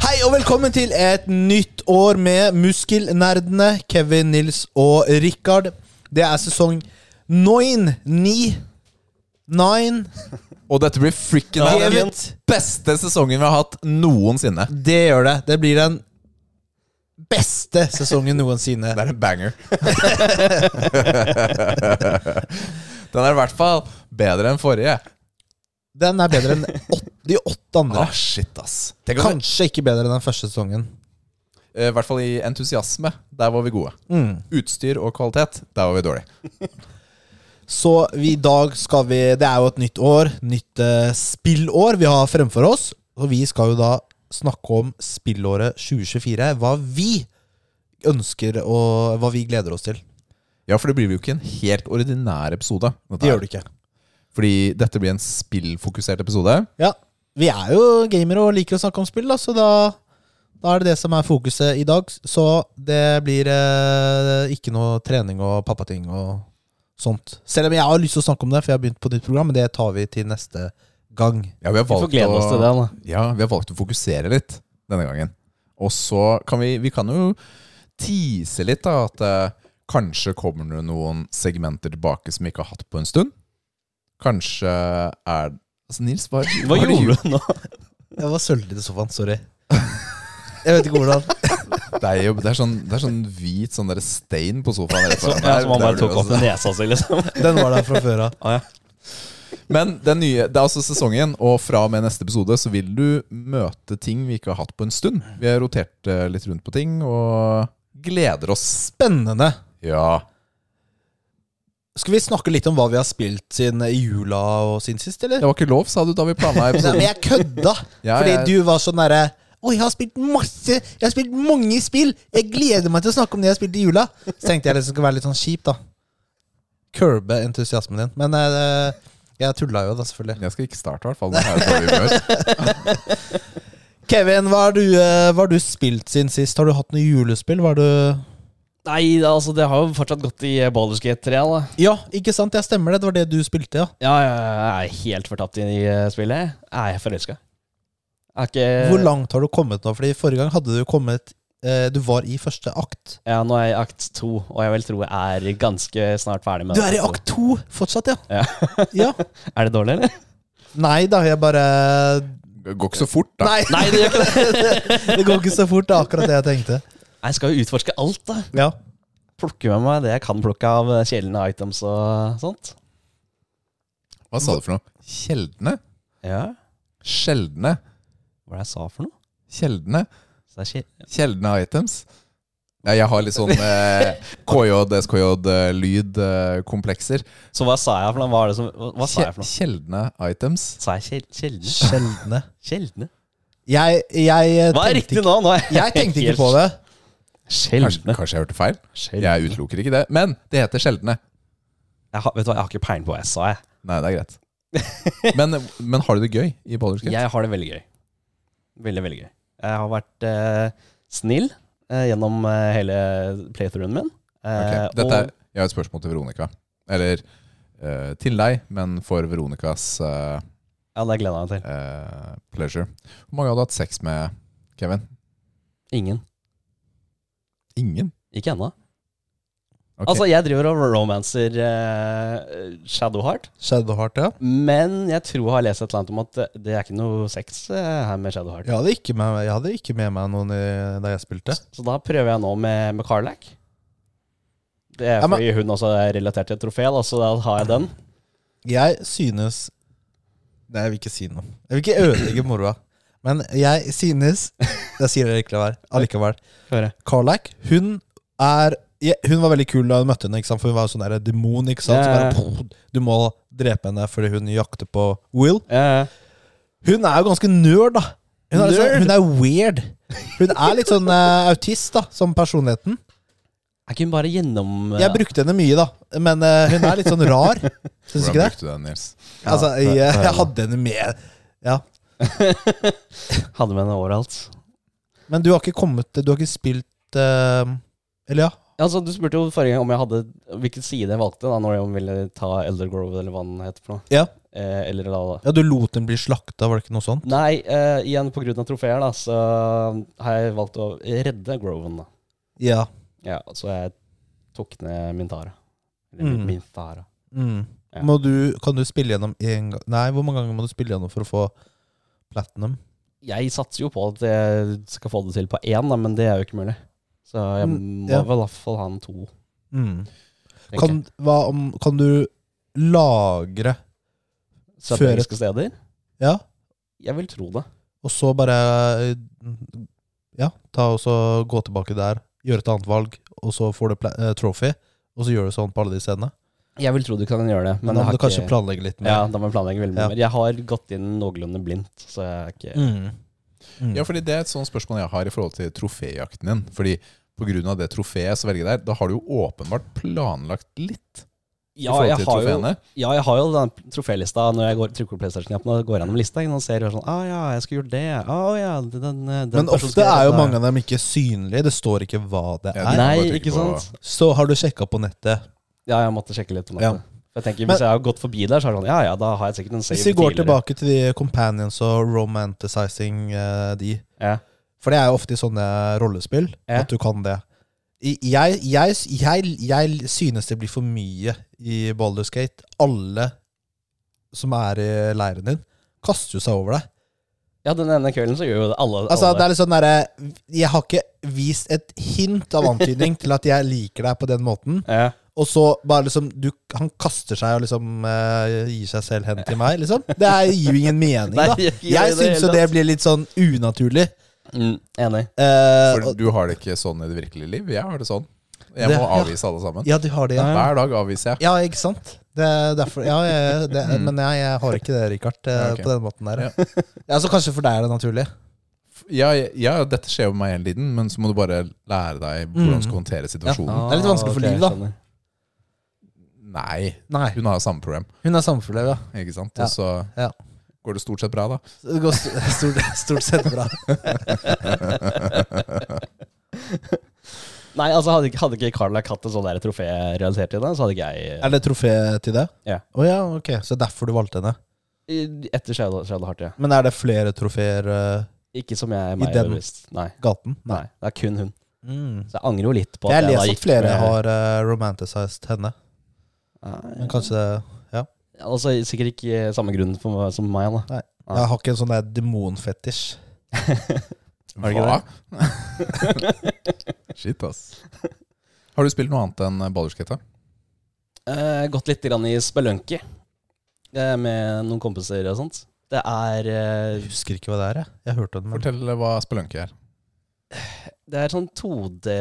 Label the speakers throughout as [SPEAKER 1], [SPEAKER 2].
[SPEAKER 1] Hei og velkommen til et nytt år med muskelnerdene Kevin, Nils og Rikard. Det er sesong 9, 9, 9
[SPEAKER 2] Og dette blir frikken
[SPEAKER 1] Ja,
[SPEAKER 2] her.
[SPEAKER 1] jeg
[SPEAKER 2] Det er
[SPEAKER 1] vet.
[SPEAKER 2] den beste sesongen vi har hatt noensinne.
[SPEAKER 1] Det gjør det. Det blir den beste sesongen noensinne.
[SPEAKER 2] Det er en banger. den er i hvert fall bedre enn forrige.
[SPEAKER 1] Den er bedre enn åt- de åtte andre.
[SPEAKER 2] Ah, shit, ass. Tenk om-
[SPEAKER 1] Kanskje ikke bedre enn den første sesongen.
[SPEAKER 2] Eh, I hvert fall i entusiasme. Der var vi gode.
[SPEAKER 3] Mm.
[SPEAKER 2] Utstyr og kvalitet. Der var vi dårlige.
[SPEAKER 1] Så vi, i dag skal vi Det er jo et nytt år. Nytt eh, spillår vi har fremfor oss. Og vi skal jo da snakke om spillåret 2024. Hva vi ønsker og hva vi gleder oss til.
[SPEAKER 2] Ja, for det blir jo ikke en helt ordinær episode. Dette
[SPEAKER 1] Det
[SPEAKER 2] her.
[SPEAKER 1] gjør det ikke.
[SPEAKER 2] Fordi dette blir en spillfokusert episode.
[SPEAKER 1] Ja, Vi er jo gamere og liker å snakke om spill, da, så da, da er det det som er fokuset i dag. Så det blir eh, ikke noe trening og pappating og sånt. Selv om jeg har lyst til å snakke om det, for jeg har begynt på nytt program, men det tar vi til neste gang.
[SPEAKER 2] Ja, vi har
[SPEAKER 3] Vi
[SPEAKER 2] valgt
[SPEAKER 3] får glede oss til det, da.
[SPEAKER 2] Ja, vi har valgt å fokusere litt denne gangen. Og så kan vi Vi kan jo tease litt, da, at eh, kanskje kommer det noen segmenter tilbake som vi ikke har hatt på en stund. Kanskje er Altså, Nils, hva,
[SPEAKER 3] Hva
[SPEAKER 2] har
[SPEAKER 3] gjorde du nå?
[SPEAKER 1] Jeg var sølvete i sofaen, sorry. Jeg vet ikke hvordan.
[SPEAKER 2] Det er jo det er sånn, det er sånn hvit sånn der stein på sofaen. rett
[SPEAKER 3] Så,
[SPEAKER 2] foran
[SPEAKER 3] ja,
[SPEAKER 2] her.
[SPEAKER 3] så man
[SPEAKER 2] Det er
[SPEAKER 3] bare tok
[SPEAKER 2] vel
[SPEAKER 3] opp
[SPEAKER 2] også-
[SPEAKER 3] nesa si, liksom.
[SPEAKER 1] Den var der fra før av.
[SPEAKER 3] Ah,
[SPEAKER 2] Men den nye, det er altså sesongen, og fra og med neste episode så vil du møte ting vi ikke har hatt på en stund. Vi har rotert eh, litt rundt på ting og gleder oss.
[SPEAKER 1] Spennende.
[SPEAKER 2] Ja.
[SPEAKER 1] Skal vi snakke litt om hva vi har spilt siden i jula og siden sist, eller?
[SPEAKER 2] Det var ikke lov, sa du da vi planla
[SPEAKER 1] Nei,
[SPEAKER 2] episoden.
[SPEAKER 1] men jeg kødda.
[SPEAKER 2] Ja,
[SPEAKER 1] fordi
[SPEAKER 2] jeg-
[SPEAKER 1] du var sånn derre Oi, jeg har spilt masse Jeg har spilt mange spill! Jeg gleder meg til å snakke om det jeg spilte i jula! Så tenkte jeg liksom skulle være litt sånn kjip, da. Curbe entusiasmen din. Men eh, jeg tulla jo, da, selvfølgelig.
[SPEAKER 2] Jeg skal ikke starte, i hvert fall. Den her er dårlig humør.
[SPEAKER 1] Kevin, hva har du, eh, hva har du spilt siden sist? Har du hatt noe julespill? Hva har du
[SPEAKER 3] Nei, det, altså, det har jo fortsatt gått i Baldur's Gate 3, da.
[SPEAKER 1] Ja, ikke sant? Jeg stemmer det. Det var det du spilte, ja.
[SPEAKER 3] Ja, jeg er helt fortapt i eh, spillet. Jeg er forelska. Er ikke
[SPEAKER 1] Hvor langt har du kommet nå? Fordi forrige gang hadde du kommet eh, Du var i første akt.
[SPEAKER 3] Ja, nå er jeg i akt to, og jeg vil tro jeg er ganske snart ferdig med
[SPEAKER 1] Du er i
[SPEAKER 3] det.
[SPEAKER 1] akt to fortsatt, ja? ja.
[SPEAKER 3] Er det dårlig, eller?
[SPEAKER 1] Nei da, jeg bare
[SPEAKER 2] Det Går ikke så fort, da.
[SPEAKER 1] Nei,
[SPEAKER 3] Nei, det gjør ikke det.
[SPEAKER 1] det går ikke så fort. Det er akkurat det jeg tenkte.
[SPEAKER 3] Jeg skal jo utforske alt, da.
[SPEAKER 1] Ja.
[SPEAKER 3] Plukke med meg det jeg kan plukke av eh, sjeldne items og sånt.
[SPEAKER 2] Hva sa du for noe? Kjeldne?
[SPEAKER 3] Ja.
[SPEAKER 2] Sjeldne?
[SPEAKER 3] Hva var det jeg sa for noe?
[SPEAKER 2] Kjeldne?
[SPEAKER 3] Så det er sjel-
[SPEAKER 2] Kjeldne items? Ja, jeg har litt sånn eh, KJ, eh, SKJ-lyd-komplekser.
[SPEAKER 3] Så hva sa jeg for noe? Hva, er det som, hva, hva sa jeg for noe?
[SPEAKER 2] Kjeldne items?
[SPEAKER 3] Sa jeg sjel- sjeldne?
[SPEAKER 1] Sjeldne.
[SPEAKER 3] Sjeldne?
[SPEAKER 1] Jeg, jeg,
[SPEAKER 3] Hva er
[SPEAKER 1] tenkte
[SPEAKER 3] riktig
[SPEAKER 1] ikke,
[SPEAKER 3] nå? nå er
[SPEAKER 1] jeg tenkte ikke
[SPEAKER 3] helt-
[SPEAKER 1] på det.
[SPEAKER 2] Kanskje,
[SPEAKER 3] Sjeldne.
[SPEAKER 2] kanskje jeg hørte feil?
[SPEAKER 3] Sjeldne.
[SPEAKER 2] Jeg utelukker ikke det. Men det heter sjeldne.
[SPEAKER 3] Jeg har, vet du hva, jeg har ikke peiling på hva jeg sa. Jeg,
[SPEAKER 2] Nei, det er greit. Men, men har du det gøy i Baldur's Gate?
[SPEAKER 3] jeg har det veldig gøy. Veldig, veldig gøy. Jeg har vært eh, snill eh, gjennom eh, hele playthroughen min.
[SPEAKER 2] Ok,
[SPEAKER 3] Eh,
[SPEAKER 2] Dette
[SPEAKER 3] og-
[SPEAKER 2] er, jeg har et spørsmål til Veronica. Eller eh, til deg, men for Veronicas eh,
[SPEAKER 3] Ja, det gleder jeg meg til.
[SPEAKER 2] eh, pleasure. Hvor mange hadde hatt sex med Kevin?
[SPEAKER 3] Ingen.
[SPEAKER 2] Ingen?
[SPEAKER 3] Ikke ennå.
[SPEAKER 2] Ok.
[SPEAKER 3] Altså, jeg driver og romancer eh, Shadowheart,
[SPEAKER 1] Shadowheart, ja.
[SPEAKER 3] men jeg tror jeg har lest et eller annet om at det- det er ikke noe sex eh, her med Shadowheart.
[SPEAKER 1] Jeg hadde ikke med, jeg hadde ikke med meg noen i, da jeg spilte.
[SPEAKER 3] Så da prøver jeg nå med, med Carlac. Det er
[SPEAKER 1] Ja, men-
[SPEAKER 3] fordi hun også er relatert til et trofé, da, så da har jeg den.
[SPEAKER 1] Jeg synes Nei, jeg vil ikke si noe. Jeg vil ikke ødelegge moroa. Men jeg synes Jeg sier det likevel. allikevel.
[SPEAKER 3] Høre.
[SPEAKER 1] Carlac, hun er je- Hun var veldig kul da hun møtte henne, ikke sant? for hun var jo sånn der demon. ikke sant?
[SPEAKER 3] Ja, ja, ja.
[SPEAKER 1] Som bare, du må drepe henne fordi hun jakter på Will.
[SPEAKER 3] Eh,
[SPEAKER 1] Hun er jo ganske nerd, da. Hun er,
[SPEAKER 3] Nerd.
[SPEAKER 1] liksom, hun er weird. Hun er litt sånn eh, autist, da, som personligheten.
[SPEAKER 3] Er ikke hun bare gjennom eh,
[SPEAKER 1] Jeg brukte henne mye, da, men eh, hun er litt sånn rar. Syns du
[SPEAKER 2] Hvordan
[SPEAKER 1] ikke det?
[SPEAKER 2] brukte du den, Nils?
[SPEAKER 3] Ja,
[SPEAKER 1] Altså, jeg,
[SPEAKER 3] det- det-
[SPEAKER 1] jeg hadde henne med. Ja.
[SPEAKER 3] Hadde med henne overalt.
[SPEAKER 1] Men du har ikke kommet Du har ikke spilt eh, Eller ja?
[SPEAKER 3] Altså, du spurte jo forrige gang om jeg hadde hvilken side jeg valgte da, når jeg ville ta Elder Grove, eller hva den heter for noe.
[SPEAKER 1] Ja.
[SPEAKER 3] Eh, eller da, da.
[SPEAKER 1] ja du lot den bli slakta, var det ikke noe sånt?
[SPEAKER 3] Nei, eh, igjen på grunn av trofeer, da, så har jeg valgt å redde Groven, da.
[SPEAKER 1] Ja.
[SPEAKER 3] Ja, så jeg tok ned min Tara. Eller
[SPEAKER 1] Mm.
[SPEAKER 3] min Tara.
[SPEAKER 1] Mm.
[SPEAKER 3] Ja.
[SPEAKER 1] Må du, kan du spille gjennom én gang Nei, hvor mange ganger må du spille gjennom for å få platinum?
[SPEAKER 3] Jeg satser jo på at jeg skal få det til på én, da, men det er jo ikke mulig. Så jeg
[SPEAKER 1] Mm,
[SPEAKER 3] må
[SPEAKER 1] ja.
[SPEAKER 3] vel i hvert fall ha en to.
[SPEAKER 1] Mm.
[SPEAKER 3] tenker
[SPEAKER 1] Kan, hva om, kan du lagre
[SPEAKER 3] jeg. Strategiske
[SPEAKER 1] før
[SPEAKER 3] steder?
[SPEAKER 1] Ja,
[SPEAKER 3] Jeg vil tro det.
[SPEAKER 1] og så bare Ja, ta og så gå tilbake der, gjøre et annet valg, og så får du pla- eh, trophy, og så gjør du sånn på alle de stedene.
[SPEAKER 3] Jeg vil tro du kan gjøre det. Men,
[SPEAKER 1] Men da
[SPEAKER 3] jeg
[SPEAKER 1] må
[SPEAKER 3] har
[SPEAKER 1] du kanskje
[SPEAKER 3] ikke,
[SPEAKER 1] planlegge litt
[SPEAKER 3] ja,
[SPEAKER 1] mer.
[SPEAKER 3] da må jeg planlegge veldig mye
[SPEAKER 1] Ja.
[SPEAKER 3] mer. Jeg har gått inn noenlunde blindt, så jeg er ikke
[SPEAKER 1] Mm. Mm.
[SPEAKER 2] Ja, fordi Det er et sånt spørsmål jeg har i forhold til troféjakten din. Fordi Pga. det trofeet som velger der, da har du jo åpenbart planlagt litt.
[SPEAKER 3] ja,
[SPEAKER 2] i forhold
[SPEAKER 3] jeg
[SPEAKER 2] til
[SPEAKER 3] har jo,
[SPEAKER 2] trofeene.
[SPEAKER 3] ja, jeg har jo den trofélista når jeg går, trykker på PlayStation-knappen og går gjennom lista. Og ser sånn Å ja, jeg skulle gjort det. Ah, Å ja, den, den
[SPEAKER 1] Men ofte er jo mange av dem ikke synlige. Det står ikke hva det
[SPEAKER 2] Ja,
[SPEAKER 1] er.
[SPEAKER 2] det-
[SPEAKER 3] Nei,
[SPEAKER 2] Man bare trykker
[SPEAKER 3] ikke
[SPEAKER 2] på-
[SPEAKER 3] sant?
[SPEAKER 1] Så har du sjekka på nettet.
[SPEAKER 3] Ja, jeg måtte sjekke litt på nettet. For Jeg tenker,
[SPEAKER 1] Men-
[SPEAKER 3] Hvis jeg har gått forbi der, så er det sånn Ja ja, da har jeg sikkert en save
[SPEAKER 1] Hvis vi går
[SPEAKER 3] tidligere.
[SPEAKER 1] tilbake til de companions og romanticizing eh, de
[SPEAKER 3] Ja.
[SPEAKER 1] For det er jo ofte i sånne rollespill
[SPEAKER 3] Ja.
[SPEAKER 1] at du kan det. I- Jeg, jeg, jeg, jeg synes det blir for mye i Baldur's Gate. Alle som er i leiren din, kaster jo seg over deg.
[SPEAKER 3] ja, den ene kvelden så gjør jo det alle,
[SPEAKER 1] Altså, det
[SPEAKER 3] alle.
[SPEAKER 1] er litt sånn derre Jeg har ikke vist et hint av antydning til at jeg liker deg på den måten.
[SPEAKER 3] Ja.
[SPEAKER 1] Og så bare liksom du, Han kaster seg og liksom eh, gir seg selv hen til meg, liksom. Det er, gir jo ingen mening,
[SPEAKER 3] Nei,
[SPEAKER 1] da.
[SPEAKER 3] jeg-
[SPEAKER 1] Jeg
[SPEAKER 3] jeg-
[SPEAKER 1] syns jo det blir litt sånn unaturlig.
[SPEAKER 3] Mm, enig.
[SPEAKER 1] Eh,
[SPEAKER 2] For
[SPEAKER 1] og,
[SPEAKER 2] du har det ikke sånn i det virkelige liv. Jeg har det sånn. Jeg
[SPEAKER 1] Det-
[SPEAKER 2] må
[SPEAKER 1] ja.
[SPEAKER 2] avvise alle sammen.
[SPEAKER 1] ja, du har det, ja.
[SPEAKER 2] Hver dag avviser jeg.
[SPEAKER 1] Ja, ikke sant? Det er derfor, ja, jeg, det,
[SPEAKER 2] Mm.
[SPEAKER 1] Men jeg, jeg har ikke det, Rikard, eh,
[SPEAKER 2] Ja, ok.
[SPEAKER 1] på den måten der. Ja. så kanskje for deg er det naturlig.
[SPEAKER 2] Ja, ja, ja, dette skjer jo med meg hele tiden, men så må du bare lære
[SPEAKER 1] Mm.
[SPEAKER 2] deg hvordan du skal håndtere situasjonen.
[SPEAKER 1] Det er litt vanskelig for
[SPEAKER 3] Ah, ok,
[SPEAKER 1] liv, da.
[SPEAKER 3] skjønner.
[SPEAKER 2] Nei,
[SPEAKER 1] Nei,
[SPEAKER 2] hun har jo samme problem,
[SPEAKER 1] hun er samfunnselev, ja.
[SPEAKER 2] ikke sant?
[SPEAKER 1] Ja.
[SPEAKER 2] Og så
[SPEAKER 1] Ja.
[SPEAKER 2] går det stort sett bra, da.
[SPEAKER 1] Så Det går st- stort, stort sett bra.
[SPEAKER 3] Nei, altså Hadde ikke, hadde ikke Carlac hatt en sånn der trofé realisert til det, så hadde ikke jeg
[SPEAKER 1] Er det trofé til det?
[SPEAKER 3] Ja.
[SPEAKER 1] Å ja, ok. Så derfor du valgte henne.
[SPEAKER 3] Etter Shadow, Shadow Heart, ja.
[SPEAKER 1] Men er det flere trofeer eh,
[SPEAKER 3] Ikke som jeg
[SPEAKER 1] I
[SPEAKER 3] meg
[SPEAKER 1] den?
[SPEAKER 3] bevisst. Nei.
[SPEAKER 1] gaten?
[SPEAKER 3] Nei. Det er kun hun.
[SPEAKER 1] Mm.
[SPEAKER 3] Så jeg angrer jo litt på
[SPEAKER 1] Jeg
[SPEAKER 3] at jeg,
[SPEAKER 1] leser
[SPEAKER 3] da
[SPEAKER 1] at
[SPEAKER 3] gikk
[SPEAKER 1] flere
[SPEAKER 3] med-
[SPEAKER 1] har eh, romanticized henne.
[SPEAKER 3] Nei,
[SPEAKER 1] Men kanskje det-
[SPEAKER 3] Altså Sikkert ikke samme grunn for, som meg, da. Ja.
[SPEAKER 1] Jeg har ikke en sånn der demonfetisj.
[SPEAKER 3] Har du ikke
[SPEAKER 2] Hva? Shit, ass. Har du spilt noe annet enn ballerskate?
[SPEAKER 3] Eh, gått litt grann i spelunky eh, med noen kompiser og sånt. Det er eh,
[SPEAKER 1] Jeg husker ikke hva det er, jeg. Jeg hørte den, men
[SPEAKER 2] Fortell hva spelunky er.
[SPEAKER 3] Det er sånn 2D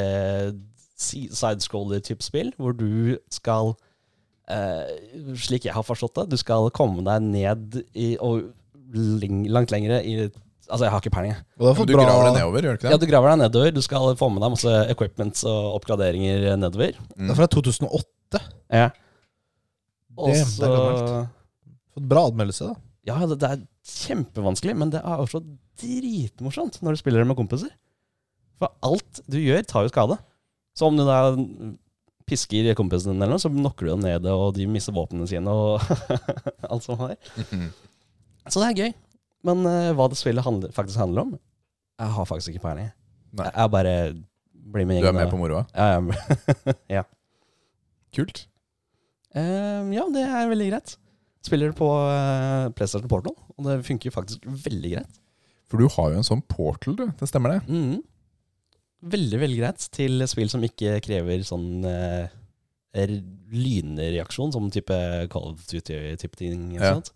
[SPEAKER 3] si- sidescroller-type spill, hvor du skal eh, Slik jeg har forstått det, du skal komme deg ned i, og leng, langt lengre i Altså, jeg har ikke peiling. jeg.
[SPEAKER 1] Og det
[SPEAKER 2] Men du graver det nedover, gjør du ikke
[SPEAKER 3] Ja,
[SPEAKER 2] det?
[SPEAKER 3] du graver deg nedover. Du skal få med deg masse equipments og oppgraderinger nedover.
[SPEAKER 1] Det er fra 2008.
[SPEAKER 3] Ja.
[SPEAKER 1] Damn, det er gammelt. Fått bra anmeldelse, da.
[SPEAKER 3] Ja, det, det er kjempevanskelig, men det er også dritmorsomt når du spiller det med kompiser. For alt du gjør, tar jo skade. Så om du da pisker kompisen din, eller noe, så knocker du dem ned, og de mister våpnene sine og alt som har. Så det er gøy. Men eh, hva det spillet handler, faktisk handler om, jeg har faktisk ikke peiling.
[SPEAKER 2] Nei.
[SPEAKER 3] Jeg, jeg bare blir med
[SPEAKER 2] Du er
[SPEAKER 3] gjengen.
[SPEAKER 2] med
[SPEAKER 3] og-
[SPEAKER 2] på moroa?
[SPEAKER 3] Ja, jeg er med.
[SPEAKER 2] Kult.
[SPEAKER 3] Eh, ja, det er veldig greit. Spiller på eh, PlayStation Portal, og det funker faktisk veldig greit.
[SPEAKER 2] For du har jo en sånn portal, du. Det stemmer det?
[SPEAKER 3] Mhm. Veldig, veldig greit til spill som ikke krever sånn eh, r- lynreaksjon, som type Call of Duty-type ting. ikke
[SPEAKER 2] Ja.
[SPEAKER 3] sant?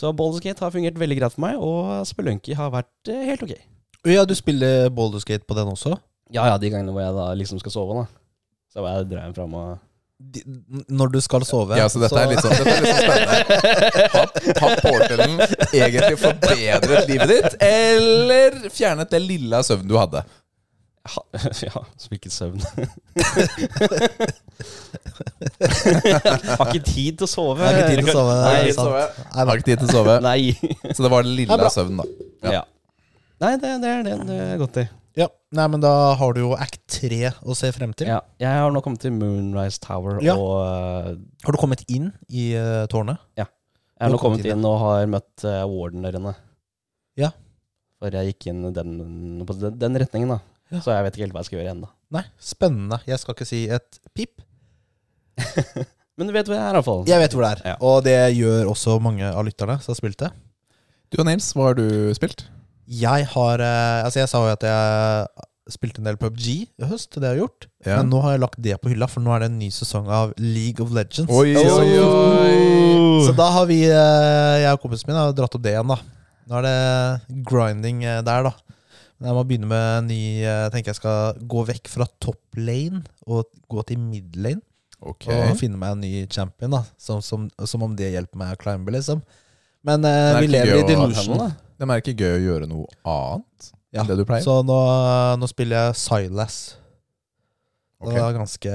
[SPEAKER 3] Så Baldur's Gate har fungert veldig greit for meg, og Spelunky har vært eh, helt ok.
[SPEAKER 1] Ja, du spiller Boulder Skate på den også?
[SPEAKER 3] Ja, ja, de gangene hvor jeg da liksom skal sove, da. Så bare jeg drar den fram og
[SPEAKER 1] de, når du skal sove.
[SPEAKER 2] Ja, så dette er litt sånn, dette er litt sånn spennende. Har, har portalen egentlig forbedret livet ditt, eller fjernet det lille av søvnen du hadde?
[SPEAKER 3] Ha, ja, så hvilken søvn. har ikke tid til å sove.
[SPEAKER 1] Jeg har ikke tid til å sove.
[SPEAKER 3] Nei,
[SPEAKER 1] det er
[SPEAKER 2] Har ikke tid til å
[SPEAKER 1] sant.
[SPEAKER 2] sove.
[SPEAKER 1] Nei,
[SPEAKER 2] Har
[SPEAKER 1] men-
[SPEAKER 2] ikke tid til å sove.
[SPEAKER 3] Nei.
[SPEAKER 2] Så det var det
[SPEAKER 1] Det er
[SPEAKER 2] lille
[SPEAKER 1] bra.
[SPEAKER 2] av søvnen, da. Ja.
[SPEAKER 3] Ja. Nei, det, det er det du er godt i.
[SPEAKER 1] ja. Nei, men da har du jo Act 3 å se frem til.
[SPEAKER 3] Ja. Jeg har nå kommet til Moonrise Tower
[SPEAKER 1] Ja.
[SPEAKER 3] og eh,
[SPEAKER 1] Har du kommet inn i eh, tårnet?
[SPEAKER 3] Jeg har
[SPEAKER 1] Du
[SPEAKER 3] nå
[SPEAKER 1] har kommet
[SPEAKER 3] kommet
[SPEAKER 1] inn,
[SPEAKER 3] inn og har møtt eh, warden der inne.
[SPEAKER 1] Ja.
[SPEAKER 3] For jeg gikk inn den, på den, den retningen, da.
[SPEAKER 1] Ja.
[SPEAKER 3] Så jeg vet ikke helt hva jeg skal gjøre ennå.
[SPEAKER 1] Nei, spennende. Jeg skal ikke si et pip.
[SPEAKER 3] Men du vet hvor jeg er, iallfall.
[SPEAKER 1] Jeg vet hvor det er,
[SPEAKER 3] Ja.
[SPEAKER 1] og det gjør også mange av lytterne som har spilt det.
[SPEAKER 2] Du og Nils, hva har du spilt?
[SPEAKER 1] Jeg har eh, Altså, jeg sa jo at jeg spilte en del PubG i høst, det har jeg gjort.
[SPEAKER 2] Ja.
[SPEAKER 1] Men nå har jeg lagt det på hylla, for nå er det en ny sesong av League of Legends.
[SPEAKER 2] Oi, oi, oi.
[SPEAKER 1] Så da har vi, eh, jeg og kompisen min, har dratt opp det igjen, da. Nå er det grinding eh, der, da. Men jeg må begynne med en ny eh, Jeg tenker jeg skal gå vekk fra top lane og gå til mid lane.
[SPEAKER 2] Ok.
[SPEAKER 1] Og finne meg en ny champion, da. Som, som, som om det hjelper meg å climbe, liksom. Men eh,
[SPEAKER 2] Det er
[SPEAKER 1] vi
[SPEAKER 2] ikke
[SPEAKER 1] lever
[SPEAKER 2] gøy å
[SPEAKER 1] i
[SPEAKER 2] ha
[SPEAKER 1] delusion.
[SPEAKER 3] henne, da.
[SPEAKER 2] Det er ikke gøy å gjøre noe annet
[SPEAKER 1] Ja,
[SPEAKER 2] enn det du pleier.
[SPEAKER 1] Så nå, nå spiller jeg Silas.
[SPEAKER 2] Ok.
[SPEAKER 1] Det er ganske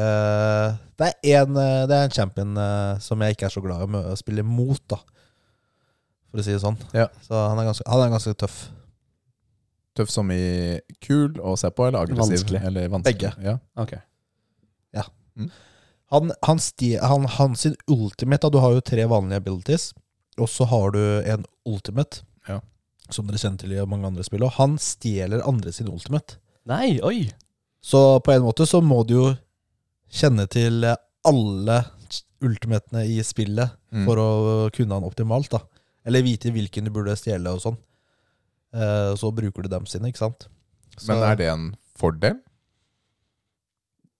[SPEAKER 1] Det er en, eh, det er en champion eh, som jeg ikke er så glad i å mø- å spille mot, da. For å si det sånn.
[SPEAKER 2] Ja.
[SPEAKER 1] Så han er ganske, han er ganske tøff.
[SPEAKER 2] Tøff som i kul å se på, eller aggressiv?
[SPEAKER 3] Vanskelig.
[SPEAKER 2] Eller vanskelig. Ja.
[SPEAKER 3] Ok.
[SPEAKER 1] Han, han, sti, han, han sin ultimate da, Du har jo tre vanlige abilities, og så har du en ultimate.
[SPEAKER 2] Ja.
[SPEAKER 1] Som dere kjenner til i mange andre spill. Og han stjeler andre sin ultimate.
[SPEAKER 3] Nei, oi!
[SPEAKER 1] Så på en måte så må du jo kjenne til alle ultimatene i spillet
[SPEAKER 2] Mm.
[SPEAKER 1] for å kunne han optimalt. da Eller vite hvilken du burde stjele og sånn. Eh, Så bruker du dem sine, ikke sant. Så
[SPEAKER 2] Men er det en fordel?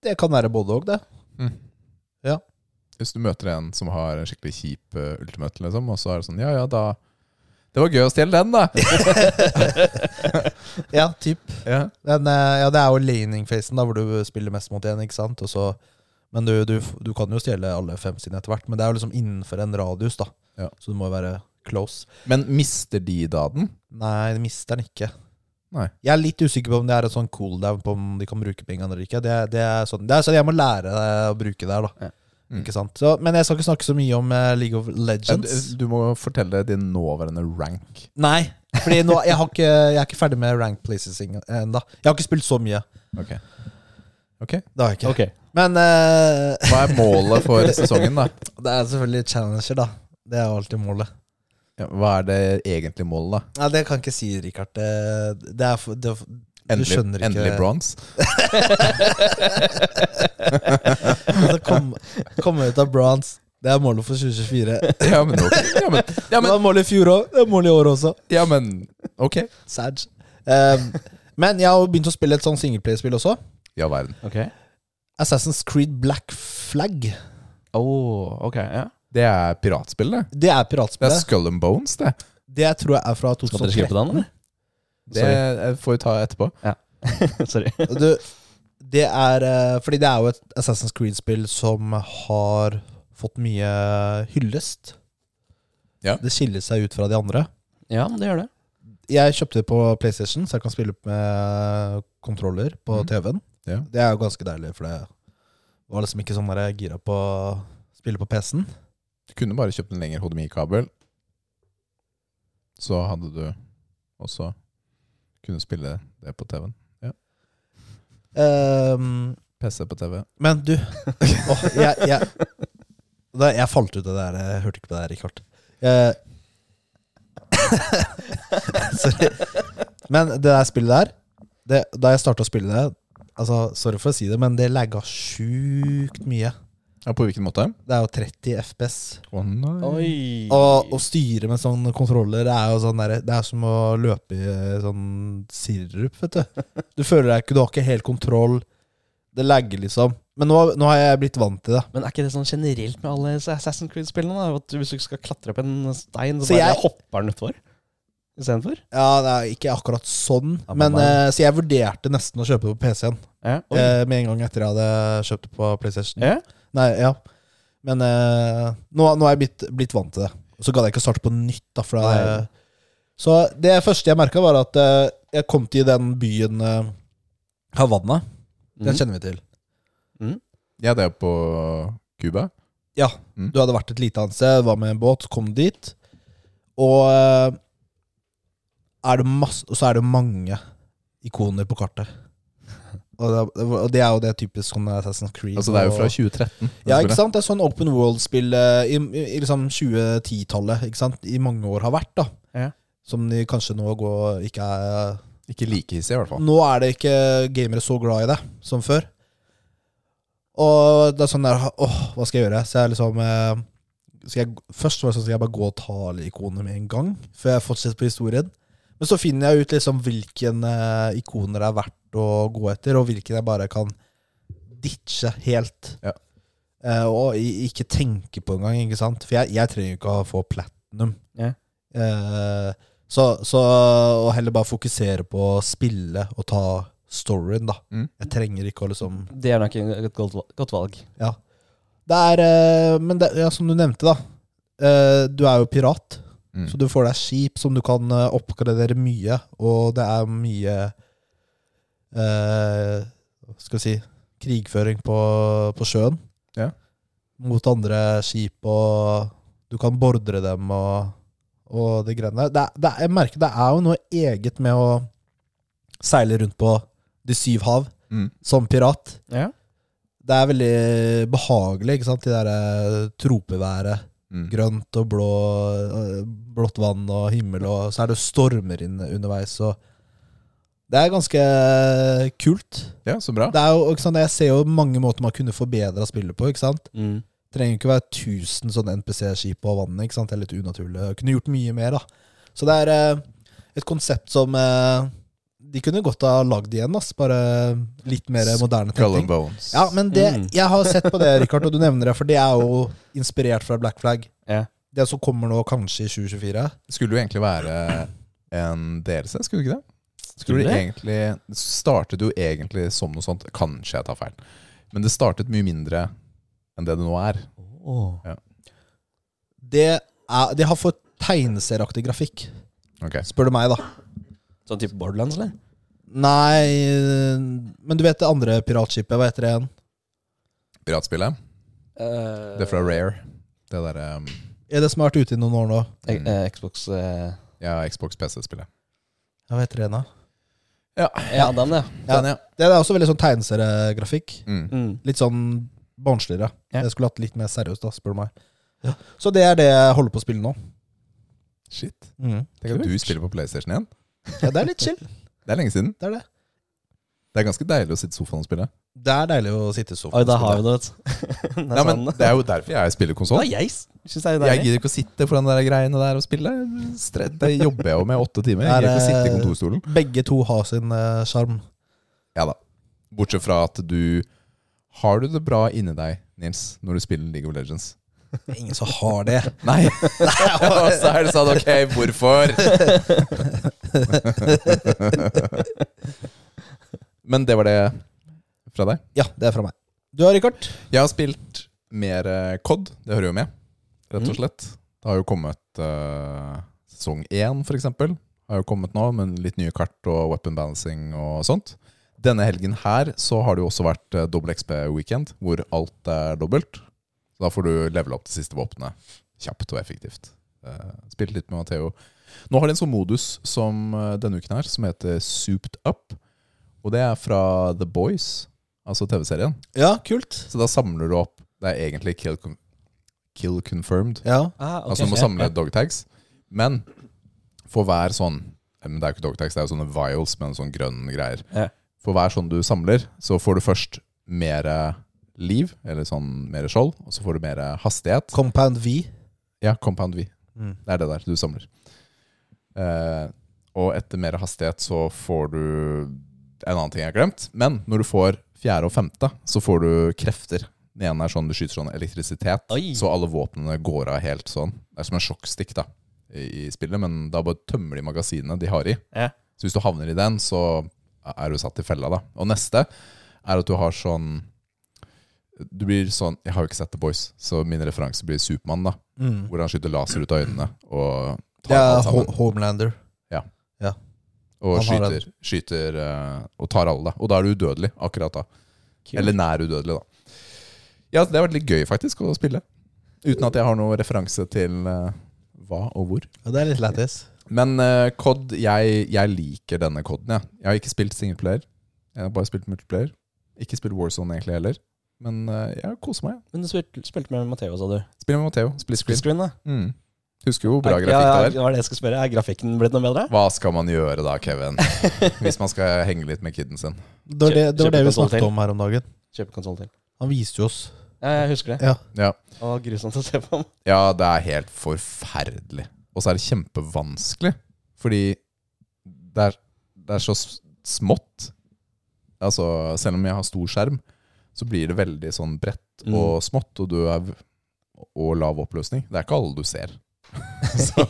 [SPEAKER 1] det kan være både og, det. Ja.
[SPEAKER 2] Mm. Hvis du møter en som har en skikkelig kjip eh, ultimate, liksom, og så er det sånn Ja, ja, da Det var gøy å stjele den, da!
[SPEAKER 1] Ja, typ.
[SPEAKER 2] ja.
[SPEAKER 1] Men eh, ja, det er jo laning-facen, da, hvor du spiller mest mot én, ikke sant. Og så, men du, du, du kan jo stjele alle fem sine etter hvert, men det er jo liksom innenfor en radius, da.
[SPEAKER 2] Ja.
[SPEAKER 1] Så du må jo være close.
[SPEAKER 2] Men mister de da den?
[SPEAKER 1] Nei, det mister den ikke.
[SPEAKER 2] Nei.
[SPEAKER 1] Jeg er litt usikker på om det er en sånn cooldown på om de kan bruke pengene eller ikke. Det, det er sånn det er sånn jeg må lære eh, å bruke det her, da.
[SPEAKER 3] Ja.
[SPEAKER 2] Mm.
[SPEAKER 1] Ikke sant? Så, men jeg skal ikke snakke så mye om eh, League of
[SPEAKER 2] Ja,
[SPEAKER 1] Legends.
[SPEAKER 2] du- Du må fortelle din nåværende rank.
[SPEAKER 1] Nei, Fordi nå, jeg, har ikke, jeg er ikke ferdig med rank places ennå. Jeg har ikke spilt så mye.
[SPEAKER 2] Ok. Ok.
[SPEAKER 1] Det har jeg ikke.
[SPEAKER 3] Ok.
[SPEAKER 1] Men eh,
[SPEAKER 2] Hva er målet for sesongen, da?
[SPEAKER 1] Det er selvfølgelig challenger, da. Det er jo alltid målet.
[SPEAKER 2] Ja, hva er det egentlige målet, da?
[SPEAKER 1] Nei, det kan jeg ikke si, Richard. Det, det er for, det er for
[SPEAKER 2] Endelig,
[SPEAKER 1] skjønner ikke-
[SPEAKER 2] endelig bronse?
[SPEAKER 1] altså, kom, Komme ut av bronze. Det er målet for 2024.
[SPEAKER 2] Ja, men ok. Ja, men, ja,
[SPEAKER 1] Det
[SPEAKER 2] men,
[SPEAKER 1] var målet i fjor òg. Det er målet i år også.
[SPEAKER 2] ja, men ok.
[SPEAKER 1] Sad. Um, men jeg har jo begynt å spille et sånn singleplayerspill også.
[SPEAKER 2] Ja, verden.
[SPEAKER 3] Ok.
[SPEAKER 1] Assassin's Creed Black Flag.
[SPEAKER 3] Oh, ok, ja.
[SPEAKER 2] Det er piratspill, det.
[SPEAKER 1] Det er
[SPEAKER 2] Det er
[SPEAKER 1] piratspillet.
[SPEAKER 2] Skull and Bones, det.
[SPEAKER 1] Det tror jeg er fra
[SPEAKER 3] Skal dere
[SPEAKER 1] 2013.
[SPEAKER 3] skrive på den, eller?
[SPEAKER 2] Det eh, får vi ta etterpå.
[SPEAKER 3] Sorry.
[SPEAKER 1] Du, det er eh, Fordi det er jo et Assassin's Creed-spill som har fått mye hyllest.
[SPEAKER 2] Ja.
[SPEAKER 1] Det skiller seg ut fra de andre.
[SPEAKER 3] Ja, men det gjør det.
[SPEAKER 1] Jeg kjøpte det på PlayStation, så jeg kan spille med kontroller på
[SPEAKER 2] Mhm.
[SPEAKER 1] TV-en.
[SPEAKER 2] Ja.
[SPEAKER 1] Det er jo ganske deilig, for det var liksom ikke sånn der jeg gira på å spille på PC-en.
[SPEAKER 2] Du kunne bare kjøpt en lengre HDMI-kabel. Så hadde du også kunne spille det på TV-en.
[SPEAKER 1] Ehm,
[SPEAKER 2] PC på TV.
[SPEAKER 1] men du åh, jeg, jeg, da, jeg falt ut av det der. Jeg hørte ikke på det her, Richard. Eh, sorry. Men det der spillet der det, Da jeg starta å spille det Altså, Sorry for å si det, men det lagga sjukt mye.
[SPEAKER 2] Ja, på hvilken måte?
[SPEAKER 1] Det er jo 30 FPS.
[SPEAKER 2] Å nei.
[SPEAKER 3] Oi.
[SPEAKER 1] Og å styre med sånn kontroller det er jo sånn der, Det er som å løpe i eh, sånn sirup, vet du. Du føler deg ikke Du har ikke helt kontroll. Det lagger, liksom. Men nå, nå har jeg blitt vant til det.
[SPEAKER 3] Men er ikke det sånn generelt med alle Assassin's Creed-spillene? da? At Hvis du ikke skal klatre opp en stein, så,
[SPEAKER 1] Så
[SPEAKER 3] bare
[SPEAKER 1] jeg-
[SPEAKER 3] hopper den utfor istedenfor?
[SPEAKER 1] Ja, det er Ikke akkurat sånn,
[SPEAKER 3] Ja,
[SPEAKER 1] men,
[SPEAKER 3] men nei.
[SPEAKER 1] eh, så jeg vurderte nesten å kjøpe det på PC-en.
[SPEAKER 3] Ja. Oi.
[SPEAKER 1] eh, med en gang etter jeg hadde kjøpt det på PlayStation.
[SPEAKER 3] Ja.
[SPEAKER 1] Nei, ja. Men eh, nå, nå er jeg blitt, blitt vant til det. Så gadd jeg ikke starte på nytt. da for det,
[SPEAKER 3] Nei.
[SPEAKER 1] Så det første jeg merka, var at eh, jeg kom til den byen eh, Havanna. Den
[SPEAKER 3] Mhm.
[SPEAKER 1] kjenner vi til.
[SPEAKER 2] Ja, det er på Cuba.
[SPEAKER 1] Ja,
[SPEAKER 2] Mm.
[SPEAKER 1] du hadde vært et lite annet sted, var med en båt, kom dit. Og eh, er det masse, og så er det mange ikoner på kartet. Og det, og det er jo det typisk sånn Assassin's Creed.
[SPEAKER 2] Altså, det er jo fra
[SPEAKER 1] og-
[SPEAKER 2] 2013. det
[SPEAKER 1] Ja,
[SPEAKER 2] spillet.
[SPEAKER 1] ikke sant? Det er sånn open world-spill eh, i, i, i liksom 2010-tallet ikke sant? i mange år har vært. da.
[SPEAKER 3] Ja.
[SPEAKER 1] Som de kanskje nå går, ikke er
[SPEAKER 2] Ikke like hissig, i hvert fall.
[SPEAKER 1] nå er det ikke gamere så glad i det som før. Og det er sånn der Åh, hva skal jeg gjøre? Så jeg liksom eh, skal jeg, Først var det sånn at jeg bare gå og ta alle ikonene med en gang, før jeg fortsetter på historien. Men så finner jeg ut liksom hvilken eh, ikoner det er verdt å gå etter, og hvilken jeg bare kan ditche helt.
[SPEAKER 2] Ja.
[SPEAKER 1] Eh, og i- ikke tenke på engang, ikke sant? For jeg, jeg trenger jo ikke å få platinum.
[SPEAKER 3] Ja.
[SPEAKER 1] Eh, så, så å heller bare fokusere på å spille og ta storyen, da.
[SPEAKER 2] Mm.
[SPEAKER 1] Jeg trenger ikke å liksom
[SPEAKER 3] Det er nok et godt valg. Godt valg.
[SPEAKER 1] Ja. Det er eh, Men det, ja, som du nevnte, da. eh, Du er jo pirat,
[SPEAKER 2] Mm.
[SPEAKER 1] så du får deg skip som du kan eh, oppgradere mye, og det er mye eh, Hva skal vi si Krigføring på, på sjøen.
[SPEAKER 2] Ja.
[SPEAKER 1] Mot andre skip, og du kan bordre dem og, og de greiene der. Det, er- det, er- jeg merker det er jo noe eget med å seile rundt på de syv hav
[SPEAKER 2] Mm.
[SPEAKER 1] som pirat.
[SPEAKER 3] Ja.
[SPEAKER 1] Det er veldig behagelig, ikke sant? De der eh, tropeværet.
[SPEAKER 2] Mm.
[SPEAKER 1] Grønt og blå, eh, blått vann og himmel, og så er det stormer inne underveis. Og det er ganske kult.
[SPEAKER 2] Ja, så bra.
[SPEAKER 1] Det er jo, ikke sant? Jeg ser jo mange måter man kunne forbedra spillet på. ikke sant?
[SPEAKER 3] Mm.
[SPEAKER 1] Trenger ikke være 1000 sånne NPC-skip på vannet. ikke sant? Det er litt unaturlig. Jeg Kunne gjort mye mer, da. Så det er eh, et konsept som eh, de kunne godt ha lagd igjen, ass. Bare litt mer moderne
[SPEAKER 2] Skull
[SPEAKER 1] tenking.
[SPEAKER 2] and Bones.
[SPEAKER 1] Ja, men det,
[SPEAKER 3] Mm.
[SPEAKER 1] jeg har sett på det, Richard, og du nevner det, for det er jo inspirert fra Black Flag.
[SPEAKER 3] Ja.
[SPEAKER 1] Det som kommer nå kanskje i 2024.
[SPEAKER 2] Skulle jo egentlig være en DLC, skulle det ikke det? Skulle det
[SPEAKER 3] det?
[SPEAKER 2] egentlig Startet jo egentlig som noe sånt. Kanskje jeg tar feil. Men det startet mye mindre enn det det nå er.
[SPEAKER 1] Det, er, det har fått tegneserieaktig grafikk,
[SPEAKER 2] Ok.
[SPEAKER 1] spør du meg, da.
[SPEAKER 3] Sånn type Borderlands, eller?
[SPEAKER 1] Nei øh, Men du vet det andre piratskipet, hva heter det igjen?
[SPEAKER 2] Piratspillet.
[SPEAKER 3] Eh,
[SPEAKER 2] Det er fra Rare. Det um, derre
[SPEAKER 1] Er det som har vært ute i noen år nå?
[SPEAKER 3] Eh, eh, Xbox eh,
[SPEAKER 2] Ja, Xbox PC-spillet.
[SPEAKER 1] Ja, hva heter det igjen, da?
[SPEAKER 2] Ja.
[SPEAKER 3] Ja, den, ja.
[SPEAKER 1] Ja.
[SPEAKER 2] Den, ja.
[SPEAKER 1] Det er også veldig sånn tegneseriegrafikk.
[SPEAKER 2] Mm.
[SPEAKER 3] Mm.
[SPEAKER 1] Litt sånn barnsligere.
[SPEAKER 3] Ja.
[SPEAKER 1] Jeg skulle hatt litt mer seriøst, da, spør du meg. Så det er det jeg holder på å spille nå.
[SPEAKER 2] Shit.
[SPEAKER 1] Mm.
[SPEAKER 2] Tenk at du spiller på PlayStation igjen.
[SPEAKER 1] Ja, det er litt chill.
[SPEAKER 2] Det er lenge siden.
[SPEAKER 1] Det er det.
[SPEAKER 2] Det er ganske deilig å sitte i sofaen og spille.
[SPEAKER 1] Det er deilig å sitte i sofaen.
[SPEAKER 3] Oi,
[SPEAKER 1] og
[SPEAKER 3] da
[SPEAKER 1] spille.
[SPEAKER 3] har
[SPEAKER 2] Sånn
[SPEAKER 3] vi det, vet du.
[SPEAKER 2] Nei, men Det er jo derfor jeg spiller
[SPEAKER 3] Ja,
[SPEAKER 2] konsoll.
[SPEAKER 3] jeg syns det er
[SPEAKER 2] Jeg
[SPEAKER 3] deilig.
[SPEAKER 2] gidder ikke å sitte foran de der greiene der og spille. Stre- Det jobber jeg jo med åtte timer. Jeg gidder ikke å sitte i kontorstolen.
[SPEAKER 1] Begge to har sin eh, sjarm.
[SPEAKER 2] Ja da. Bortsett fra at du Har du det bra inni deg, Nils, når du spiller League of Legends?
[SPEAKER 1] Det er ingen som har det.
[SPEAKER 2] Nei! og så er det sånn, ok, hvorfor? Men det var det fra deg.
[SPEAKER 1] Ja, det er fra meg. Du har Richard?
[SPEAKER 2] Jeg har spilt mer eh, COD, det hører jo med, rett og slett. Det har jo kommet eh, sesong én, for eksempel. Har jo kommet nå, med litt nye kart og weapon balancing og sånt. Denne helgen her så har det jo også vært eh, dobbel XP-weekend, hvor alt er dobbelt. Så da får du levele opp det siste våpenet kjapt og effektivt. Eh, Spilt litt med Matheo. Nå har de en sånn modus som eh, denne uken her, som heter Souped Up. Og det er fra The Boys, altså TV-serien.
[SPEAKER 1] Ja, kult.
[SPEAKER 2] Så da samler du opp Det er egentlig kill, con- kill confirmed.
[SPEAKER 1] Ja.
[SPEAKER 3] Ah, ok.
[SPEAKER 2] Altså du må
[SPEAKER 3] Ja,
[SPEAKER 2] samle
[SPEAKER 3] ja.
[SPEAKER 2] dogtags. Men for hver sånn Men det er jo ikke dogtags, det er jo sånne vials med en sånn grønn greier.
[SPEAKER 3] Ja.
[SPEAKER 2] For hver sånn du samler, så får du først mer liv, eller sånn mer skjold, og så får du mer hastighet.
[SPEAKER 1] Compound V.
[SPEAKER 2] Ja, Compound V.
[SPEAKER 1] Mm.
[SPEAKER 2] Det er det der du samler. Eh, og etter mer hastighet så får du En annen ting jeg har glemt. Men når du får fjerde og femte, så får du krefter. Den ene er sånn du skyter sånn elektrisitet,
[SPEAKER 3] Oi.
[SPEAKER 2] så alle våpnene går av helt sånn. Det er som en sjokkstikk da i i spillet, men da bare tømmer de magasinene de har i.
[SPEAKER 3] Ja.
[SPEAKER 2] Så hvis du havner i den, så er du satt i fella, da. Og neste er at du har sånn Du blir sånn Jeg har jo ikke sett The Boys, så min referanse blir Supermann, da.
[SPEAKER 1] Mm.
[SPEAKER 2] Hvor han skyter laser ut av øynene og
[SPEAKER 1] Det
[SPEAKER 2] tar
[SPEAKER 1] er
[SPEAKER 2] alt sammen.
[SPEAKER 1] Ho- Homelander.
[SPEAKER 2] Og
[SPEAKER 1] han har
[SPEAKER 2] skyter, skyter eh, og tar alle, da. Og da er du udødelig akkurat da.
[SPEAKER 3] Kult.
[SPEAKER 2] Eller nær udødelig, da. Ja, så det har vært litt gøy faktisk å spille. Uten at jeg har noen referanse til eh, hva og hvor.
[SPEAKER 1] Ja, det er litt lættis.
[SPEAKER 2] Men eh, COD, jeg, jeg liker denne COD-en, jeg. Jeg har ikke spilt singleplayer. Jeg har bare spilt multiplayer. Ikke spilt Warzone egentlig heller. Men eh, jeg koser meg.
[SPEAKER 3] Men du spilte, spilte med Matheo, sa du.
[SPEAKER 2] Spiller med Matheo. Split
[SPEAKER 3] Split
[SPEAKER 2] screen.
[SPEAKER 3] screen, da.
[SPEAKER 2] Mm. Husker jo hvor bra
[SPEAKER 3] Ja,
[SPEAKER 2] grafikk
[SPEAKER 3] ja,
[SPEAKER 2] det var.
[SPEAKER 3] det var det jeg skulle spørre. Er grafikken blitt noe bedre?
[SPEAKER 2] Hva skal man gjøre da, Kevin? Hvis man skal henge litt med kiden sin.
[SPEAKER 1] Det var det, det,
[SPEAKER 3] Kjøp-
[SPEAKER 1] var det
[SPEAKER 3] kjøp
[SPEAKER 1] vi
[SPEAKER 3] en
[SPEAKER 1] snakket
[SPEAKER 3] til.
[SPEAKER 1] om her om dagen.
[SPEAKER 3] Kjøpe konsoll til.
[SPEAKER 1] Han viste jo oss.
[SPEAKER 3] Ja, jeg husker det.
[SPEAKER 1] Ja.
[SPEAKER 2] Ja.
[SPEAKER 3] Det var grusomt å se på.
[SPEAKER 2] Ja, det er helt forferdelig. Og så er det kjempevanskelig, fordi det er, det er så s- smått. Altså, selv om jeg har stor skjerm, så blir det veldig sånn
[SPEAKER 3] Mm.
[SPEAKER 2] bredt og smått, og du er v- og lav oppløsning. Det er ikke alle du ser. så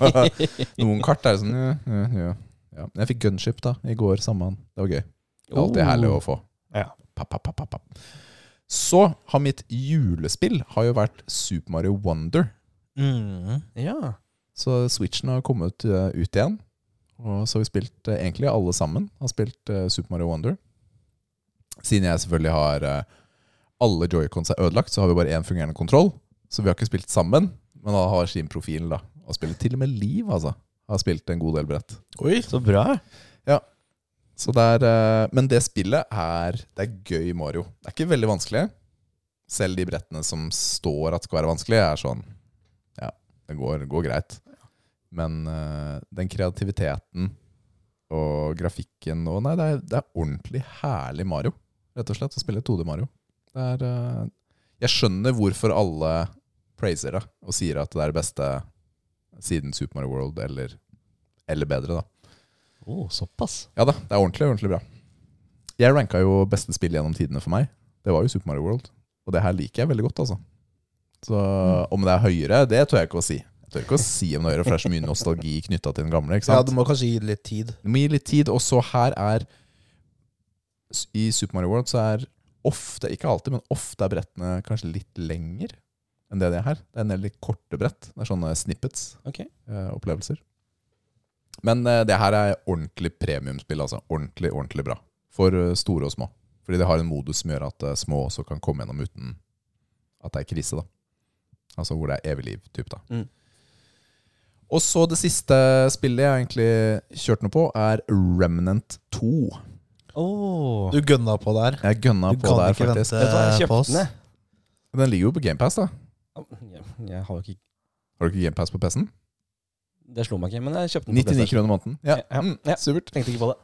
[SPEAKER 2] noen kart er sånn ja, ja, ja. ja. Men Jeg fikk gunship da, i går sammen. Det var gøy.
[SPEAKER 3] Mm.
[SPEAKER 2] Det er alltid herlig å få.
[SPEAKER 3] Ja.
[SPEAKER 2] Papp, papp, papp, papp, papp. Så har mitt julespill har jo vært Super Mario Wonder.
[SPEAKER 1] Mm.
[SPEAKER 3] Ja.
[SPEAKER 2] Så Switchen har kommet eh, ut igjen. Og så har vi spilt eh, egentlig alle sammen. Har spilt eh, Super Mario Wonder. Siden jeg selvfølgelig har eh, alle joycons er ødelagt, så har vi bare én fungerende kontroll. Så vi har ikke spilt sammen, men han har sin profil, da. Og spiller til og med Liv, altså. Har spilt en god del brett.
[SPEAKER 1] Oi.
[SPEAKER 3] Så bra.
[SPEAKER 2] Så det er, eh, men det spillet er Det er gøy Mario. Det er ikke veldig vanskelig. Selv de brettene som står at skal være vanskelig, er sånn Ja, det går, går greit. Men eh, den kreativiteten og grafikken og Nei, det er, det er ordentlig herlig Mario, rett og slett, å spille 2D Mario. Det er eh, Jeg skjønner hvorfor alle praiser det og sier at det er det beste siden Super Mario World, eller, eller bedre, da.
[SPEAKER 3] Oh, såpass.
[SPEAKER 2] Ja da, det er ordentlig, ordentlig bra. Jeg ranka jo beste spill gjennom tidene for meg. Det var jo Super Mario World. Og det her liker jeg veldig godt, altså. Så
[SPEAKER 1] Mm.
[SPEAKER 2] om det er høyere, det tør jeg ikke å si. Jeg tør ikke å si om det er høyere, for det er så mye nostalgi knytta til den gamle. ikke
[SPEAKER 1] Ja,
[SPEAKER 2] sant?
[SPEAKER 1] du må kanskje gi det litt tid.
[SPEAKER 2] Det må gi litt tid. Og så her er I Super Mario World så er ofte, ikke alltid, men ofte er brettene kanskje litt lenger enn det det er her. Det er en del litt korte brett. Det er sånne
[SPEAKER 3] Ok.
[SPEAKER 2] snippets-opplevelser. men eh, det her er ordentlig premiumspill, altså. Ordentlig, ordentlig bra. For eh, store og små. Fordi det har en modus som gjør at eh, små også kan komme gjennom uten at det er krise, da. Altså hvor det er evig liv, typ, da.
[SPEAKER 3] Mm.
[SPEAKER 2] Og så det siste spillet jeg har egentlig kjørt noe på, er Remnant 2.
[SPEAKER 3] Oh.
[SPEAKER 1] Du gønna på der.
[SPEAKER 2] Jeg gønna
[SPEAKER 1] Du
[SPEAKER 2] på
[SPEAKER 1] kan
[SPEAKER 2] der,
[SPEAKER 1] ikke
[SPEAKER 2] faktisk.
[SPEAKER 1] vente
[SPEAKER 3] Vet du hva, jeg
[SPEAKER 1] på
[SPEAKER 3] kjøpte
[SPEAKER 1] oss.
[SPEAKER 3] den, jeg.
[SPEAKER 2] Den ligger jo på GamePass, da.
[SPEAKER 3] Ja, Jeg har jo ikke
[SPEAKER 2] Har du ikke GamePass på PC-en?
[SPEAKER 3] Det slo meg ikke, men jeg kjøpte den. på
[SPEAKER 2] 99
[SPEAKER 3] PlayStation.
[SPEAKER 2] kroner måneden. Ja,
[SPEAKER 3] Ja,
[SPEAKER 2] Mm,
[SPEAKER 3] ja.
[SPEAKER 2] supert.
[SPEAKER 3] Tenkte ikke på det.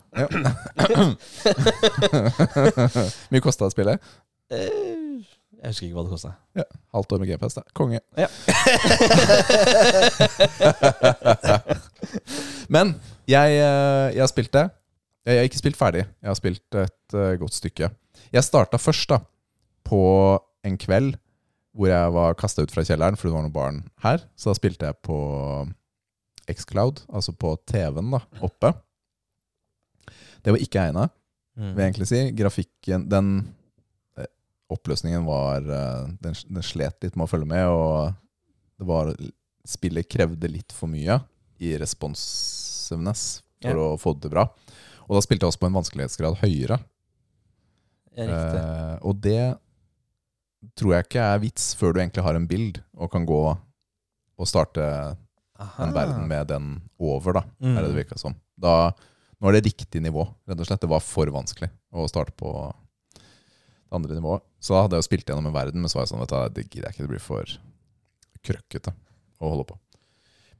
[SPEAKER 2] Ja. Mye kosta spillet.
[SPEAKER 3] Eh, Jeg husker ikke hva det kosta.
[SPEAKER 2] Halvt år med GamePass, da. Konge.
[SPEAKER 3] Ja.
[SPEAKER 2] Men jeg, eh, jeg har spilt det. Jeg har ikke spilt ferdig. Jeg har spilt et eh, godt stykke. Jeg starta først da på en kveld hvor jeg var kasta ut fra kjelleren fordi det var noen barn her. Så da spilte jeg på Xcloud, altså på TV-en da, oppe. Det var ikke egna vil jeg egentlig si. Grafikken, den eh, oppløsningen var eh, den, den slet litt med å følge med, og det var Spillet krevde litt for mye i responsiveness for
[SPEAKER 3] Ja.
[SPEAKER 2] å få det til bra. Og da spilte jeg også på en vanskelighetsgrad høyere.
[SPEAKER 3] Jeg likte det.
[SPEAKER 2] Eh, og det tror jeg ikke er vits før du egentlig har en bild og kan gå og starte
[SPEAKER 3] Ah.
[SPEAKER 2] den verden med den over, da
[SPEAKER 1] Mm.
[SPEAKER 2] er det det virka som. Da, nå er det riktig nivå, rett og slett. Det var for vanskelig å starte på det andre nivået. Så da hadde jeg jo spilt gjennom en verden, men så var jeg sånn vet du, det gidder jeg ikke, det blir for krøkkete å holde på.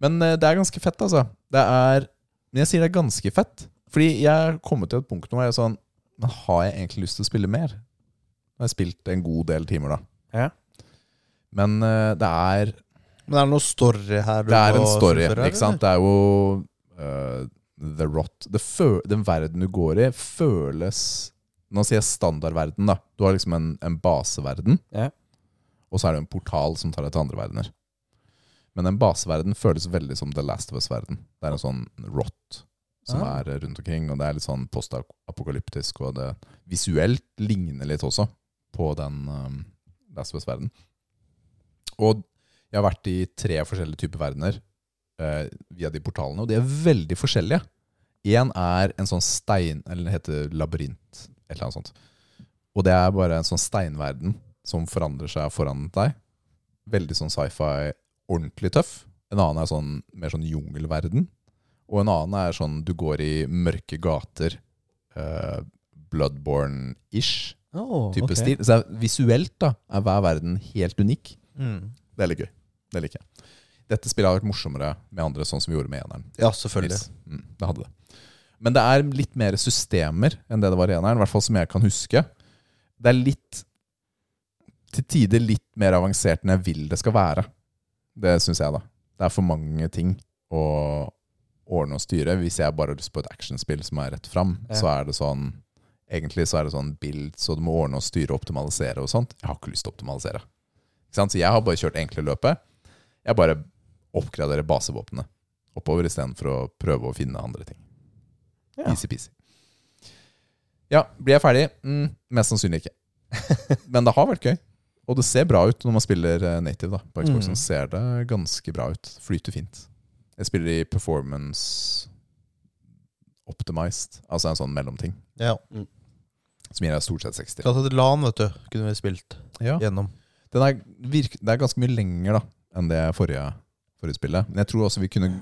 [SPEAKER 2] Men eh, det er ganske fett, altså. Det er Men jeg sier det er ganske fett, fordi jeg har kommet til et punkt nå hvor jeg er sånn Men har jeg egentlig lyst til å spille mer? Nå har jeg spilt en god del timer, da.
[SPEAKER 3] Ja.
[SPEAKER 2] Men eh, det er
[SPEAKER 1] Men er det noe story her? du
[SPEAKER 2] det er en
[SPEAKER 1] må
[SPEAKER 2] story,
[SPEAKER 1] fullføre,
[SPEAKER 2] ikke sant? Det er jo eh, The Rot. Det fø- den verden du går i, føles Nå sier jeg standardverden, da. Du har liksom en, en baseverden,
[SPEAKER 3] Ja.
[SPEAKER 2] og så er det en portal som tar deg til andre verdener. Men den baseverden føles veldig som The Last of Us-verden. Det er en sånn rot som
[SPEAKER 1] Ah.
[SPEAKER 2] er rundt omkring. Og det er litt sånn postapokalyptisk, og det visuelt ligner litt også på den um, Last of Us-verdenen. Og jeg har vært i tre forskjellige typer verdener eh, via de portalene, og de er veldig forskjellige. Én er en sånn stein Eller det heter labyrint, et eller annet sånt. Og det er bare en sånn steinverden som forandrer seg foran deg. Veldig sånn sci-fi, ordentlig tøff. En annen er sånn mer sånn jungelverden. Og en annen er sånn du går i mørke gater. eh, Bloodborne-ish
[SPEAKER 1] Oh,
[SPEAKER 2] type stil. Så det er- visuelt da, er hver verden helt unik.
[SPEAKER 1] Mm.
[SPEAKER 2] Det er litt gøy. Det liker jeg. Dette spillet har vært morsommere med andre, sånn som vi gjorde med eneren.
[SPEAKER 1] Ja, selvfølgelig.
[SPEAKER 2] Yes. Mm, det hadde det. Men det er litt mer systemer enn det det var i eneren, i hvert fall som jeg kan huske. Det er litt til tider litt mer avansert enn jeg vil det skal være. Det syns jeg, da. Det er for mange ting å ordne og styre. Hvis jeg bare har lyst på et actionspill som er rett fram,
[SPEAKER 1] Ja.
[SPEAKER 2] så er det sånn Egentlig så er det sånn bild, så du må ordne og styre og optimalisere og sånt. Jeg har ikke lyst til å optimalisere. Ikke sant? Så jeg har bare kjørt enkle løpet. Jeg bare oppgraderer basevåpenet oppover istedenfor å prøve å finne andre ting.
[SPEAKER 3] Ja.
[SPEAKER 2] Easy-peasy. Ja, blir jeg ferdig? Mm, mest sannsynlig ikke. Men det har vært gøy. Og det ser bra ut når man spiller eh, native da, på Xboxen.
[SPEAKER 1] Mm.
[SPEAKER 2] Ser det ganske bra ut. Flyter fint. Jeg spiller i performance optimized, altså en sånn mellomting,
[SPEAKER 1] Ja.
[SPEAKER 2] som gir deg stort sett 60.
[SPEAKER 1] Klart at LAN, vet du, kunne vi spilt
[SPEAKER 2] Ja.
[SPEAKER 1] gjennom.
[SPEAKER 2] Den er virk, det er ganske mye lenger da enn det forrige, forrige spillet. Men jeg tror også vi kunne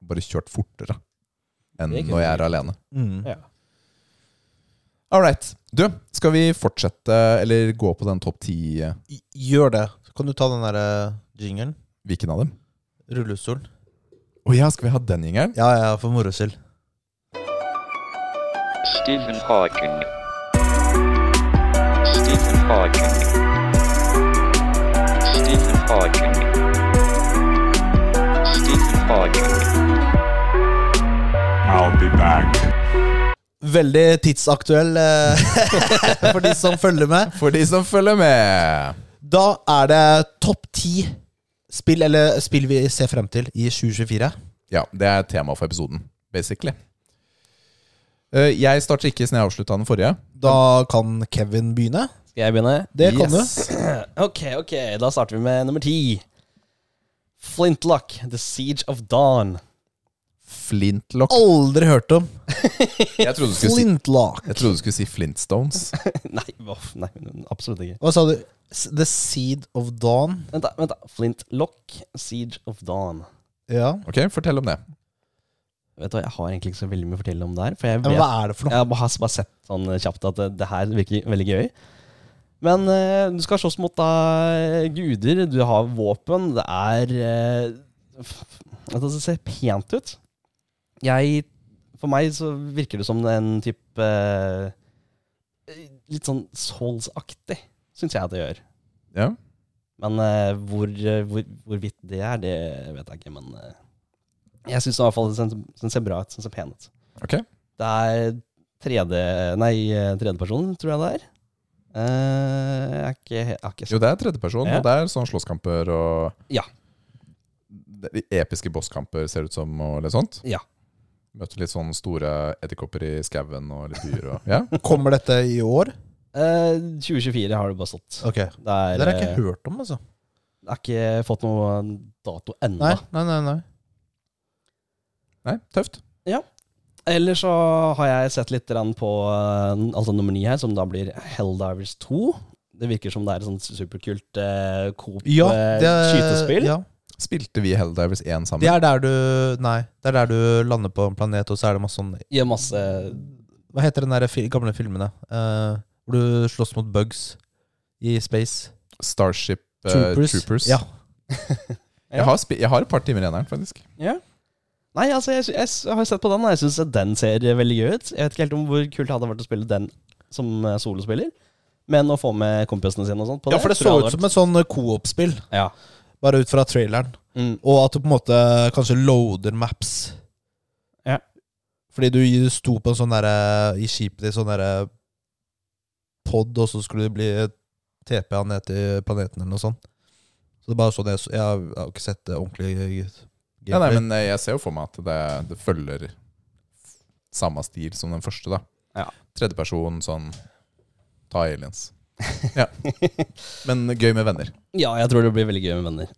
[SPEAKER 2] bare kjørt fortere enn
[SPEAKER 3] Det kunne
[SPEAKER 2] når jeg
[SPEAKER 3] vi
[SPEAKER 2] er alene.
[SPEAKER 1] Mm.
[SPEAKER 3] Ja.
[SPEAKER 2] All right. Du, skal vi fortsette, eller gå på den topp ti? eh,
[SPEAKER 1] I- Gjør det. Så kan du ta den derre jingelen.
[SPEAKER 2] Hvilken av dem?
[SPEAKER 1] Rullestolen.
[SPEAKER 2] Å ja, skal vi ha den gjengeren?
[SPEAKER 1] Ja, ja, for moro skyld.
[SPEAKER 4] Stephen Hawking. Stephen Hawking. Stephen Hawking. Stephen Hawking.
[SPEAKER 5] I'll be back.
[SPEAKER 1] Veldig tidsaktuell eh, for de som følger med.
[SPEAKER 2] For de som følger med.
[SPEAKER 1] Da er det topp ti spill, eller spill vi ser frem til i 2024.
[SPEAKER 2] Ja, det er tema for episoden, basically. Eh, Jeg starter ikke siden jeg avslutta den forrige.
[SPEAKER 1] Da kan Kevin begynne.
[SPEAKER 3] Skal jeg begynne?
[SPEAKER 1] Det kan
[SPEAKER 2] du.
[SPEAKER 3] Ok, ok, da starter vi med nummer ti. Flintlock, The Siege of Dawn.
[SPEAKER 1] du.
[SPEAKER 2] Flintlock.
[SPEAKER 1] Aldri hørt om.
[SPEAKER 2] Jeg trodde du skulle si,
[SPEAKER 1] Flintlock.
[SPEAKER 2] jeg trodde du skulle si Flintstones.
[SPEAKER 3] nei, voff, nei, absolutt ikke.
[SPEAKER 1] Hva sa du? S- The Seed of Dawn.
[SPEAKER 3] Vent, da. vent da Flintlock, Siege of Dawn.
[SPEAKER 1] Ja.
[SPEAKER 2] Ok, fortell om det.
[SPEAKER 3] Vet du hva, Jeg har egentlig ikke så veldig mye å fortelle om det her. For jeg,
[SPEAKER 1] Men
[SPEAKER 3] vet,
[SPEAKER 1] hva er det for noe?
[SPEAKER 3] jeg har bare bare sett sånn kjapt at det, det her virker veldig gøy. Men eh, du skal slåss mot da eh, guder, du har våpen, det er eh, f- f- altså, Det ser pent ut. Jeg For meg så virker det som en type eh, Litt sånn Souls-aktig, syns jeg at det gjør.
[SPEAKER 2] Ja.
[SPEAKER 3] Men eh, hvor, eh, hvor, hvorvidt det er, det vet jeg ikke. Men eh, jeg syns i hvert fall den ser, den ser bra ut. Den ser pen ut.
[SPEAKER 2] Ok.
[SPEAKER 3] Det er 3D Nei, eh, tredjeperson, tror jeg det er. Eh, jeg, er ikke, he- jeg er ikke
[SPEAKER 2] Jo, det er tredjeperson,
[SPEAKER 3] Ja.
[SPEAKER 2] og det er sånn slåsskamper og
[SPEAKER 3] Ja.
[SPEAKER 2] Det- de Episke bosskamper, ser det ut som, og litt sånt.
[SPEAKER 3] Ja.
[SPEAKER 2] Møter litt sånne store edderkopper i skauen og litt byer og Ja.
[SPEAKER 1] Kommer dette i år?
[SPEAKER 3] Eh, 2024 har det bare stått.
[SPEAKER 1] Ok.
[SPEAKER 3] Det er,
[SPEAKER 1] Det har jeg
[SPEAKER 3] eh,
[SPEAKER 1] ikke hørt om, altså.
[SPEAKER 3] jeg har ikke fått noen dato ennå.
[SPEAKER 1] Nei, nei, nei. nei.
[SPEAKER 2] Nei, tøft.
[SPEAKER 3] Ellers så har jeg sett litt grann på eh, altså nummer ni her, som da blir Helldivers 2. Det virker som det er et sånt superkult eh,
[SPEAKER 1] Ja, det er,
[SPEAKER 3] coop-skytespill.
[SPEAKER 1] Ja.
[SPEAKER 2] Spilte vi Helldivers 1 sammen?
[SPEAKER 1] Det er der du Nei, det er der du lander på en planet, og så er det masse sånn
[SPEAKER 3] Gjør masse
[SPEAKER 1] Hva heter den der fil gamle filmene? eh, hvor du slåss mot bugs i space.
[SPEAKER 2] Starship eh,
[SPEAKER 1] Troopers.
[SPEAKER 2] Troopers.
[SPEAKER 1] Ja.
[SPEAKER 2] Jeg, har spi- jeg har et par timer igjen her, faktisk.
[SPEAKER 3] Nei, altså, jeg, sy- jeg, s- har sett på den, og jeg syns den ser eh, veldig gøy ut. Jeg vet ikke helt om hvor kult det hadde vært å spille den som eh, solospiller, men å få med kompisene sine og sånt på
[SPEAKER 1] ja, for det
[SPEAKER 3] tror
[SPEAKER 1] så ut
[SPEAKER 3] jeg hadde
[SPEAKER 1] som
[SPEAKER 3] vært-
[SPEAKER 1] et sånn coop-spill,
[SPEAKER 3] ja.
[SPEAKER 1] bare ut fra traileren.
[SPEAKER 3] Mm.
[SPEAKER 1] Og at du på en måte kanskje loader maps.
[SPEAKER 3] Ja.
[SPEAKER 1] Fordi du du sto på en sånn derre I skipet ditt, sånn derre pod, og så skulle du bli TP-a ned til planeten eller noe sånt. Så det er bare sånn jeg, jeg har jo ikke sett det ordentlig.
[SPEAKER 2] Ja, nei, men eh, jeg ser jo for meg at det, det følger samme stil som den første. da.
[SPEAKER 3] Ja.
[SPEAKER 2] Tredjeperson, sånn Ta aliens. Ja. Men gøy med venner.
[SPEAKER 3] Mm. Ja, jeg tror det blir veldig gøy med venner.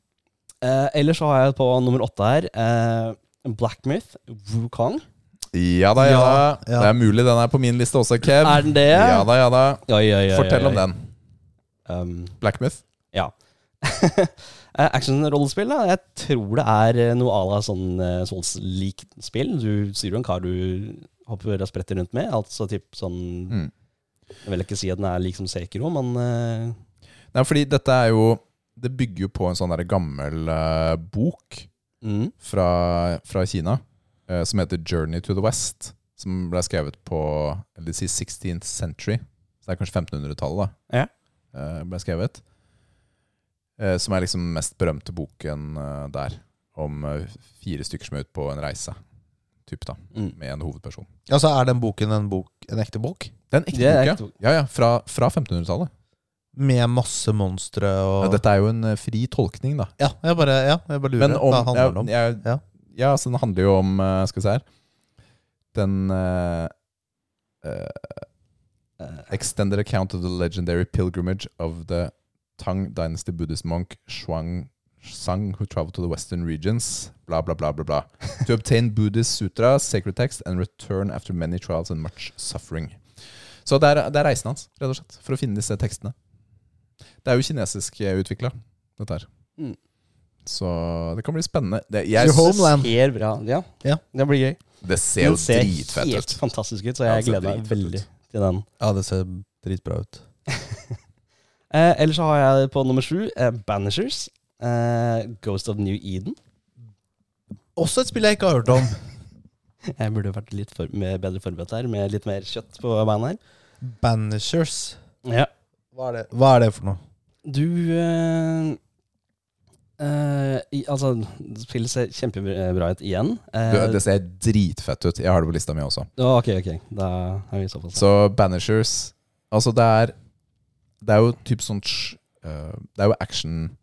[SPEAKER 3] Eh, ellers så har jeg på nummer åtte her eh, Blackmyth, Wukong.
[SPEAKER 2] Ja da, ja da.
[SPEAKER 1] Ja, ja.
[SPEAKER 2] Det er mulig den er på min liste også, Kev.
[SPEAKER 3] Er den det?
[SPEAKER 2] Ja da, ja da.
[SPEAKER 3] Ja, ja, ja,
[SPEAKER 2] Fortell
[SPEAKER 3] ja,
[SPEAKER 2] om
[SPEAKER 3] ja.
[SPEAKER 2] den.
[SPEAKER 3] Um,
[SPEAKER 2] Blackmyth?
[SPEAKER 3] Ja. Eh, Actionrollespill, da. Jeg tror det er eh, noe à la sånn eh, Souls-likt spill. Du styrer jo en kar du hopper og spretter rundt med. Altså typ sånn
[SPEAKER 2] Mm.
[SPEAKER 3] Jeg vil ikke si at den er lik som Sekiro, men eh,
[SPEAKER 2] Nei, fordi dette er jo Det bygger jo på en sånn der gammel eh, bok
[SPEAKER 3] mm,
[SPEAKER 2] fra, fra Kina eh, som heter Journey to the West. Som ble skrevet på eller de sier 16th century. Så det er kanskje 1500-tallet, da.
[SPEAKER 3] Ja.
[SPEAKER 2] eh, ble skrevet. Eh, som er liksom den mest berømte boken eh, der. Om eh, fire stykker som er ute på en reise. Typ, da.
[SPEAKER 3] mm.
[SPEAKER 2] Med en hovedperson.
[SPEAKER 1] Altså, er den boken en, bok, en ekte bok?
[SPEAKER 2] Det er en ekte
[SPEAKER 3] Det er
[SPEAKER 2] bok, ja.
[SPEAKER 3] ekte bok.
[SPEAKER 2] ja, ja fra fra 1500-tallet.
[SPEAKER 1] Med masse monstre og
[SPEAKER 2] Ja, dette er jo en eh, fri tolkning, da.
[SPEAKER 1] Ja, jeg bare, ja, jeg bare lurer.
[SPEAKER 2] Men om,
[SPEAKER 1] Hva handler det om?
[SPEAKER 2] jeg, jeg,
[SPEAKER 1] Ja.
[SPEAKER 2] ja. så den handler jo om eh, Skal vi se her Den eh, eh, Extended account of the legendary pilgrimage of the Tang dynasty Buddhist monk Shuang Sang who traveled to the western regions Bla bla bla bla bla To obtain Buddhist sutra, sacred text and return after many trials and much suffering Så det er, det er reisen hans, rett og slett For å finne disse tekstene Det er jo kinesisk eh, utviklet, dette her
[SPEAKER 3] Mm.
[SPEAKER 2] Så det kan bli spennende det,
[SPEAKER 1] Your
[SPEAKER 2] jeg,
[SPEAKER 1] home- Homeland.
[SPEAKER 3] Ser bra. Ja.
[SPEAKER 1] Ja.
[SPEAKER 3] det blir gøy.
[SPEAKER 2] det ser jo
[SPEAKER 3] Den ser
[SPEAKER 2] dritfett
[SPEAKER 3] helt
[SPEAKER 2] ut
[SPEAKER 3] fantastisk ut, så
[SPEAKER 2] Ja, den
[SPEAKER 3] jeg
[SPEAKER 2] ser
[SPEAKER 3] gleder meg
[SPEAKER 2] dritfett ut.
[SPEAKER 3] veldig til den.
[SPEAKER 1] Ja, det ser dritbra ut.
[SPEAKER 3] Eh, ellers så har jeg på nummer sju eh, Banishers. Eh, Ghost of New Eden.
[SPEAKER 1] Også et spill jeg ikke har hørt om.
[SPEAKER 3] Jeg burde vært litt for, med bedre forberedt her, med litt mer kjøtt på beina her.
[SPEAKER 1] Banishers.
[SPEAKER 3] Ja.
[SPEAKER 1] Hva er det, Hva er det for noe?
[SPEAKER 3] Du eh, eh, i, Altså, spillet ser kjempebra ut igjen. Eh,
[SPEAKER 2] Du, Det ser dritfett ut. Jeg har det på lista mi også.
[SPEAKER 3] å, ok, ok. Da er vi såpass.
[SPEAKER 2] Så Banishers Altså, det er Det er jo typ sånt sj- eh, Det er jo action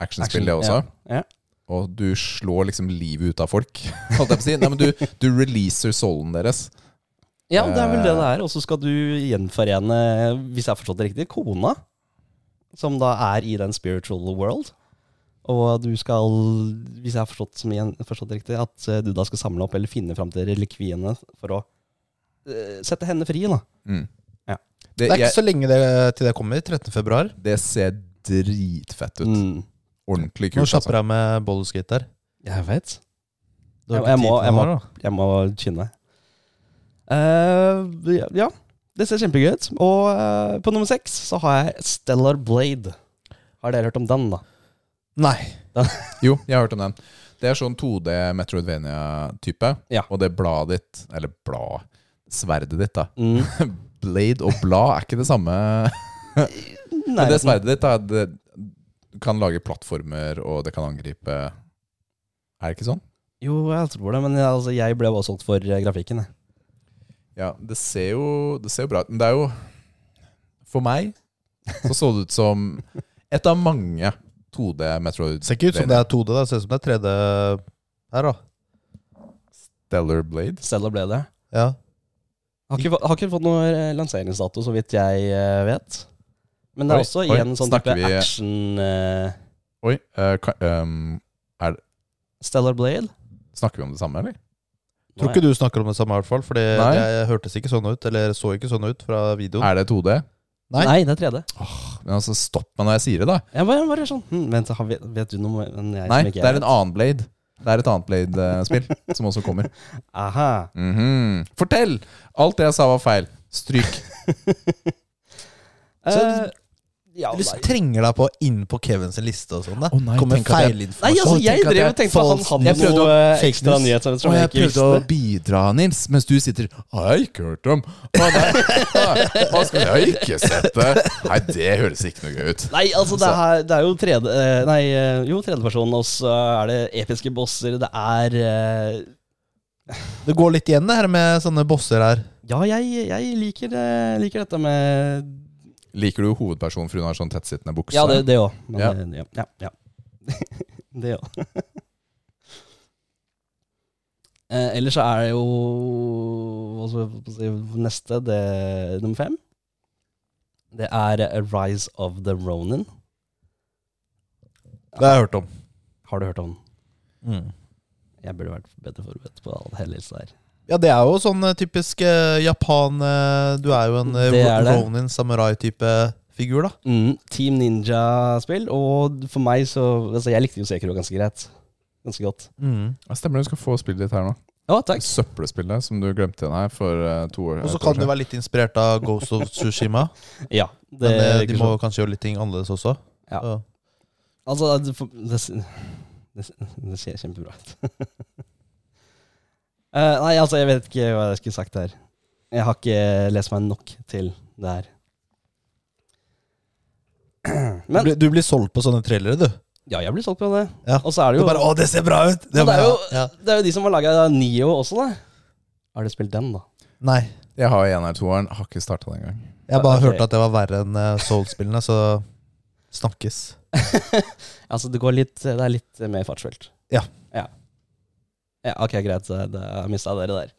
[SPEAKER 2] actionspill, det også.
[SPEAKER 3] Ja. ja.
[SPEAKER 2] Og du slår liksom livet ut av folk, holdt jeg på å si. Nei, men du, du releaser soulen deres.
[SPEAKER 3] ja, det er vel det
[SPEAKER 2] Eh.
[SPEAKER 3] det er. Og så skal du gjenforene, hvis jeg har forstått det riktig, kona. Som da er i den spiritual world. Og du skal, hvis jeg har forstått, som igjen, forstått det riktig, at eh, du da skal samle opp eller finne fram til relikviene for å eh, sette henne fri, da.
[SPEAKER 2] Mm.
[SPEAKER 3] Ja.
[SPEAKER 2] Det,
[SPEAKER 1] Det er ikke
[SPEAKER 2] jeg,
[SPEAKER 1] så lenge det, til det kommer. 13. februar.
[SPEAKER 2] det ser dritfett ut.
[SPEAKER 3] Mm.
[SPEAKER 2] Ordentlig
[SPEAKER 1] Nå
[SPEAKER 2] kult. altså.
[SPEAKER 1] slapper jeg med bollerskate der.
[SPEAKER 3] Jeg veit.
[SPEAKER 1] Du har
[SPEAKER 3] Jeg-
[SPEAKER 1] ikke
[SPEAKER 3] jeg
[SPEAKER 1] tid
[SPEAKER 3] må-
[SPEAKER 1] til
[SPEAKER 3] jeg
[SPEAKER 1] noe
[SPEAKER 3] må-
[SPEAKER 1] her, da.
[SPEAKER 3] Jeg må kynne. Eh, ja, ja, det ser kjempegøy ut. Og eh, på nummer seks så har jeg Stellar Blade. Har dere hørt om den, da?
[SPEAKER 1] Nei.
[SPEAKER 2] Jo, jeg har hørt om den. Det er sånn 2D Metroidvania-type.
[SPEAKER 3] Ja.
[SPEAKER 2] Og det bladet ditt, eller blad Sverdet ditt, da.
[SPEAKER 3] Mm.
[SPEAKER 2] Blade og blad er ikke det samme
[SPEAKER 3] Nei,
[SPEAKER 2] Men det sverdet ditt er det du kan lage plattformer, og det kan angripe Er det ikke sånn?
[SPEAKER 3] Jo, jeg tror det, men jeg, altså, jeg ble bare solgt for eh, grafikken. Jeg.
[SPEAKER 2] Ja, det ser jo, det ser jo bra ut. Men det er jo For meg så så det ut som et av mange 2D Metroid
[SPEAKER 1] Ser ikke ut som det er 2D. da. Ser ut som det er 3D her, da.
[SPEAKER 2] Stellar Blade.
[SPEAKER 3] Stellar Blade.
[SPEAKER 1] Ja.
[SPEAKER 3] Har ikke, få- har ikke fått noen eh, lanseringsdato, så vidt jeg eh, vet. Men det er
[SPEAKER 2] Oi,
[SPEAKER 3] også
[SPEAKER 2] oi,
[SPEAKER 3] igjen sånn
[SPEAKER 2] snakker
[SPEAKER 3] type
[SPEAKER 2] vi-
[SPEAKER 3] action eh,
[SPEAKER 2] Oi. eh, ka, ehm,
[SPEAKER 3] Stellar Blade.
[SPEAKER 2] snakker vi om det samme, eller?
[SPEAKER 1] Tror ikke du snakker om det samme, i hvert fall. For det
[SPEAKER 2] Nei.
[SPEAKER 1] det hørtes ikke sånn ut. Eller så ikke sånn ut fra videoen.
[SPEAKER 2] Er det 2D?
[SPEAKER 1] Nei.
[SPEAKER 3] Nei. Nei, det er 3D.
[SPEAKER 2] Men altså, stopp meg når jeg sier det, da.
[SPEAKER 3] Jeg bare, bare sånn hm, Vent, har- vet, vet du noe enn
[SPEAKER 2] Nei,
[SPEAKER 3] jeg som
[SPEAKER 2] det
[SPEAKER 3] ikke
[SPEAKER 2] er en annen Blade. Det er et annet Blade-spill som også kommer.
[SPEAKER 3] Aha.
[SPEAKER 2] Mhm. Fortell! Alt det jeg sa, var feil. Stryk.
[SPEAKER 1] Så-
[SPEAKER 3] Eh, ja,
[SPEAKER 1] Du
[SPEAKER 3] nei.
[SPEAKER 1] trenger deg på inn på Kevins liste og sånn. da.
[SPEAKER 2] Å nei,
[SPEAKER 1] Kommer
[SPEAKER 2] tenk at jeg-
[SPEAKER 1] feilinformasjon.
[SPEAKER 3] Nei, altså,
[SPEAKER 1] Tenk
[SPEAKER 3] jeg
[SPEAKER 1] at
[SPEAKER 3] drev og tenkte på at han
[SPEAKER 1] falsk-
[SPEAKER 3] hadde
[SPEAKER 1] Jeg prøvde å-
[SPEAKER 3] noe eh,
[SPEAKER 1] fake
[SPEAKER 3] ekstra
[SPEAKER 1] news.
[SPEAKER 3] nyheter som
[SPEAKER 2] Og
[SPEAKER 3] jeg
[SPEAKER 2] jeg
[SPEAKER 3] ikke
[SPEAKER 2] prøvde å
[SPEAKER 3] visste.
[SPEAKER 2] bidra, Nils, mens du sitter Har jeg ikke hørt om? Å nei, nei, hva skal jeg har ikke sett det? Nei, det høres ikke noe gøy ut.
[SPEAKER 3] Nei, altså, det er, det er jo tredje eh, Nei, eh, jo, tredjepersonen, og så er det episke bosser, det er eh,
[SPEAKER 1] Det går litt igjen, det her med sånne bosser her.
[SPEAKER 3] Ja, jeg, jeg liker, eh, liker dette med
[SPEAKER 2] Liker du hovedpersonen for hun har sånn tettsittende bukse?
[SPEAKER 3] Ja, det òg.
[SPEAKER 2] Ja.
[SPEAKER 3] Ja. Ja, ja. det òg. Eh, ellers så er det jo hva skal jeg få si, neste, det nummer fem. Det er eh, Rise of the Ronin.
[SPEAKER 1] Det har jeg hørt om.
[SPEAKER 3] Har du hørt om den?
[SPEAKER 1] Mm.
[SPEAKER 3] Jeg burde vært bedre forberedt på all hele lista her.
[SPEAKER 1] Ja, det er jo sånn eh, typisk eh, Japan eh, Du er jo en eh,
[SPEAKER 3] Det er det.
[SPEAKER 1] Ronin samurai-type figur, da.
[SPEAKER 3] Mm, Team Ninja-spill, og for meg så altså Jeg likte jo Sekiro ganske greit. Ganske godt.
[SPEAKER 2] Ja, stemmer det, du skal få spillet ditt her nå.
[SPEAKER 3] Ja, takk.
[SPEAKER 2] Søppelspillet som du glemte igjen her for eh, to år
[SPEAKER 1] Og så
[SPEAKER 2] et år
[SPEAKER 1] kan du
[SPEAKER 2] siden.
[SPEAKER 1] være litt inspirert av Ghost of Tsushima.
[SPEAKER 3] Ja, det
[SPEAKER 1] Men eh, de
[SPEAKER 3] virker
[SPEAKER 1] må
[SPEAKER 3] sånn.
[SPEAKER 1] kanskje gjøre litt ting annerledes også.
[SPEAKER 3] Ja.
[SPEAKER 1] Så-
[SPEAKER 3] Altså, det, for- det, det, det ser kjempebra ut. Eh, nei, altså, jeg vet ikke hva jeg skulle sagt her. Jeg har ikke lest meg nok til det her.
[SPEAKER 1] Du,
[SPEAKER 3] Men
[SPEAKER 1] blir, du blir solgt på sånne trailere, du.
[SPEAKER 3] ja, jeg blir solgt på det.
[SPEAKER 1] Ja.
[SPEAKER 3] Og så er
[SPEAKER 1] Du
[SPEAKER 3] det jo,
[SPEAKER 1] bare 'Å, det ser bra ut!'
[SPEAKER 3] Ja, det
[SPEAKER 1] må
[SPEAKER 3] er
[SPEAKER 1] jeg
[SPEAKER 3] jo-
[SPEAKER 1] ha. ja.
[SPEAKER 3] det er jo de som har laga Nio også, da. Har du spilt den, da?
[SPEAKER 1] Nei.
[SPEAKER 2] Jeg har en her toeren, har ikke starta den engang.
[SPEAKER 1] Jeg bare
[SPEAKER 3] Ok.
[SPEAKER 1] hørte at det var verre enn eh, Soul-spillene, så snakkes.
[SPEAKER 3] Altså, det, går litt, det er litt mer fartsfullt.
[SPEAKER 1] Ja.
[SPEAKER 3] ja. Ja, ok, greit. så det- Jeg mista dere der.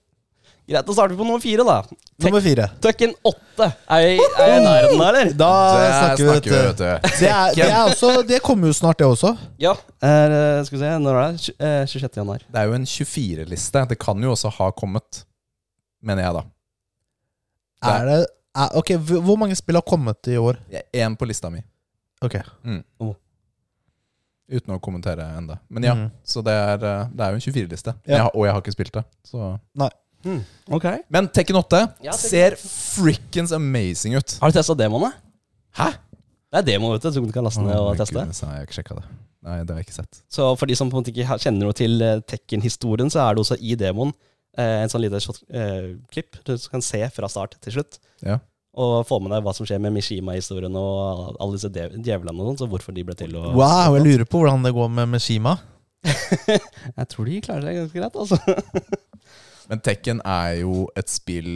[SPEAKER 3] Greit, da starter vi på nummer fire, da.
[SPEAKER 1] Nummer fire.
[SPEAKER 3] Tøkken åtte. Er jeg er jeg i nærheten, eller?
[SPEAKER 1] Da
[SPEAKER 2] Der
[SPEAKER 1] snakker vi, vet du.
[SPEAKER 2] vet du.
[SPEAKER 1] Det, er, det, er også, det kommer jo snart, det også.
[SPEAKER 3] Ja. Er, eh, skal vi se, når er det? Tj- eh, 26. januar.
[SPEAKER 2] Det er jo en 24-liste. Det kan jo også ha kommet, mener jeg, da. Det
[SPEAKER 1] Er det, er, ok, hv- Hvor mange spill har kommet i år?
[SPEAKER 2] Én på lista mi. Mm.
[SPEAKER 1] Ok Oh.
[SPEAKER 2] Uten å kommentere enda Men ja,
[SPEAKER 1] Mhm.
[SPEAKER 2] så det er, eh, det er jo en 24-liste.
[SPEAKER 1] Ja.
[SPEAKER 2] Jeg har- Og jeg har ikke spilt det. Så.
[SPEAKER 3] Ok.
[SPEAKER 2] Men Tekken 8
[SPEAKER 3] Ja, Tekken
[SPEAKER 2] ser
[SPEAKER 3] 8.
[SPEAKER 2] frikkens amazing ut.
[SPEAKER 3] Har du testa demoene?
[SPEAKER 2] Hæ?
[SPEAKER 3] Det er demo, vet du, som du kan laste ned og
[SPEAKER 2] Å,
[SPEAKER 3] teste.
[SPEAKER 2] goodness, nei, jeg har ikke sjekket det. Nei, det har jeg ikke sett.
[SPEAKER 3] Så for de som på en måte ikke ha- kjenner noe til eh, Tekken-historien, så er det også i demoen eh, en sånn liten shot- eh, klipp du kan se fra start til slutt.
[SPEAKER 2] Ja.
[SPEAKER 3] Og få med deg hva som skjer med Mishima-historien og alle disse de- djevlene og sånn, så hvorfor de ble til. Og
[SPEAKER 1] Wow, jeg lurer på hvordan det går med Meshima.
[SPEAKER 3] Jeg tror de klarer seg ganske greit, altså.
[SPEAKER 2] Men Tekken er jo et spill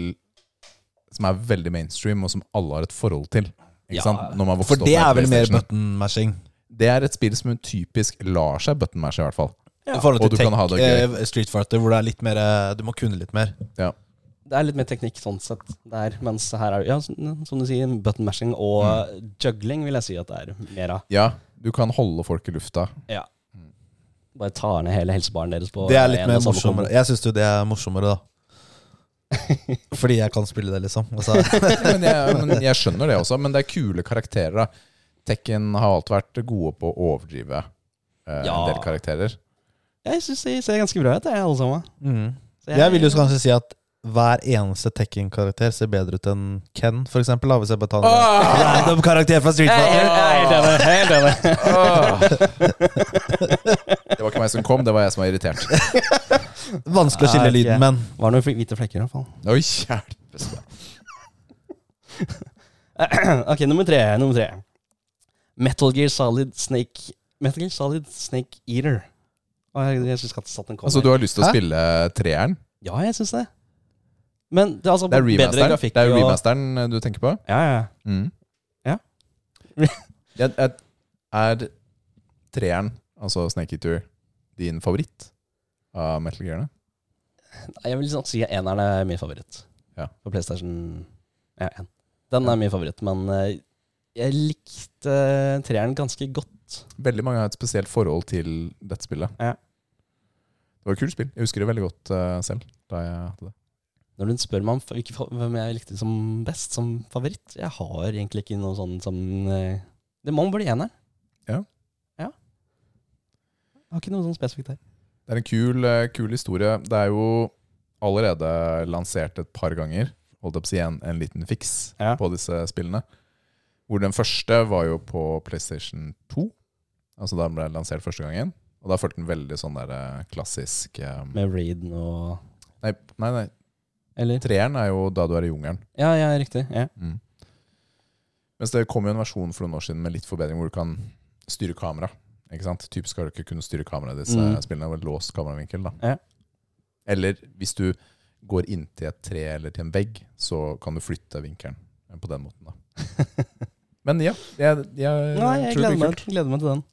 [SPEAKER 2] som er veldig mainstream, og som alle har et forhold til. Ikke
[SPEAKER 3] Ja.
[SPEAKER 2] sant? Når man vokste
[SPEAKER 1] For
[SPEAKER 2] opp
[SPEAKER 1] det
[SPEAKER 2] med
[SPEAKER 1] er vel mer
[SPEAKER 2] PlayStation.
[SPEAKER 1] button-mashing.
[SPEAKER 2] Det er et spill som typisk lar seg buttonmatche, i hvert fall.
[SPEAKER 1] I forhold
[SPEAKER 2] Og
[SPEAKER 1] til
[SPEAKER 2] du kan
[SPEAKER 1] Tek-
[SPEAKER 2] ha det gøy.
[SPEAKER 1] eh, Street Fighter, hvor det er litt mer eh, Du må kunne litt mer.
[SPEAKER 2] Ja.
[SPEAKER 3] Det er litt mer teknikk sånn sett der, mens her er det, ja, som som du sier, button mashing og juggling vil jeg si at det er mer av.
[SPEAKER 2] ja, du kan holde folk i lufta.
[SPEAKER 3] Ja. Bare tar ned hele helsebaren deres på
[SPEAKER 1] Det er litt
[SPEAKER 3] en
[SPEAKER 1] mer
[SPEAKER 3] og samme kombo.
[SPEAKER 1] morsommere. Jeg syns jo det er morsommere, da. Fordi jeg kan spille det, liksom. Altså,
[SPEAKER 2] Men jeg, men jeg skjønner det også, men det er kule karakterer. da Tekken har alltid vært gode på å overdrive eh,
[SPEAKER 3] Ja.
[SPEAKER 2] en del karakterer.
[SPEAKER 3] Jeg syns de ser ganske bra ut, jeg, alle sammen.
[SPEAKER 1] mm.
[SPEAKER 3] Så
[SPEAKER 1] Jeg vil jo kanskje si at hver eneste Tekken-karakter ser bedre ut enn Ken, for eksempel. Da, hvis jeg bare tar en random karakter fra Street
[SPEAKER 3] Jeg
[SPEAKER 1] Fighter.
[SPEAKER 3] er helt enig. jeg er helt enig.
[SPEAKER 2] Ah! Det var ikke meg som kom, det var jeg som var irritert.
[SPEAKER 1] Vanskelig å
[SPEAKER 3] Ah,
[SPEAKER 1] skille
[SPEAKER 3] ok.
[SPEAKER 1] lyden, men
[SPEAKER 3] Var det noen fl- hvite flekker, i hvert fall.
[SPEAKER 2] Oi, hjelpes meg.
[SPEAKER 3] ok, nummer tre. Nummer tre. Metal Gear Solid Snake Metal Gear Solid Snake Eater. Å, Jeg, jeg skulle ikke hatt den kom.
[SPEAKER 2] Altså, du har lyst til å
[SPEAKER 1] Hæ?
[SPEAKER 2] spille treeren?
[SPEAKER 3] Ja, jeg syns det. Men det er altså
[SPEAKER 2] Det er
[SPEAKER 3] bedre
[SPEAKER 2] remasteren,
[SPEAKER 3] grafikk
[SPEAKER 2] det er
[SPEAKER 3] og-
[SPEAKER 2] remasteren eh, du tenker på?
[SPEAKER 3] Ja, ja.
[SPEAKER 2] Mm.
[SPEAKER 3] Ja.
[SPEAKER 2] Jeg- jeg- er treeren, altså Snake Eater, din favoritt av Metal Gearene?
[SPEAKER 3] Nei, Jeg vil sånn si at eneren er min favoritt.
[SPEAKER 2] Ja.
[SPEAKER 3] På PlayStation ja, en. Den er min favoritt, men eh, jeg likte eh, treeren ganske godt.
[SPEAKER 2] Veldig mange har et spesielt forhold til dette spillet.
[SPEAKER 3] Ja.
[SPEAKER 2] Det var et kult spill. Jeg husker det veldig godt eh, selv. da jeg hadde det.
[SPEAKER 3] Når du spør meg om fa- hvilke fa- hvem jeg likte som best som favoritt Jeg har egentlig ikke noe sånn som eh, Det må bli eneren.
[SPEAKER 2] Ja.
[SPEAKER 3] Ja. Jeg har ikke noe sånn spesifikt der.
[SPEAKER 2] Det er en kul, eh, kul historie. Det er jo allerede lansert et par ganger. Holdt opp å si en, en liten fiks
[SPEAKER 3] Ja.
[SPEAKER 2] på disse spillene. Hvor den første var jo på PlayStation 2. Altså da den ble lansert første gangen. Og da følte den veldig sånn der eh, klassisk eh,
[SPEAKER 3] Med Raiden og
[SPEAKER 2] Nei, nei, nei.
[SPEAKER 3] Eller?
[SPEAKER 2] Treeren er jo da du er i jungelen.
[SPEAKER 3] Ja, ja, riktig. Ja.
[SPEAKER 2] Mm. Mens det kom jo en versjon for noen år siden med litt forbedring hvor du kan styre kamera. Ikke sant? Typisk har du ikke kunnet styre kameraet i disse
[SPEAKER 3] Mm.
[SPEAKER 2] spillene med låst kameravinkel. da.
[SPEAKER 3] Ja.
[SPEAKER 2] Eller hvis du går inntil et tre eller til en vegg, så kan du flytte vinkelen eh, på den måten. da. Men ja, jeg, jeg,
[SPEAKER 3] Nei, jeg
[SPEAKER 2] Eh, tror det
[SPEAKER 3] gleder
[SPEAKER 2] blir
[SPEAKER 3] meg,
[SPEAKER 2] kult.
[SPEAKER 3] gleder meg til den.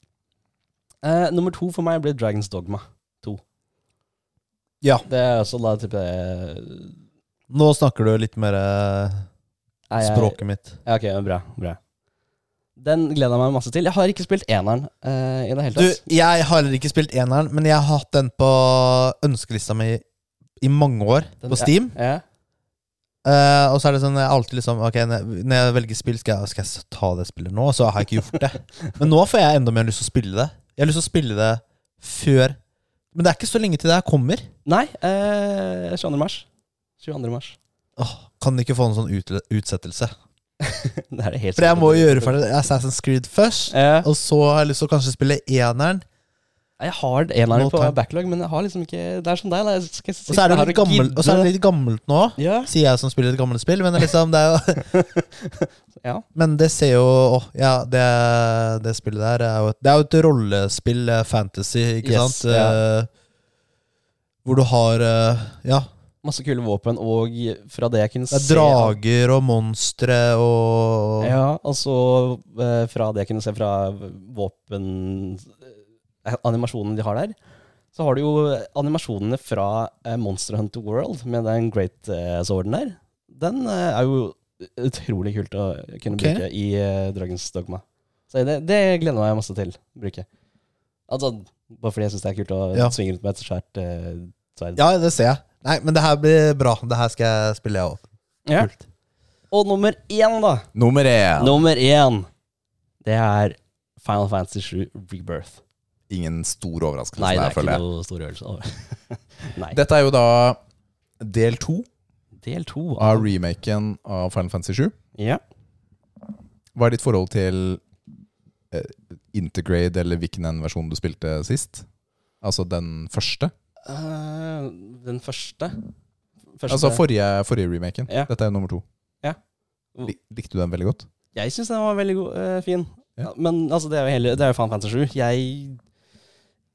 [SPEAKER 3] Eh, nummer to for meg blir Dragons Dogma.
[SPEAKER 1] Ja.
[SPEAKER 3] Det er også da eh, type Nei,
[SPEAKER 1] Nå snakker du litt mer eh,
[SPEAKER 3] jeg-
[SPEAKER 1] språket mitt.
[SPEAKER 3] Ja, ok, men bra, bra. Den gleder jeg meg masse til. Jeg har ikke spilt eneren eh, i det hele
[SPEAKER 1] Du,
[SPEAKER 3] tatt.
[SPEAKER 1] jeg har heller ikke spilt eneren, men jeg har hatt den på ønskelista mi i mange år,
[SPEAKER 3] Den-
[SPEAKER 1] på Steam.
[SPEAKER 3] Ja.
[SPEAKER 1] Eh, og så er det sånn jeg alltid liksom Ok, når jeg- når jeg velger spill, skal jeg, skal jeg ta det spillet nå? Så har jeg ikke gjort det. Men nå får jeg enda mer lyst til å spille det. Jeg har lyst til å spille det før Men det er ikke så lenge til det her kommer.
[SPEAKER 3] Nei, eh, 22. mars. 22. mars.
[SPEAKER 1] Åh, kan ikke få en sånn ut, utsettelse.
[SPEAKER 3] Det er det helt
[SPEAKER 1] For jeg må jo gjøre ferdig Assassin's Creed først.
[SPEAKER 3] Eh,
[SPEAKER 1] Og så har jeg lyst til å kanskje spille eneren.
[SPEAKER 3] jeg har eneren
[SPEAKER 1] No
[SPEAKER 3] på
[SPEAKER 1] time.
[SPEAKER 3] backlog, men jeg har liksom ikke Det er som deg, da. Jeg skal
[SPEAKER 1] Og så er det
[SPEAKER 3] jeg
[SPEAKER 1] jo
[SPEAKER 3] har
[SPEAKER 1] litt,
[SPEAKER 3] ikke
[SPEAKER 1] gammel, og så er det litt gammelt nå,
[SPEAKER 3] Ja.
[SPEAKER 1] sier jeg som spiller et gammelt spill. Men det er liksom, det er jo
[SPEAKER 3] ja.
[SPEAKER 1] Men det ser jo åh, Ja, det, det spillet der er jo et, Det er jo et rollespill, eh, fantasy, ikke
[SPEAKER 3] Yes,
[SPEAKER 1] sant? Eh, Hvor du har eh, Ja,
[SPEAKER 3] Masse kule våpen, og fra det jeg kunne
[SPEAKER 1] det er
[SPEAKER 3] se
[SPEAKER 1] drager og monstre og
[SPEAKER 3] Ja, altså eh, fra det jeg kunne se fra våpen eh, Animasjonen de har der, så har du jo animasjonene fra eh, Monster Hunter World med den Great eh, Sworden der. Den eh, er jo utrolig kult å kunne
[SPEAKER 1] Ok.
[SPEAKER 3] bruke i eh, Dragens Dogma. Så det, det gleder jeg meg masse til å bruke. Altså, bare fordi jeg syns det er kult å
[SPEAKER 1] Ja.
[SPEAKER 3] svinge rundt med et svært eh, sverd.
[SPEAKER 1] Ja, det ser jeg. Nei, men det her blir bra. Det her skal jeg spille, jeg òg.
[SPEAKER 3] Ja. Og nummer én, da.
[SPEAKER 2] Nummer én.
[SPEAKER 3] Nummer én, det er Final Fantasy 7 Rebirth.
[SPEAKER 2] Ingen stor overraskelse
[SPEAKER 3] Nei, det
[SPEAKER 2] der,
[SPEAKER 3] er ikke
[SPEAKER 2] føler jeg.
[SPEAKER 3] noe stor øvelse. over. Nei.
[SPEAKER 2] Dette er jo da del to
[SPEAKER 3] Del to.
[SPEAKER 2] av remaken av Final Fantasy 7.
[SPEAKER 3] Ja.
[SPEAKER 2] Hva er ditt forhold til eh, Intergrade, eller hvilken en versjon du spilte sist? Altså den første?
[SPEAKER 3] Eh, den første. første
[SPEAKER 2] Altså forrige, forrige remaken.
[SPEAKER 3] Ja.
[SPEAKER 2] Dette er jo nummer to.
[SPEAKER 3] Ja.
[SPEAKER 2] Lik- Likte du den veldig godt?
[SPEAKER 3] Jeg syns den var veldig god, eh, fin.
[SPEAKER 2] Ja.
[SPEAKER 3] Ja, Men altså, det er jo, hele, det er jo Final Fantasy 7. Jeg,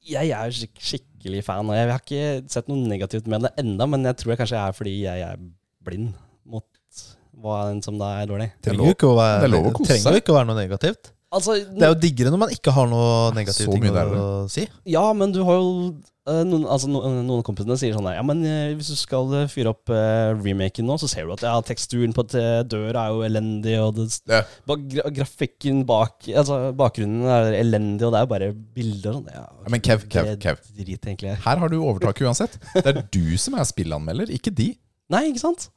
[SPEAKER 3] jeg er skik skikkelig fan, og jeg har ikke sett noe negativt med det enda, men jeg tror jeg kanskje er fordi jeg er blind mot hva enn som da er dårlig.
[SPEAKER 2] Det er
[SPEAKER 1] Trenger jo
[SPEAKER 2] lov-
[SPEAKER 1] ikke å være,
[SPEAKER 2] det er lov å kose
[SPEAKER 1] trenger
[SPEAKER 2] seg.
[SPEAKER 1] jo ikke å være noe negativt.
[SPEAKER 3] Altså,
[SPEAKER 1] Det er jo diggere når man ikke har noe negative
[SPEAKER 2] Ah, Så
[SPEAKER 1] ting
[SPEAKER 2] mye
[SPEAKER 1] å,
[SPEAKER 2] deiligere.
[SPEAKER 1] si.
[SPEAKER 3] Ja, men du har jo eh, noen, altså, no, noen av kompisene sier sånn her Ja, men eh, hvis du skal eh, fyre opp eh, remaken nå, så ser du at ja, teksturen på eh, døra er jo elendig, og det,
[SPEAKER 2] Ja.
[SPEAKER 3] ba- gra grafikken bak altså, Bakgrunnen er elendig, og det er jo bare bilder og sånn. Ja,
[SPEAKER 2] Ja, men Kev, Kev,
[SPEAKER 3] det
[SPEAKER 2] Kev.
[SPEAKER 3] Drit, egentlig.
[SPEAKER 2] Her har du overtaket uansett. Det er du som er spillanmelder, ikke de.
[SPEAKER 3] Nei, ikke sant?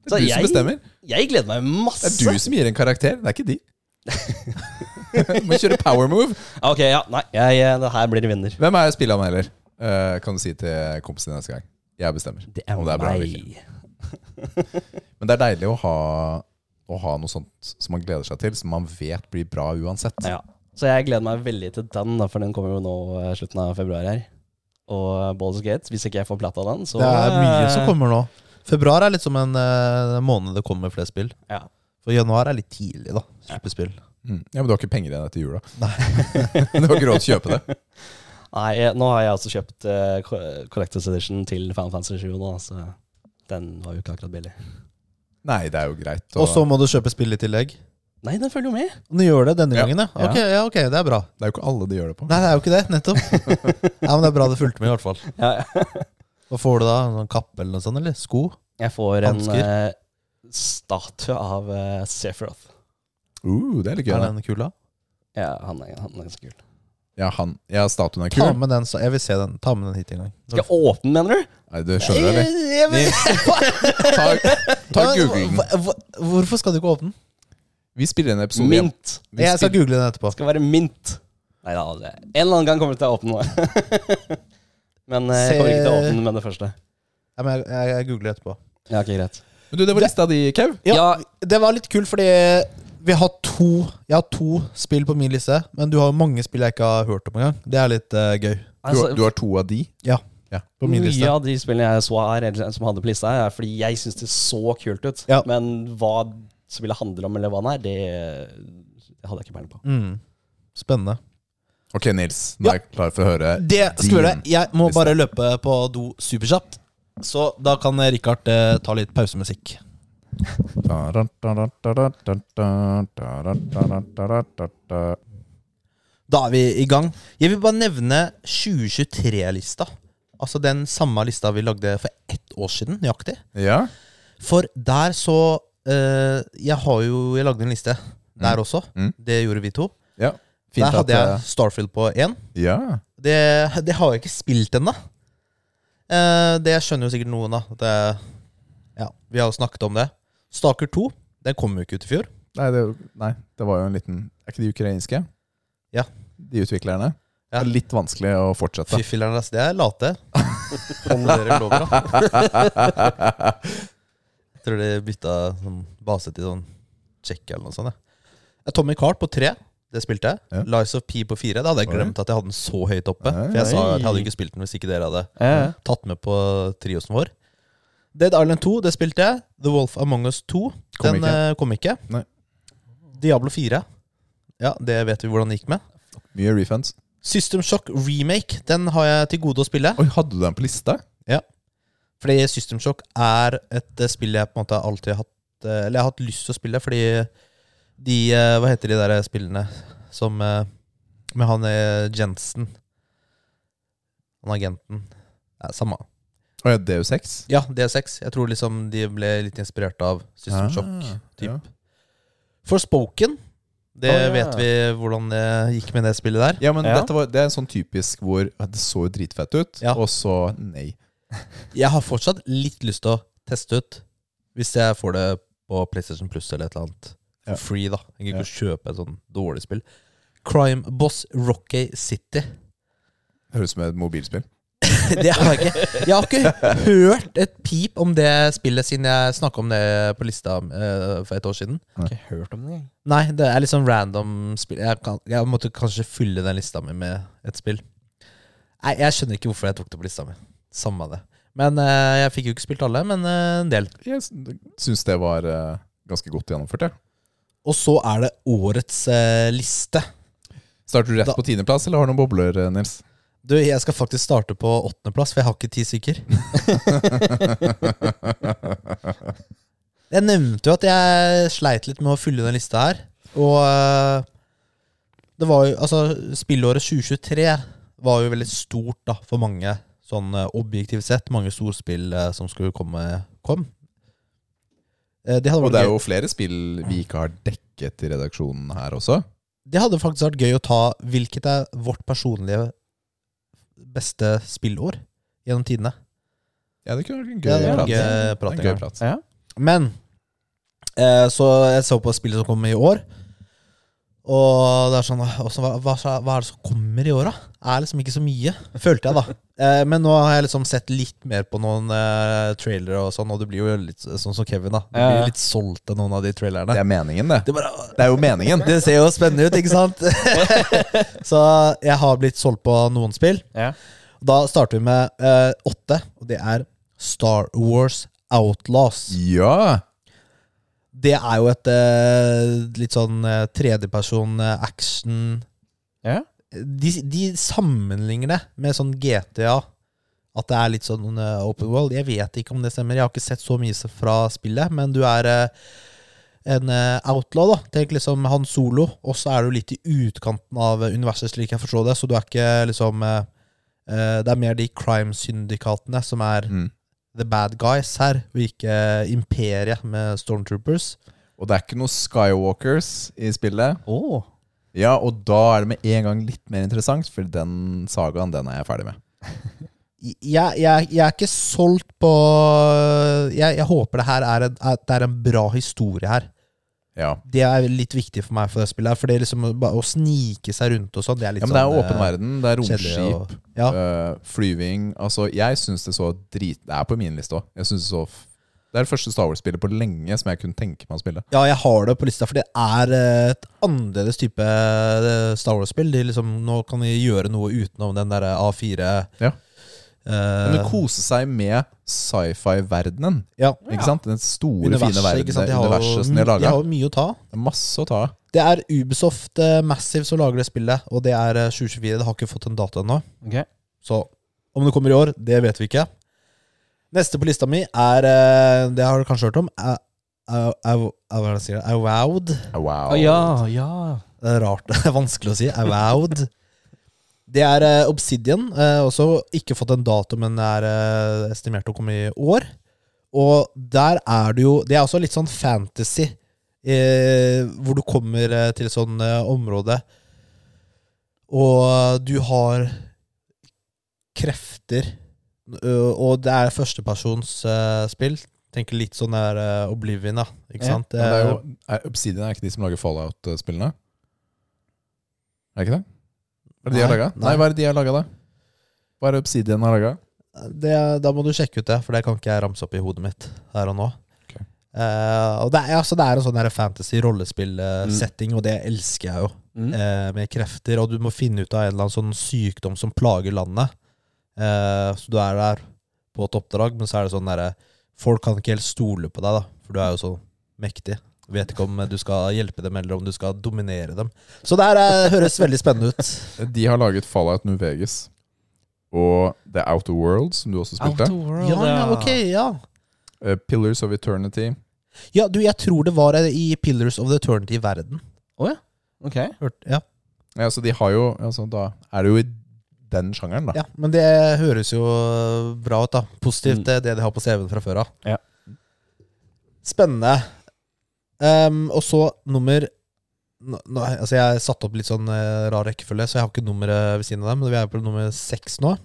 [SPEAKER 2] Det
[SPEAKER 3] Så
[SPEAKER 2] er du
[SPEAKER 3] jeg-
[SPEAKER 2] som bestemmer.
[SPEAKER 3] Jeg gleder meg
[SPEAKER 2] Det
[SPEAKER 3] masse.
[SPEAKER 2] er du som gir en karakter, det er ikke de. Du Må kjøre power move.
[SPEAKER 3] Ah, Ok, ja, nei, jeg, eh, det her blir vinner.
[SPEAKER 2] Hvem er spillanmelder? Eh, kan du si til kompisen din neste gang. Jeg bestemmer.
[SPEAKER 3] Det er,
[SPEAKER 2] Om det er bra eller
[SPEAKER 3] meg.
[SPEAKER 2] Men det er deilig å ha, å ha noe sånt som man gleder seg til, som man vet blir bra uansett.
[SPEAKER 3] Ja. Så jeg gleder meg veldig til den, da, for den kommer jo nå eh, slutten av februar her. Og eh, Baldur's Gate, hvis ikke jeg får plata den, så
[SPEAKER 1] Det er mye som
[SPEAKER 3] eh,
[SPEAKER 1] kommer nå. Februar er litt som en eh, måned det kommer flere spill.
[SPEAKER 3] Ja.
[SPEAKER 1] For januar er litt tidlig, da. Slippe spill.
[SPEAKER 2] Mm. ja, Men du har ikke penger igjen etter jula. du har ikke råd til å kjøpe det.
[SPEAKER 3] Nei, eh, nå har jeg altså kjøpt eh, Co- Collectors Edition til Final Fantasy 7 nå, så den var jo ikke akkurat billig.
[SPEAKER 2] Nei, det er jo greit.
[SPEAKER 1] Og så må du kjøpe spill i tillegg.
[SPEAKER 3] Nei, den følger jo med.
[SPEAKER 1] Du gjør det denne
[SPEAKER 2] Ja.
[SPEAKER 1] gangen, ja.
[SPEAKER 3] Ja.
[SPEAKER 1] Ok, ja, ok, det er bra.
[SPEAKER 2] det er jo ikke alle de gjør det på.
[SPEAKER 1] Nei, det er jo ikke det, nettopp. ja, Men det er bra det fulgte med, i hvert fall.
[SPEAKER 3] Ja, ja.
[SPEAKER 1] Hva får du da? En sånn kappe eller noe sånt, eller? Sko?
[SPEAKER 3] Jeg får en
[SPEAKER 1] Hansker.
[SPEAKER 3] eh, statue av uh, Sephiroth.
[SPEAKER 2] Uh, det er litt gøy.
[SPEAKER 1] Er
[SPEAKER 2] da.
[SPEAKER 1] den kula?
[SPEAKER 3] Ja, han er, han er ganske kul.
[SPEAKER 2] Ja, han, ja, statuen er
[SPEAKER 1] Ta
[SPEAKER 2] kul.
[SPEAKER 1] med den, så jeg vil se den. Ta med den hit en gang.
[SPEAKER 3] Skal jeg åpne, mener du? Eh,
[SPEAKER 2] Nei, du skjønner det,
[SPEAKER 1] Jeg-
[SPEAKER 2] eller?
[SPEAKER 1] jeg-
[SPEAKER 2] Ta, ta
[SPEAKER 1] Ja, men
[SPEAKER 2] Google den.
[SPEAKER 1] hva- hva- Hvorfor skal du ikke åpne den?
[SPEAKER 2] Vi spiller en episode igjen.
[SPEAKER 3] Mint.
[SPEAKER 2] Vi
[SPEAKER 1] Jeg skal
[SPEAKER 2] spiller-
[SPEAKER 1] google den etterpå.
[SPEAKER 3] Det skal være mint. Nei da, det- en eller annen gang kommer jeg til å åpne noe. men eh, jeg kommer ikke til å åpne med det første.
[SPEAKER 1] Ja, men jeg, jeg, jeg googler etterpå.
[SPEAKER 3] Ja, ok, greit.
[SPEAKER 2] Men du, det var lista di, Kev.
[SPEAKER 1] Ja,
[SPEAKER 3] Ja.
[SPEAKER 1] Det var litt kult, fordi vi har to Jeg har to spill på min liste, men du har jo mange spill jeg ikke har hørt om engang. Det er litt eh, gøy.
[SPEAKER 2] Du, har- du har to av de.
[SPEAKER 1] Ja, på min
[SPEAKER 3] Altså, Mye
[SPEAKER 1] liste.
[SPEAKER 3] av de spillene jeg så her, eller som hadde på lista, her, er fordi jeg syns det så kult ut.
[SPEAKER 1] Ja.
[SPEAKER 3] Men hva spillet handler om, eller hva den er, det, det hadde jeg ikke peiling på.
[SPEAKER 1] Mm. Spennende.
[SPEAKER 2] Ok, Nils. Nå er jeg klar for å høre
[SPEAKER 1] Det skal vi gjøre.
[SPEAKER 2] din.
[SPEAKER 1] Jeg må
[SPEAKER 2] liste.
[SPEAKER 1] bare løpe på do superkjapt. Så da kan eh, Richard eh, ta litt pausemusikk. Da er vi i gang. Jeg vil bare nevne 2023-lista Altså den samme lista vi lagde for ett år siden, nøyaktig.
[SPEAKER 2] Ja.
[SPEAKER 1] For der så eh, Jeg har jo Jeg lagde en liste der også.
[SPEAKER 2] Mm.
[SPEAKER 1] Det gjorde vi to.
[SPEAKER 2] ja. Fint
[SPEAKER 1] der
[SPEAKER 2] at
[SPEAKER 1] hadde jeg Starfield på én.
[SPEAKER 2] eh, Ja.
[SPEAKER 1] Det, det har jeg ikke spilt ennå. Eh, det skjønner jo sikkert noen, da. at Det, ja, vi har jo snakket om det. Staker 2 den kom jo ikke ut i fjor.
[SPEAKER 2] Nei det, nei, det var jo en liten Er ikke de ukrainske?
[SPEAKER 1] Ja.
[SPEAKER 2] De utviklerne?
[SPEAKER 1] Ja.
[SPEAKER 2] Det er litt vanskelig å fortsette.
[SPEAKER 1] Fy filleren, ass. Det er late. Om dere lover, da. Jeg tror de bytta sånn base til sånn Tsjekkia eller noe sånt. Jeg. Tommy Cart på tre. Det spilte jeg.
[SPEAKER 2] Ja.
[SPEAKER 1] Lies of P på fire. Da hadde jeg glemt at jeg hadde den så høyt oppe. For jeg sa at jeg hadde ikke spilt den hvis ikke dere hadde
[SPEAKER 3] Ja.
[SPEAKER 1] tatt med på triosen vår. Dead Island 2, det spilte jeg. The Wolf Among Us 2,
[SPEAKER 2] Kom
[SPEAKER 1] den
[SPEAKER 2] ikke.
[SPEAKER 1] eh, kom ikke.
[SPEAKER 2] Nei.
[SPEAKER 1] Diablo 4, ja, det vet vi hvordan det gikk med.
[SPEAKER 2] Mye refunds.
[SPEAKER 1] System Shock Remake, den har jeg til gode å spille.
[SPEAKER 2] Oi, hadde du den på lista?
[SPEAKER 1] Fordi System Shock er et eh, spill jeg på en måte alltid har hatt eh, Eller jeg har hatt lyst til å spille, fordi de eh, Hva heter de der spillene som eh, Med han eh, Jensen Han agenten. Ja, samme.
[SPEAKER 2] Å ja, DU6?
[SPEAKER 1] Ja, DSX. Jeg tror liksom de ble litt inspirert av
[SPEAKER 3] Ah,
[SPEAKER 1] System Shock. typ.
[SPEAKER 2] Ja.
[SPEAKER 1] Forspoken. Det
[SPEAKER 3] Å, ja.
[SPEAKER 1] vet vi hvordan det gikk med det spillet der.
[SPEAKER 2] ja, men
[SPEAKER 3] Ja.
[SPEAKER 2] Dette var, det er sånn typisk hvor ja, det så jo dritfett ut,
[SPEAKER 1] Ja.
[SPEAKER 2] og så nei.
[SPEAKER 1] Jeg har fortsatt litt lyst til å teste ut, hvis jeg får det på PlayStation Plus eller et eller annet. For
[SPEAKER 2] Ja.
[SPEAKER 1] free, da. Jeg gidder ikke å kjøpe et sånn dårlig spill. Crime Boss Rocky City.
[SPEAKER 2] Høres ut som et mobilspill.
[SPEAKER 1] Det har jeg ikke. Jeg har ikke hørt et pip om det spillet siden jeg snakka om det på lista eh, for et år siden.
[SPEAKER 3] Jeg har ikke hørt om det engang.
[SPEAKER 1] Nei, det er litt sånn random spill. Jeg, kan, jeg måtte kanskje fylle den lista mi med et spill. Nei, jeg skjønner ikke hvorfor jeg tok det på lista mi. Samme det. Men eh, jeg fikk jo ikke spilt alle, men eh, en del.
[SPEAKER 2] Jeg syns det var eh, ganske godt gjennomført, jeg.
[SPEAKER 1] Og så er det årets eh, liste.
[SPEAKER 2] Starter du rett
[SPEAKER 1] Da-
[SPEAKER 2] på tiendeplass, eller har du noen bobler, eh, Nils?
[SPEAKER 1] Du, jeg skal faktisk starte på åttendeplass, for jeg har ikke ti stykker. jeg nevnte jo at jeg sleit litt med å fylle den lista her. Og eh, det var jo Altså, spillåret 2023 var jo veldig stort da for mange, sånn eh, objektivt sett. Mange storspill eh, som skulle komme. Kom. Eh, Det hadde,
[SPEAKER 2] Og
[SPEAKER 1] vært
[SPEAKER 2] det er
[SPEAKER 1] gøy-
[SPEAKER 2] jo flere spill vi ikke har dekket i redaksjonen her også.
[SPEAKER 1] det hadde faktisk vært gøy å ta hvilket er vårt personlige beste spillår gjennom tidene.
[SPEAKER 2] Ja, det kunne vært en
[SPEAKER 1] Ja, det
[SPEAKER 2] gøy
[SPEAKER 1] var
[SPEAKER 2] prat.
[SPEAKER 1] gøy
[SPEAKER 2] Det er
[SPEAKER 1] prat
[SPEAKER 2] en
[SPEAKER 1] en
[SPEAKER 2] gøy
[SPEAKER 1] gang.
[SPEAKER 2] prat.
[SPEAKER 3] Ja.
[SPEAKER 1] Men eh, så jeg så på spillet som kom i år, og det er sånn også, hva, hva, hva er det som kommer i år, da? Er liksom ikke så mye, følte jeg, da. Eh, men nå har jeg liksom sett litt mer på noen eh, trailere og sånn, og du blir jo litt sånn som Kevin, da. Du
[SPEAKER 3] Ja, ja.
[SPEAKER 1] blir litt solgt av noen av de trailerne.
[SPEAKER 2] Det er meningen, det.
[SPEAKER 1] Det, bare,
[SPEAKER 2] Det er jo meningen.
[SPEAKER 1] det ser jo spennende ut, ikke sant? så jeg har blitt solgt på noen spill.
[SPEAKER 3] Ja.
[SPEAKER 1] Da starter vi med eh, åtte, og det er Star Wars Outlaws.
[SPEAKER 2] Ja!
[SPEAKER 1] Det er jo et eh, litt sånn eh, tredjeperson eh, action
[SPEAKER 3] Ja.
[SPEAKER 1] de, de sammenligner det med sånn GTA. At det er litt sånn eh, open world. Jeg vet ikke om det stemmer. Jeg har ikke sett så mye se- fra spillet, men du er eh, en eh, outlaw, da. Tenk liksom Han Solo, og så er du litt i utkanten av eh, universet, slik jeg forstår det. Så du er ikke liksom eh, eh, Det er mer de crime-syndikatene som er
[SPEAKER 2] Mm.
[SPEAKER 1] the bad guys her, og ikke eh, imperiet med stormtroopers.
[SPEAKER 2] Og det er ikke noe Skywalkers i spillet.
[SPEAKER 3] Åh.
[SPEAKER 2] Ja, og da er det med en gang litt mer interessant, for den sagaen den er jeg ferdig med.
[SPEAKER 1] jeg, jeg, jeg er ikke solgt på Jeg, jeg håper det her er en, at det er en bra historie her.
[SPEAKER 2] Ja,
[SPEAKER 1] Det er litt viktig for meg for det spillet her. For det er liksom å bare å snike seg rundt og sånn, det er litt
[SPEAKER 2] ja men det er jo
[SPEAKER 1] sånn,
[SPEAKER 2] åpen
[SPEAKER 1] eh,
[SPEAKER 2] verden, det er
[SPEAKER 1] kjedelig
[SPEAKER 2] romskip,
[SPEAKER 1] og- ja.
[SPEAKER 2] øh, flyving Altså, jeg syns det så drit... Det er på min liste òg. Jeg synes det så f- Det er det første Star Wars-spillet på lenge som jeg kunne tenke meg å spille.
[SPEAKER 1] ja, jeg har det på lista, for det er eh, et annerledes type eh, Star Wars-spill. De Liksom, nå kan vi gjøre noe utenom den derre A4
[SPEAKER 2] Ja.
[SPEAKER 1] eh,
[SPEAKER 2] Men å kose seg med sci-fi-verdenen,
[SPEAKER 1] ja.
[SPEAKER 2] ikke sant? Den store,
[SPEAKER 1] Universet,
[SPEAKER 2] fine
[SPEAKER 1] ikke
[SPEAKER 2] verden,
[SPEAKER 1] sant? De har, jo,
[SPEAKER 2] universet som de har
[SPEAKER 1] de
[SPEAKER 2] laga.
[SPEAKER 1] har jo mye å ta.
[SPEAKER 2] Masse å ta av.
[SPEAKER 1] Det er Ubisoft eh, Massive som lager det spillet, og det er eh, 2024. Det har ikke fått en dato ennå.
[SPEAKER 3] Ok.
[SPEAKER 1] Så om det kommer i år, det vet vi ikke. Neste på lista mi er eh, Det har du kanskje hørt om. A- A- A- Hva er det jeg sier? Avowed.
[SPEAKER 2] Wow.
[SPEAKER 3] Å, ja, ja.
[SPEAKER 1] Det er rart. Det er vanskelig å si. Avowed. Det er eh, Obsidian. eh, også ikke fått en dato, men det er eh, estimert å komme i år. Og der er det jo Det er også litt sånn fantasy, eh, hvor du kommer eh, til et sånn eh, område, og du har krefter. ø, og det er førstepersonsspill. Tenker litt sånn der eh, Oblivion, da. Ikke
[SPEAKER 3] Ja,
[SPEAKER 1] sant?
[SPEAKER 2] Men det er jo, er Obsidian er ikke de som lager Fallout-spillene? Er det ikke det? Hva er det de har
[SPEAKER 1] Nei,
[SPEAKER 2] laga?
[SPEAKER 1] nei.
[SPEAKER 2] Nei. hva er det de har laget da? Hva er det Obsidian har laga?
[SPEAKER 1] det, da må du sjekke ut det, for det kan ikke jeg ramse opp i hodet mitt her og nå.
[SPEAKER 2] Ok.
[SPEAKER 1] Eh, og det er, altså, det er en sånn der fantasy-rollespill-setting, og det elsker jeg jo.
[SPEAKER 3] Mm.
[SPEAKER 1] eh, med krefter, og du må finne ut av en eller annen sånn sykdom som plager landet. Eh, så du er der på et oppdrag, men så er det sånn derre Folk kan ikke helt stole på deg, da, for du er jo så mektig. Vet ikke om du skal hjelpe dem, eller om du skal dominere dem. Så det her eh, høres veldig spennende ut.
[SPEAKER 2] De har laget Fallout New Vegas og The Outer World, som du også spilte.
[SPEAKER 1] Ja, ja, ok, ja.
[SPEAKER 2] Eh, Pillars of Eternity.
[SPEAKER 1] Ja, du, jeg tror det var eh, i Pillars of the Eternity-verden.
[SPEAKER 3] Ok.
[SPEAKER 1] Hørt- Ja.
[SPEAKER 2] Ja, så de har jo altså, Da er det jo i den sjangeren, da.
[SPEAKER 1] ja, men det høres jo eh, bra ut, da. Positivt, eh,
[SPEAKER 3] Mm.
[SPEAKER 1] det, det de har på CV-en fra før av.
[SPEAKER 3] Ja.
[SPEAKER 1] Spennende. Ehm, og så nummer nå, nå- altså Jeg satte opp litt sånn eh, rar rekkefølge, så jeg har ikke nummeret ved siden av dem. Men vi er på nummer seks nå.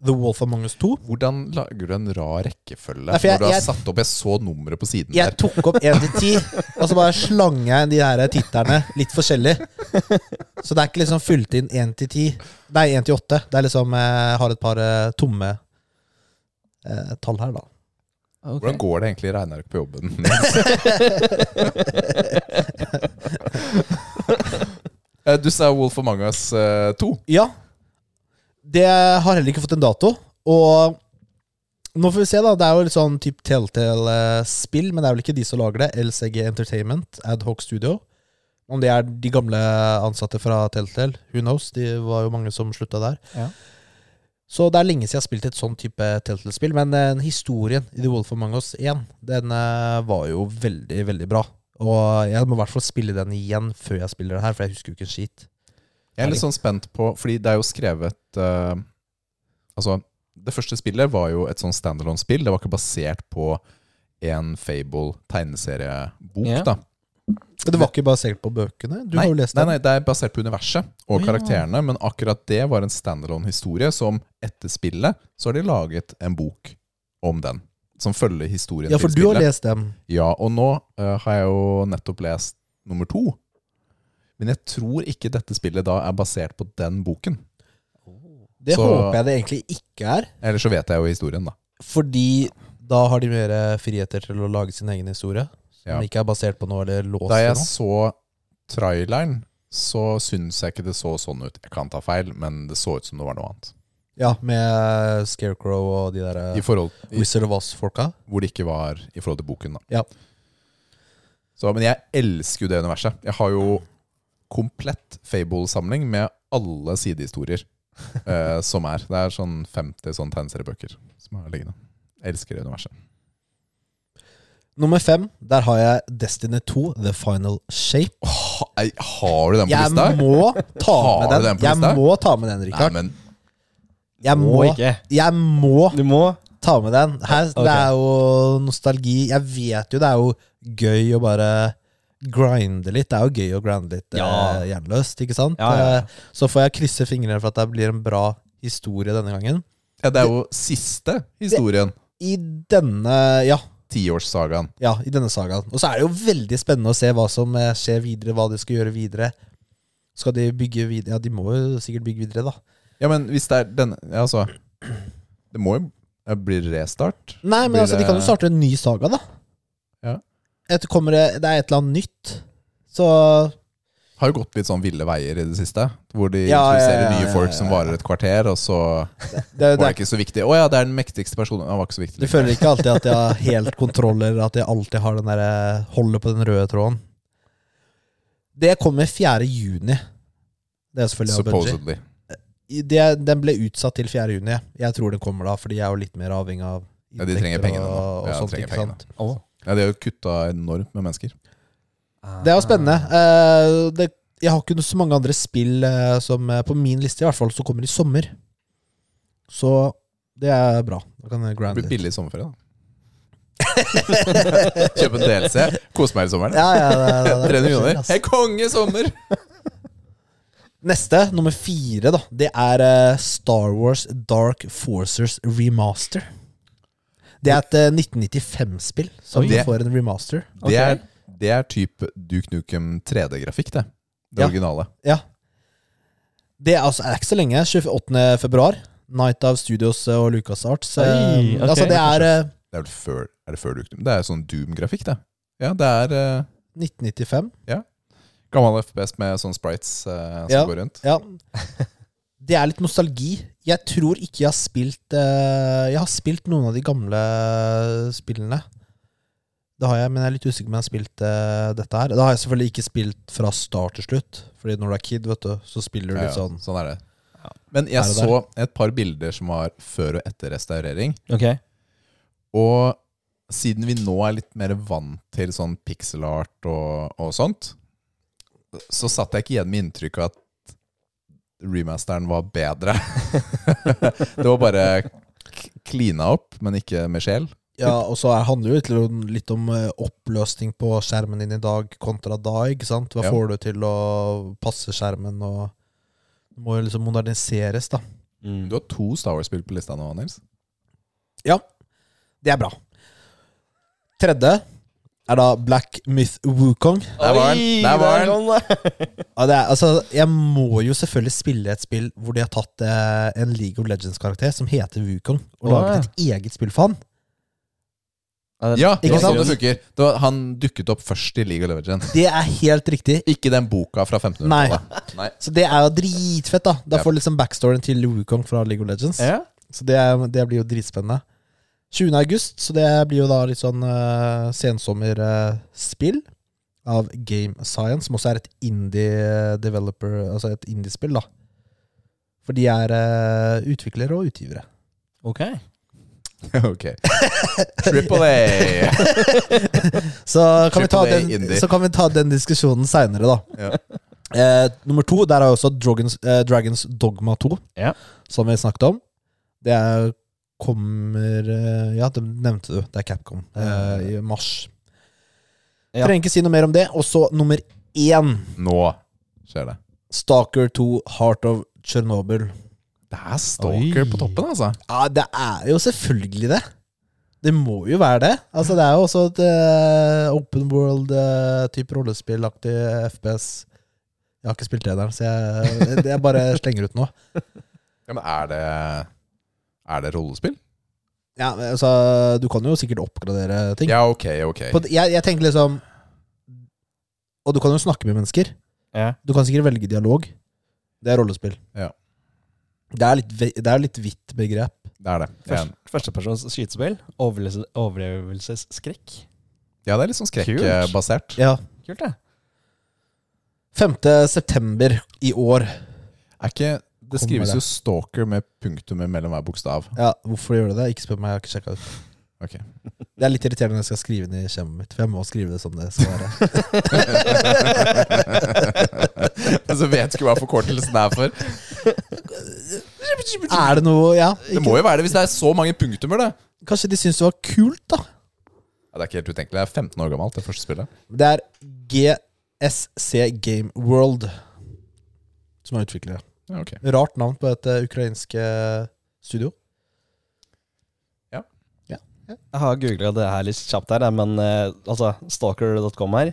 [SPEAKER 1] The Wolf Among Us 2.
[SPEAKER 2] Hvordan lager du en rar rekkefølge
[SPEAKER 1] Nei, for jeg-
[SPEAKER 2] når du har
[SPEAKER 1] jeg-
[SPEAKER 2] satt opp Jeg så nummeret på siden
[SPEAKER 1] Jeg
[SPEAKER 2] der.
[SPEAKER 1] tok opp én til ti, og så bare slang jeg de her titterne litt forskjellig. Så det er ikke liksom fylt inn én til ti. Nei, én til åtte. Det er liksom eh, har et par eh, tomme eh, tall her, da.
[SPEAKER 2] Hvordan går det egentlig i regneark på jobben? Eh, du sa Wolf eh, of Mangas 2.
[SPEAKER 1] Ja. Det har heller ikke fått en dato. Og nå får vi se, da. Det er jo litt sånn type Telltale-spill, men det er vel ikke de som lager det. LCG Entertainment, Adhoc Studio. Om det er de gamle ansatte fra Telltale, who knows? De var jo mange som slutta der.
[SPEAKER 2] Ja.
[SPEAKER 1] Så det er lenge siden jeg har spilt et sånn type Telltale-spill, men eh, historien i The Wolf of Mangos 1, den eh, var jo veldig, veldig bra. Og jeg må i hvert fall spille den igjen før jeg spiller det her, for jeg husker jo ikke en skit.
[SPEAKER 2] Jeg er litt sånn spent på Fordi det er jo skrevet eh, Altså, det første spillet var jo et sånn standalone-spill. Det var ikke basert på en Fable-tegneseriebok,
[SPEAKER 3] Ja.
[SPEAKER 2] da.
[SPEAKER 1] Men det var ikke basert på bøkene? Du
[SPEAKER 2] nei,
[SPEAKER 1] har jo lest
[SPEAKER 2] nei,
[SPEAKER 1] den.
[SPEAKER 2] nei, det er basert på universet og
[SPEAKER 1] Å, ja.
[SPEAKER 2] karakterene, men akkurat det var en standalone-historie som etter spillet så har de laget en bok om den, som følger historien
[SPEAKER 1] ja, for
[SPEAKER 2] til
[SPEAKER 1] du har
[SPEAKER 2] spillet.
[SPEAKER 1] lest dem.
[SPEAKER 2] Ja, og nå eh, har jeg jo nettopp lest nummer to. Men jeg tror ikke dette spillet da er basert på den boken.
[SPEAKER 1] Det
[SPEAKER 2] Så-
[SPEAKER 1] håper jeg det egentlig ikke er,
[SPEAKER 2] Eller så vet jeg jo historien, da.
[SPEAKER 1] fordi da har de mer friheter til å lage sin egen historie. Som
[SPEAKER 2] Ja.
[SPEAKER 1] ikke er basert på noe eller låst
[SPEAKER 2] Da
[SPEAKER 1] til
[SPEAKER 2] jeg
[SPEAKER 1] noe.
[SPEAKER 2] så traileren, så syns jeg ikke det så sånn ut. Jeg kan ta feil, men det så ut som det var noe annet.
[SPEAKER 1] Ja, med Scarecrow og de der
[SPEAKER 2] I forhold, i,
[SPEAKER 1] Wizard of Oz-folka.
[SPEAKER 2] hvor det ikke var i forhold til boken, da.
[SPEAKER 1] Ja.
[SPEAKER 2] Så, men jeg elsker jo det universet. Jeg har jo komplett Fable-samling med alle sidehistorier eh, som er. Det er sånn 50 sånn tegneseriebøker som er liggende. Jeg elsker det universet.
[SPEAKER 1] Nummer fem, der har jeg Destiny 2, The Final Shape.
[SPEAKER 2] Ha, ei, har du den på
[SPEAKER 1] Jeg
[SPEAKER 2] lista?
[SPEAKER 1] må ta
[SPEAKER 2] Har
[SPEAKER 1] med
[SPEAKER 2] du
[SPEAKER 1] den.
[SPEAKER 2] den på lista?
[SPEAKER 1] Jeg må ta med den,
[SPEAKER 2] Nei,
[SPEAKER 1] Rikard.
[SPEAKER 2] men
[SPEAKER 1] Jeg må,
[SPEAKER 3] Må ikke.
[SPEAKER 1] jeg må
[SPEAKER 3] Du må
[SPEAKER 1] ta med den. Her,
[SPEAKER 3] Ok.
[SPEAKER 1] Det er jo nostalgi. Jeg vet jo det er jo gøy å bare grinde litt. Det er jo gøy å grinde litt
[SPEAKER 3] Ja.
[SPEAKER 1] eh, jernløst, ikke sant?
[SPEAKER 3] Ja, ja, ja.
[SPEAKER 1] Eh, Så får jeg krysse fingrene for at det blir en bra historie denne gangen.
[SPEAKER 2] ja, det er jo siste historien.
[SPEAKER 1] I denne ja,
[SPEAKER 2] Tiårssagaen.
[SPEAKER 1] ja, i denne sagaen. Og så er det jo veldig spennende å se hva som eh, skjer videre, hva de skal gjøre videre. Skal de bygge videre? Ja, de må jo sikkert bygge videre, da.
[SPEAKER 2] Ja, men hvis det er denne ja, Altså, det må jo eh, bli restart.
[SPEAKER 1] Nei, men
[SPEAKER 2] Blir
[SPEAKER 1] altså, de
[SPEAKER 2] det-
[SPEAKER 1] kan jo starte en ny saga, da.
[SPEAKER 2] Ja.
[SPEAKER 1] Etter kommer det, det er et eller annet nytt. Så
[SPEAKER 2] Har jo gått litt sånn ville veier i det siste. Hvor de
[SPEAKER 1] Ja, ja,
[SPEAKER 2] introduserer
[SPEAKER 1] ja, ja,
[SPEAKER 2] nye folk
[SPEAKER 1] ja,
[SPEAKER 2] som
[SPEAKER 1] ja, ja.
[SPEAKER 2] varer et kvarter, og så
[SPEAKER 1] det,
[SPEAKER 2] var det ikke så viktig. Å ja, det er den mektigste personen. Han var ikke så viktig.
[SPEAKER 1] Du føler ikke alltid at jeg har helt kontroller, at jeg alltid har den der, eh, holder på den røde tråden. Det kommer 4. juni. Det er selvfølgelig av Bungie.
[SPEAKER 2] Supposedly.
[SPEAKER 1] Det, den ble utsatt til 4. juni. Jeg tror den kommer da, fordi jeg er jo litt mer avhengig av
[SPEAKER 2] Ja, de trenger
[SPEAKER 1] inntekter
[SPEAKER 2] pengene
[SPEAKER 1] og-
[SPEAKER 2] nå.
[SPEAKER 1] og
[SPEAKER 2] Ja, de
[SPEAKER 1] sånt,
[SPEAKER 2] trenger
[SPEAKER 1] ikke sant?
[SPEAKER 2] Ja, de har jo kutta enormt med mennesker.
[SPEAKER 1] Det er jo spennende. Eh, det jeg har ikke så mange andre spill eh, som eh, på min liste, i hvert fall, som kommer i sommer. Så det er bra. Da kan jeg
[SPEAKER 2] Det
[SPEAKER 1] grande
[SPEAKER 2] blir
[SPEAKER 1] litt.
[SPEAKER 2] billig sommerferie, da. Kjøp en DLC, kos meg i sommeren.
[SPEAKER 1] Ja, ja, det, det, det,
[SPEAKER 2] 300 kroner.
[SPEAKER 1] ass.
[SPEAKER 2] Hei, konge sommer!
[SPEAKER 1] Neste, nummer fire, da, det er eh, Star Wars Dark Forces Remaster. Det er et eh, 1995-spill som
[SPEAKER 2] Oi. Det-
[SPEAKER 1] får en remaster.
[SPEAKER 2] Det er,
[SPEAKER 3] Ok.
[SPEAKER 2] det er type Duke Nukem 3D-grafikk, det. Det
[SPEAKER 1] Ja.
[SPEAKER 2] originale.
[SPEAKER 1] Ja. Det er, altså, er ikke så lenge. 28. februar. Night of Studios eh, og LucasArts.
[SPEAKER 3] Oi,
[SPEAKER 1] Eh,
[SPEAKER 3] ok.
[SPEAKER 1] Altså, det er eh,
[SPEAKER 2] Det er vel før, er det før Duke Nukem? Det er sånn Doom-grafikk, det. Ja, det er eh,
[SPEAKER 1] 1995.
[SPEAKER 2] gammel FPS med sånne sprites eh, som
[SPEAKER 1] Ja.
[SPEAKER 2] går rundt.
[SPEAKER 1] Ja. Det er litt nostalgi. Jeg tror ikke jeg har spilt eh, Jeg har spilt noen av de gamle spillene. Det har jeg, men jeg er litt usikker på om jeg har spilt eh, dette her. Da har jeg selvfølgelig ikke spilt fra start til slutt, Fordi når du er kid, vet du, så spiller du
[SPEAKER 2] Ja, ja,
[SPEAKER 1] litt sånn.
[SPEAKER 2] sånn er det. Men
[SPEAKER 1] Her
[SPEAKER 2] jeg
[SPEAKER 1] og
[SPEAKER 2] så et par bilder som var før og etter restaurering.
[SPEAKER 3] Ok.
[SPEAKER 2] Og siden vi nå er litt mer vant til sånn pixel art og, og sånt, så satt jeg ikke igjen med inntrykk av at remasteren var bedre. det var bare k- klina opp, men ikke med sjel.
[SPEAKER 1] Ja, og så er- handler det jo litt- litt om eh, oppløsning på skjermen din i dag kontra da, ikke sant? Hva
[SPEAKER 2] Ja.
[SPEAKER 1] får du til å passe skjermen og Det må jo liksom moderniseres, da.
[SPEAKER 2] Du har to Star Wars-spill på lista nå, Nils.
[SPEAKER 1] Ja, det er bra. Tredje er da Black Myth Wukong.
[SPEAKER 2] Der var den, der var den.
[SPEAKER 1] Ja, det er, altså, jeg må jo selvfølgelig spille et spill hvor de har tatt eh, en League of Legends-karakter som heter Wukong, og
[SPEAKER 3] Åh,
[SPEAKER 1] laget et eget spill for han.
[SPEAKER 2] Ja, det
[SPEAKER 1] Ikke
[SPEAKER 2] var
[SPEAKER 1] sant?
[SPEAKER 2] sånn det funker. Det var, han dukket opp først i League of Legends.
[SPEAKER 1] Det er helt riktig.
[SPEAKER 2] Ikke den boka fra 1500-tallet. Nei.
[SPEAKER 1] Så det er jo dritfett, da. Da
[SPEAKER 2] Ja.
[SPEAKER 1] får du liksom backstoryen til Wukong fra League of Legends.
[SPEAKER 3] Ja.
[SPEAKER 1] Så det, er- det blir jo dritspennende. 20. august, så det blir jo da litt sånn uh, sensommerspill av Game Science, som også er et indie developer, altså et indie-spill, da. For de er eh, utviklere og utgivere.
[SPEAKER 3] Ok.
[SPEAKER 2] Ok. Triple A.
[SPEAKER 1] Så kan, vi ta
[SPEAKER 2] AAA
[SPEAKER 1] den,
[SPEAKER 2] indie.
[SPEAKER 1] så kan vi ta den diskusjonen seinere, da.
[SPEAKER 2] Ja.
[SPEAKER 1] Eh, nummer to, der er jo også Dragons, eh, Dragons Dogma 2,
[SPEAKER 3] Ja.
[SPEAKER 1] som vi snakket om. Det er, kommer eh, Ja, det nevnte du. Det er Capcom eh, i mars.
[SPEAKER 3] Ja.
[SPEAKER 1] Trenger ikke si noe mer om det. Og så nummer én,
[SPEAKER 2] Nå skjer det.
[SPEAKER 1] Stalker 2, Heart of Chernobyl.
[SPEAKER 2] Det er stalker
[SPEAKER 3] Oi.
[SPEAKER 2] på toppen, altså.
[SPEAKER 1] Ja, det er jo selvfølgelig det. Det må jo være det. Altså, det er jo også et eh, open world-type rollespillaktig FPS. Jeg har ikke spilt trederen, så jeg, jeg bare slenger ut noe.
[SPEAKER 2] Ja, men er det Er det rollespill?
[SPEAKER 1] Ja, men altså, du kan jo sikkert oppgradere ting.
[SPEAKER 2] Ja, ok, ok.
[SPEAKER 1] På, jeg, jeg tenker liksom Og du kan jo snakke med mennesker.
[SPEAKER 3] Ja.
[SPEAKER 1] Du kan sikkert velge dialog. Det er rollespill.
[SPEAKER 2] Ja.
[SPEAKER 1] Det er litt, ve- det er litt vidt begrep.
[SPEAKER 2] Det er det. Ja,
[SPEAKER 3] Først, Førstepersons skytespill. overlevelse- Overlevelsesskrekk.
[SPEAKER 2] ja det er litt sånn
[SPEAKER 3] Kult.
[SPEAKER 2] skrekkbasert.
[SPEAKER 1] Ja.
[SPEAKER 3] Kult, det.
[SPEAKER 1] 5. september i år.
[SPEAKER 2] Er ikke Det
[SPEAKER 1] Kommer
[SPEAKER 2] skrives
[SPEAKER 1] det.
[SPEAKER 2] jo stalker med punktummer mellom hver bokstav.
[SPEAKER 1] Ja, hvorfor gjør du det? Ikke spør meg, jeg har ikke sjekka ut.
[SPEAKER 2] Ok.
[SPEAKER 1] Det er litt irriterende når jeg skal skrive det i skjemaet mitt, for jeg må skrive det som det skal være.
[SPEAKER 2] Og så vet ikke hva forkortelsen er for.
[SPEAKER 1] er det noe Ja.
[SPEAKER 2] Det må jo være det hvis det er så mange punktummer, det.
[SPEAKER 1] Kanskje de syns det var kult, da.
[SPEAKER 2] Ja, det er ikke helt utenkelig. Det er 15 år gammelt, det første spillet.
[SPEAKER 1] Det er GSC Game World som er utviklere.
[SPEAKER 2] Ja, ok.
[SPEAKER 1] Rart navn på et eh, ukrainske studio.
[SPEAKER 3] Jeg har googla det her litt kjapt, her, men eh, altså, stalker.com her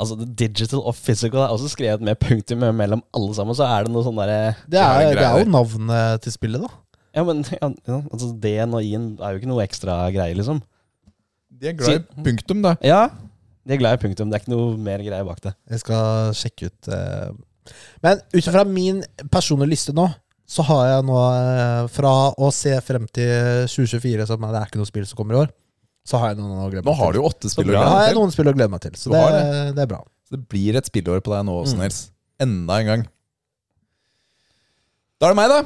[SPEAKER 3] Altså, det Digital og physical er også skrevet med punktum mellom alle sammen. Så er det noe sånn derre
[SPEAKER 1] Det
[SPEAKER 2] er
[SPEAKER 1] er,
[SPEAKER 2] en
[SPEAKER 1] det
[SPEAKER 2] greie
[SPEAKER 1] er jo navnet til spillet, da.
[SPEAKER 3] Ja, men ja, ja, altså, D-en og I-en er jo ikke noe ekstra greie, liksom.
[SPEAKER 2] De er glad i punktum, da.
[SPEAKER 3] Ja, de er glad i punktum. Det er ikke noe mer greie bak det.
[SPEAKER 1] Jeg skal sjekke ut eh. Men ut ifra min personlige liste nå, så har jeg nå eh, Fra å se frem til 2024, som er- det er ikke noe spill som kommer i år, så har jeg noen å glede
[SPEAKER 2] Nå
[SPEAKER 1] meg
[SPEAKER 2] har
[SPEAKER 1] til.
[SPEAKER 2] du jo åtte spill å
[SPEAKER 3] bra.
[SPEAKER 1] Da har
[SPEAKER 2] glede
[SPEAKER 1] jeg
[SPEAKER 2] deg til.
[SPEAKER 1] noen spill å glede meg til, så
[SPEAKER 2] Du
[SPEAKER 1] det,
[SPEAKER 2] har
[SPEAKER 1] det er bra.
[SPEAKER 2] Så det blir et spillår på deg nå også,
[SPEAKER 1] Mm.
[SPEAKER 2] Nils. Enda en gang. Da er det meg, da.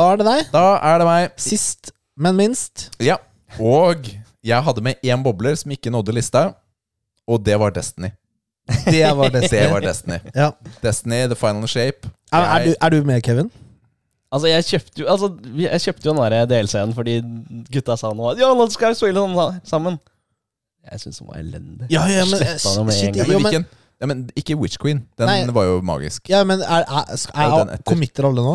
[SPEAKER 1] Da er det deg.
[SPEAKER 2] Da er det meg.
[SPEAKER 1] Sist, men minst.
[SPEAKER 2] Ja. Og jeg hadde med én bobler som ikke nådde lista, og det var Destiny.
[SPEAKER 1] Det var det.
[SPEAKER 2] Det var Destiny.
[SPEAKER 1] Ja.
[SPEAKER 2] Destiny, The Final Shape.
[SPEAKER 1] Er, er, du, er du med, Kevin?
[SPEAKER 3] Altså, jeg kjøpte jo altså, vi- Jeg kjøpte jo den der DLC-en fordi gutta sa noe Ja, nå skal vi spille den sammen. Jeg syns den var elendig.
[SPEAKER 1] Ja, ja, men,
[SPEAKER 3] Sletta det med en
[SPEAKER 1] shit,
[SPEAKER 3] gang.
[SPEAKER 2] Ja, men
[SPEAKER 1] jo, men,
[SPEAKER 2] hvilken? Ja, men ikke Witch Queen. Den
[SPEAKER 1] Nei.
[SPEAKER 2] var jo magisk.
[SPEAKER 1] ja, men er, er, er,
[SPEAKER 2] Er den etter?
[SPEAKER 1] committer alle nå?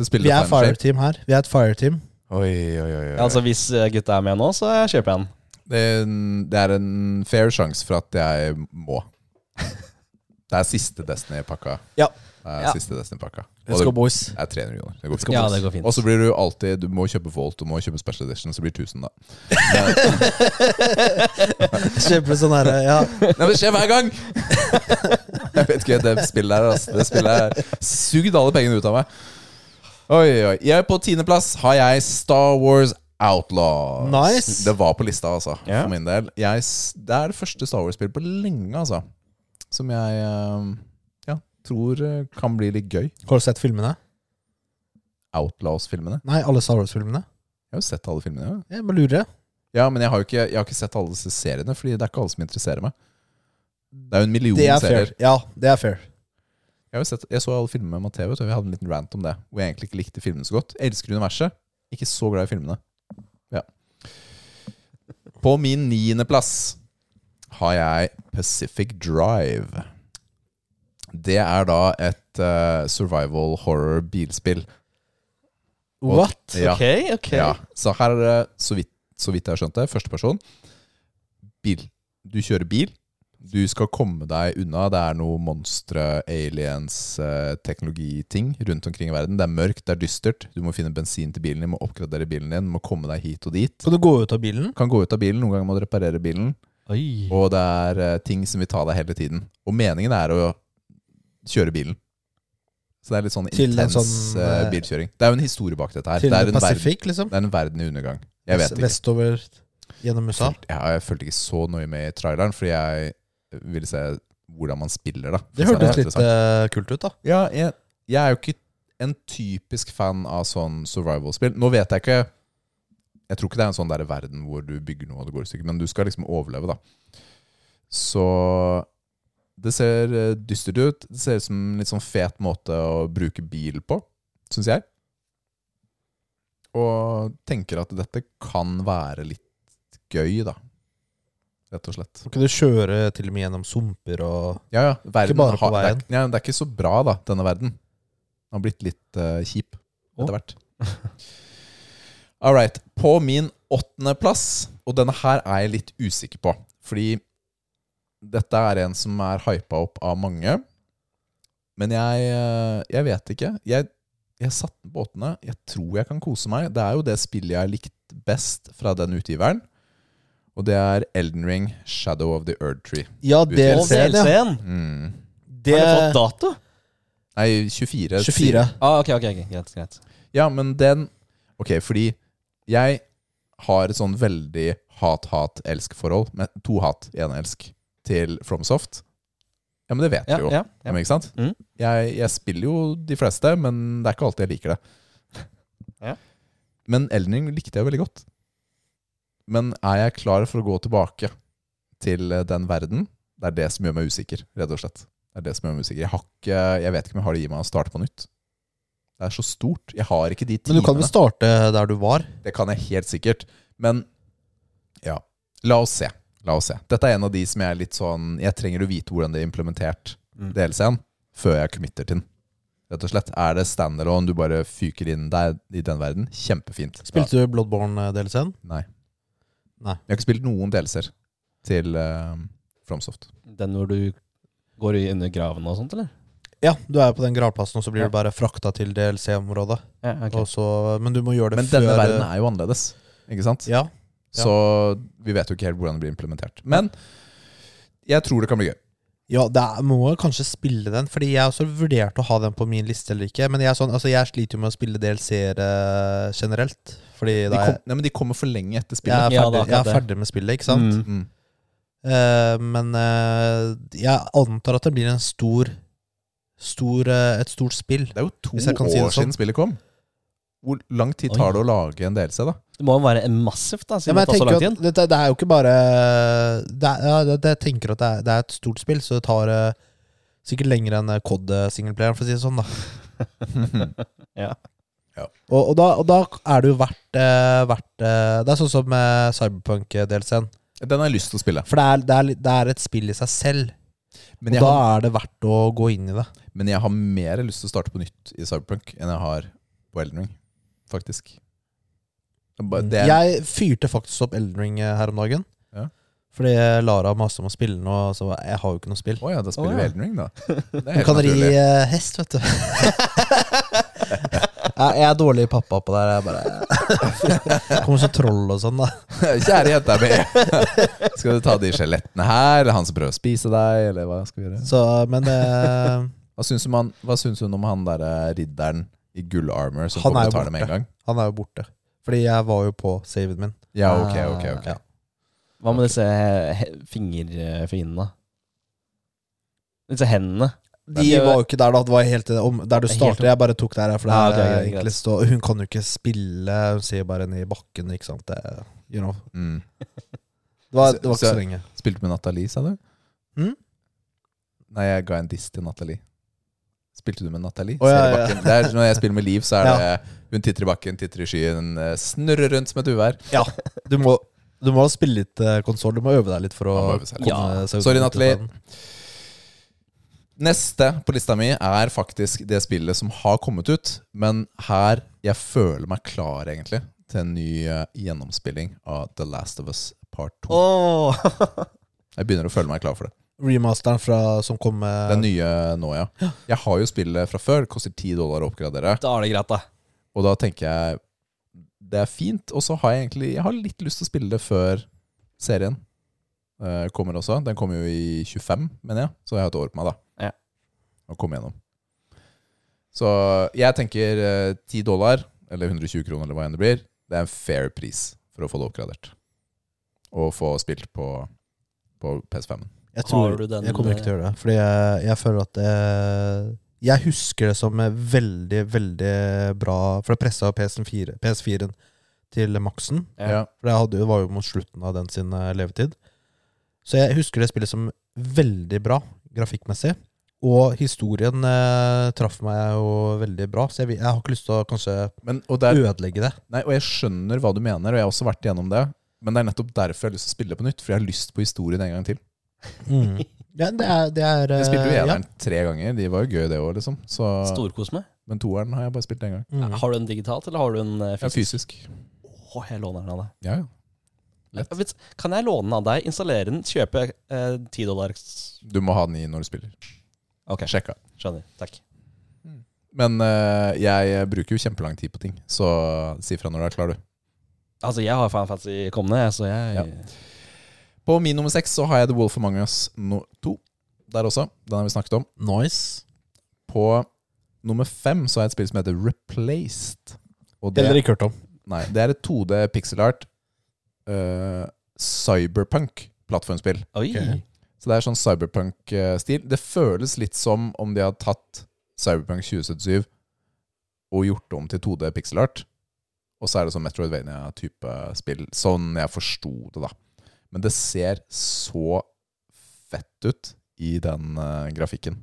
[SPEAKER 2] Til å spille
[SPEAKER 1] Vi
[SPEAKER 2] The
[SPEAKER 1] er
[SPEAKER 2] Final Shape.
[SPEAKER 1] fireteam her. Vi er et fireteam.
[SPEAKER 2] Oi, oi, oi, oi.
[SPEAKER 3] Altså, Hvis eh, gutta er med nå, så kjøper jeg den.
[SPEAKER 2] Det, er en, det er en fair sjanse for at jeg må. Det er siste Destiny-pakka.
[SPEAKER 1] Ja.
[SPEAKER 2] Det er
[SPEAKER 3] Ja.
[SPEAKER 2] siste Destiny-pakka.
[SPEAKER 1] Let's
[SPEAKER 2] Og
[SPEAKER 1] go,
[SPEAKER 2] det
[SPEAKER 1] boys.
[SPEAKER 2] det er 300 kroner. Det går fint.
[SPEAKER 3] Ja, det går fint.
[SPEAKER 2] Og så blir du alltid Du må kjøpe Volt, du må kjøpe Special Edition, så blir det 1000, da.
[SPEAKER 1] Kjempe sånn her, ja.
[SPEAKER 2] Nei, det skjer hver gang! Jeg vet ikke, det spillet her altså. Det spillet her sugd alle pengene ut av meg. Oi, oi. Jeg på tiendeplass har jeg Star Wars Outlaws.
[SPEAKER 1] Nice.
[SPEAKER 2] Det var på lista, altså.
[SPEAKER 3] Ja.
[SPEAKER 2] For min del. Jeg, s- det er det første Star Wars-spillet på lenge, altså. Som jeg eh, ja, tror eh, kan bli litt gøy.
[SPEAKER 1] Har du sett filmene?
[SPEAKER 2] Outlaws-filmene.
[SPEAKER 1] Nei, alle Star Wars-filmene.
[SPEAKER 2] Jeg har jo sett alle filmene. Ja.
[SPEAKER 1] Jeg bare lurer.
[SPEAKER 2] Ja, men jeg har jo ikke, jeg har ikke sett alle disse seriene, Fordi det er ikke alle som interesserer meg. Det er jo en million
[SPEAKER 1] Det er
[SPEAKER 2] serier.
[SPEAKER 1] fair. Ja, det er fair.
[SPEAKER 2] Jeg, har jo sett, jeg så alle filmene med Matheo, og vi hadde en liten rant om det. Hvor jeg egentlig ikke likte filmene så godt. Jeg elsker universet, ikke så glad i filmene. Ja. På min niendeplass har jeg Pacific Drive. Det er da et eh, survival horror bilspill.
[SPEAKER 1] What?
[SPEAKER 2] Ja.
[SPEAKER 3] Ok, ok.
[SPEAKER 2] Ja, så her er det, så vidt, så vidt jeg har skjønt det, første person. Bil. Du kjører bil. Du skal komme deg unna. Det er noe monstre, aliens, eh, teknologiting rundt omkring i verden. Det er mørkt, det er dystert. Du må finne bensin til bilen din, må oppgradere bilen din, må komme deg hit og dit.
[SPEAKER 1] Kan du gå ut av bilen?
[SPEAKER 2] Kan gå ut av bilen, noen ganger må du reparere bilen.
[SPEAKER 3] Oi.
[SPEAKER 2] Og det er eh, ting som vil ta deg hele tiden. Og meningen er å kjøre bilen. Så det er litt sånn
[SPEAKER 1] Til en
[SPEAKER 2] intens
[SPEAKER 1] sånn,
[SPEAKER 2] eh,
[SPEAKER 1] eh,
[SPEAKER 2] bilkjøring. Det er jo en historie bak dette her.
[SPEAKER 1] Til
[SPEAKER 2] det er en verden-
[SPEAKER 1] Pacific, liksom?
[SPEAKER 2] det er en verden i undergang. Jeg vet ikke. Sånn,
[SPEAKER 1] Vestover gjennom USA?
[SPEAKER 2] Fulgte- ja, jeg fulgte ikke så nøye med i traileren, fordi jeg ville se hvordan man spiller. da
[SPEAKER 1] Det
[SPEAKER 2] Så sånn, er
[SPEAKER 1] hørtes litt
[SPEAKER 2] interessant.
[SPEAKER 1] eh, kult ut, da.
[SPEAKER 2] Ja, jeg, jeg er jo ikke en typisk fan av sånn survival-spill. Nå vet jeg ikke Jeg tror ikke det er en sånn der verden hvor du bygger noe og det går i stykker, men du skal liksom overleve, da. Så det ser eh, dystert ut. Det ser ut som en litt sånn fet måte å bruke bil på, syns jeg. Og tenker at dette kan være litt gøy, da. Rett og slett.
[SPEAKER 1] Kan ikke du kjøre til og med gjennom sumper og
[SPEAKER 2] Ja, ja. Verden,
[SPEAKER 1] Ikke bare på
[SPEAKER 2] har- det er-
[SPEAKER 1] veien.
[SPEAKER 2] ja, det er ikke så bra, da, denne verden. Den har blitt litt eh, kjip etter hvert. All right. På min åttendeplass, og denne her er jeg litt usikker på, fordi dette er en som er hypa opp av mange. Men jeg, eh, jeg vet ikke. Jeg, jeg satte den på åttende. Jeg tror jeg kan kose meg. Det er jo det spillet jeg har likt best fra den utgiveren. Og det er Elden Ring, Shadow of the Erd Tree.
[SPEAKER 1] Ja,
[SPEAKER 3] Og
[SPEAKER 2] DLC-en,
[SPEAKER 1] DLC-en, ja.
[SPEAKER 3] DLC-en!
[SPEAKER 2] Mm.
[SPEAKER 1] Det
[SPEAKER 3] Har du fått dato?
[SPEAKER 2] Nei, 24.
[SPEAKER 1] 24.
[SPEAKER 3] Ah, ok, ok, ok, greit, greit.
[SPEAKER 2] Ja, men den Ok, fordi jeg har et sånn veldig hat-hat-elsk-forhold. Med to hat, én elsk, til FromSoft. Ja, men det vet
[SPEAKER 3] Ja,
[SPEAKER 2] du jo.
[SPEAKER 3] ja,
[SPEAKER 2] Ja,
[SPEAKER 3] ja.
[SPEAKER 2] men ikke sant?
[SPEAKER 3] Mm.
[SPEAKER 2] Jeg, jeg spiller jo de fleste, men det er ikke alltid jeg liker det.
[SPEAKER 3] Ja.
[SPEAKER 2] Men Elden Ring likte jeg veldig godt. Men er jeg klar for å gå tilbake til eh, den verden? Det er det som gjør meg usikker, rett og slett. Det er det som gjør meg usikker. Jeg, har ikke, jeg vet ikke om jeg har det i meg å starte på nytt. Det er så stort. Jeg har ikke de
[SPEAKER 1] Men du kan
[SPEAKER 2] timene.
[SPEAKER 1] vel starte der du var?
[SPEAKER 2] Det kan jeg helt sikkert. Men ja, la oss se. La oss se. Dette er en av de som jeg er litt sånn Jeg trenger å vite hvordan det er implementert,
[SPEAKER 3] Mm.
[SPEAKER 2] DLC-en, før jeg committer til den. Rett og slett. Er det standalone, du bare fyker inn der i den verden? Kjempefint.
[SPEAKER 1] Spilte du Bloodborne-DLC-en?
[SPEAKER 2] Ja. Nei.
[SPEAKER 1] Nei.
[SPEAKER 2] Jeg har ikke spilt noen DLC-er til eh, Fromsoft.
[SPEAKER 3] Den hvor du går i- under graven og sånt, eller?
[SPEAKER 1] Ja, du er på den gravplassen, og så blir
[SPEAKER 3] Ja.
[SPEAKER 1] du bare frakta til DLC-området.
[SPEAKER 3] Ja, ok.
[SPEAKER 1] Og så- Men du må gjøre det
[SPEAKER 2] Men
[SPEAKER 1] før
[SPEAKER 2] denne verden er jo annerledes, ikke sant?
[SPEAKER 1] Ja. Ja.
[SPEAKER 2] Så vi vet jo ikke helt hvordan det blir implementert. Men jeg tror det kan bli gøy.
[SPEAKER 1] Ja, det er, må jeg kanskje spille den, fordi jeg også vurderte å ha den på min liste eller ikke. Men jeg, er sånn, altså, jeg sliter jo med å spille DLC-er eh, generelt. Fordi
[SPEAKER 2] De,
[SPEAKER 1] da
[SPEAKER 2] kom,
[SPEAKER 1] jeg,
[SPEAKER 2] nei, men de kommer for lenge etter
[SPEAKER 1] jeg, er
[SPEAKER 2] spillet.
[SPEAKER 1] ferdig,
[SPEAKER 3] Ja, det er akkurat
[SPEAKER 1] jeg er
[SPEAKER 3] det.
[SPEAKER 1] ferdig med spillet, ikke sant?
[SPEAKER 3] Mm.
[SPEAKER 2] Mm.
[SPEAKER 1] Eh, men eh, jeg antar at det blir en stor, stor eh, et stort spill.
[SPEAKER 2] Det er jo to
[SPEAKER 1] Hvis jeg kan si det
[SPEAKER 2] år
[SPEAKER 1] sånn.
[SPEAKER 2] siden spillet kom. Hvor lang tid tar det å lage en DLC, da?
[SPEAKER 3] Det må jo være massivt, da,
[SPEAKER 1] Ja,
[SPEAKER 3] siden
[SPEAKER 1] men
[SPEAKER 3] det tar
[SPEAKER 1] jeg
[SPEAKER 3] så lang
[SPEAKER 1] tenker at
[SPEAKER 3] tid.
[SPEAKER 1] dette, det er jo ikke bare det er, ja, det, Jeg tenker at det er, det er et stort spill, så det tar eh, sikkert lenger enn eh, COD-singleplayeren, for å si det sånn. da
[SPEAKER 3] Ja.
[SPEAKER 1] Og, og, da, og da er det jo verdt, eh, verdt eh, Det er sånn som med Cyberpunk-DLC-en.
[SPEAKER 2] Den har jeg lyst til å spille.
[SPEAKER 1] For det er, det, er, litt- det er et spill i seg selv. og
[SPEAKER 2] Men jeg,
[SPEAKER 1] da
[SPEAKER 2] har,
[SPEAKER 1] er det verdt å gå inn i det.
[SPEAKER 2] men jeg har mer lyst til å starte på nytt i Cyberpunk enn jeg har på Elden Ring, faktisk. Det er bare- Det er,
[SPEAKER 1] Jeg fyrte faktisk opp Elden Ring eh, her om dagen.
[SPEAKER 2] Ja.
[SPEAKER 1] Fordi Lara maste om å spille nå, så jeg har jo ikke noe spill.
[SPEAKER 2] Å ja, da spiller
[SPEAKER 3] Å
[SPEAKER 2] vi
[SPEAKER 3] ja.
[SPEAKER 2] Elden Ring, da. Det er
[SPEAKER 1] Du
[SPEAKER 2] helt
[SPEAKER 1] kan ri
[SPEAKER 2] naturlig.
[SPEAKER 1] eh, hest, vet du. jeg, jeg er dårlig pappa på det her. Jeg bare Kommer som troll og sånn, da.
[SPEAKER 2] Kjære jenta mi! skal du ta de skjelettene her? Eller han som prøver å spise deg? Eller hva skal vi gjøre?
[SPEAKER 1] Så, men eh,
[SPEAKER 2] Hva syns hun, om han- hva syns hun om han derre ridderen i gull armor som
[SPEAKER 1] Han
[SPEAKER 2] kommer
[SPEAKER 1] er
[SPEAKER 2] og
[SPEAKER 1] jo
[SPEAKER 2] tar det med en gang?
[SPEAKER 1] han er jo borte. Fordi jeg var jo på saven min.
[SPEAKER 2] Ja, ok, ok, ok.
[SPEAKER 1] Ah, Ja.
[SPEAKER 3] Hva med disse eh, he- fingerfiendene? Disse hendene.
[SPEAKER 1] De var jo ikke der da. Det var helt i det om, der du
[SPEAKER 3] Helt
[SPEAKER 1] starter.
[SPEAKER 3] opp.
[SPEAKER 1] Jeg bare tok det her. For det er
[SPEAKER 3] Ah, ok, greit,
[SPEAKER 1] egentlig
[SPEAKER 3] greit.
[SPEAKER 1] stå, hun kan jo ikke spille. Hun sier bare ned i bakken, ikke sant. Det, you know.
[SPEAKER 2] Mm.
[SPEAKER 1] det, var, det var ikke
[SPEAKER 2] Så-
[SPEAKER 1] så lenge.
[SPEAKER 2] Spilte med Nathalie, sa du?
[SPEAKER 1] Mm.
[SPEAKER 2] Nei, jeg ga en diss til Nathalie. Spilte du med Nathalie?
[SPEAKER 1] Å, ja,
[SPEAKER 2] Ser i
[SPEAKER 1] ja.
[SPEAKER 2] bakken. Det er, når jeg spiller med Liv, så er det hun titter i bakken, titter i skyen, eh, snurrer rundt som et uvær.
[SPEAKER 1] Ja, du må, du må spille litt eh, konsoll. Du må øve deg litt for å
[SPEAKER 2] Man må øve seg litt.
[SPEAKER 1] komme seg ut
[SPEAKER 2] Sorry,
[SPEAKER 1] av
[SPEAKER 2] Nathalie.
[SPEAKER 1] den.
[SPEAKER 2] Neste på lista mi er faktisk det spillet som har kommet ut, men her jeg føler meg klar, egentlig, til en ny eh, gjennomspilling av The Last of Us Part 2.
[SPEAKER 3] Åh
[SPEAKER 2] Jeg begynner å føle meg klar for det.
[SPEAKER 1] Remasteren fra, som kom med
[SPEAKER 2] Den nye nå, ja. Jeg har jo spillet fra før. Koster 10 dollar å oppgradere.
[SPEAKER 3] Da er det greit, da.
[SPEAKER 2] Og da tenker jeg det er fint. Og så har jeg egentlig jeg har litt lyst til å spille det før serien eh, kommer også. Den kommer jo i 25, mener jeg. Så jeg har et år på meg, da.
[SPEAKER 3] Ja.
[SPEAKER 2] Å komme gjennom. Så jeg tenker eh, 10 dollar, eller 120 kroner, eller hva enn det blir, det er en fair pris for å få det oppgradert. Og få spilt på, på PS5-en.
[SPEAKER 1] Jeg, tror,
[SPEAKER 3] Har du den,
[SPEAKER 1] jeg kommer ikke til å gjøre det. Fordi jeg, jeg føler at eh, Jeg husker det som eh, veldig, veldig bra For det pressa PS4, PS4-en til maksen.
[SPEAKER 3] Ja.
[SPEAKER 1] For det hadde, jo- var jo mot slutten av den sin eh, levetid. Så jeg husker det spillet som veldig bra grafikkmessig. Og historien eh, traff meg jo veldig bra, så jeg, vil- jeg har ikke lyst til å kanskje
[SPEAKER 2] Men, og det er
[SPEAKER 1] ødelegge det.
[SPEAKER 2] Nei, og jeg skjønner hva du mener, og jeg har også vært igjennom det. Men det er nettopp derfor jeg har lyst til å spille det på nytt, for jeg har lyst på historien en gang til.
[SPEAKER 1] Mm. Ja, det er, det er
[SPEAKER 2] Jeg spilte jo
[SPEAKER 1] eh,
[SPEAKER 2] eneren tre ganger, de var jo gøy det òg, liksom. Så,
[SPEAKER 3] Storkos meg.
[SPEAKER 2] men toeren har jeg bare spilt én gang.
[SPEAKER 1] Ja. Mm.
[SPEAKER 3] Har du den digitalt, eller har du den eh,
[SPEAKER 2] Ja,
[SPEAKER 3] fysisk?
[SPEAKER 2] fysisk.
[SPEAKER 3] Åh, jeg låner den av deg.
[SPEAKER 2] Ja, ja. Lett.
[SPEAKER 3] Jeg vet- Kan jeg låne den av deg, installere den, kjøpe eh, 10 dollar?
[SPEAKER 2] Du må ha den i når du spiller.
[SPEAKER 3] Ok,
[SPEAKER 2] Sjekka.
[SPEAKER 3] skjønner. Takk.
[SPEAKER 2] Men eh, jeg bruker jo kjempelang tid på ting, så si fra når du er klar, du.
[SPEAKER 3] Altså, jeg har Final Fantasy kommende, jeg, så jeg
[SPEAKER 2] På min nummer seks så har jeg The Wolf Among Us no 2. Der også. Den har vi snakket om.
[SPEAKER 1] Nice.
[SPEAKER 2] På nummer fem så har jeg et spill som heter Replaced. Og det-
[SPEAKER 1] Eller ikke hørt om.
[SPEAKER 2] Nei, det er et 2D pixel art eh, cyberpunk-plattformspill.
[SPEAKER 3] Oi!
[SPEAKER 1] Ok.
[SPEAKER 2] Så det er sånn cyberpunk-stil. Det føles litt som om de har tatt Cyberpunk 2077 og gjort det om til 2D pixel art. Og så er det sånn Metroidvania-type spill. Sånn jeg forsto det, da. Men det ser så fett ut i den eh, grafikken.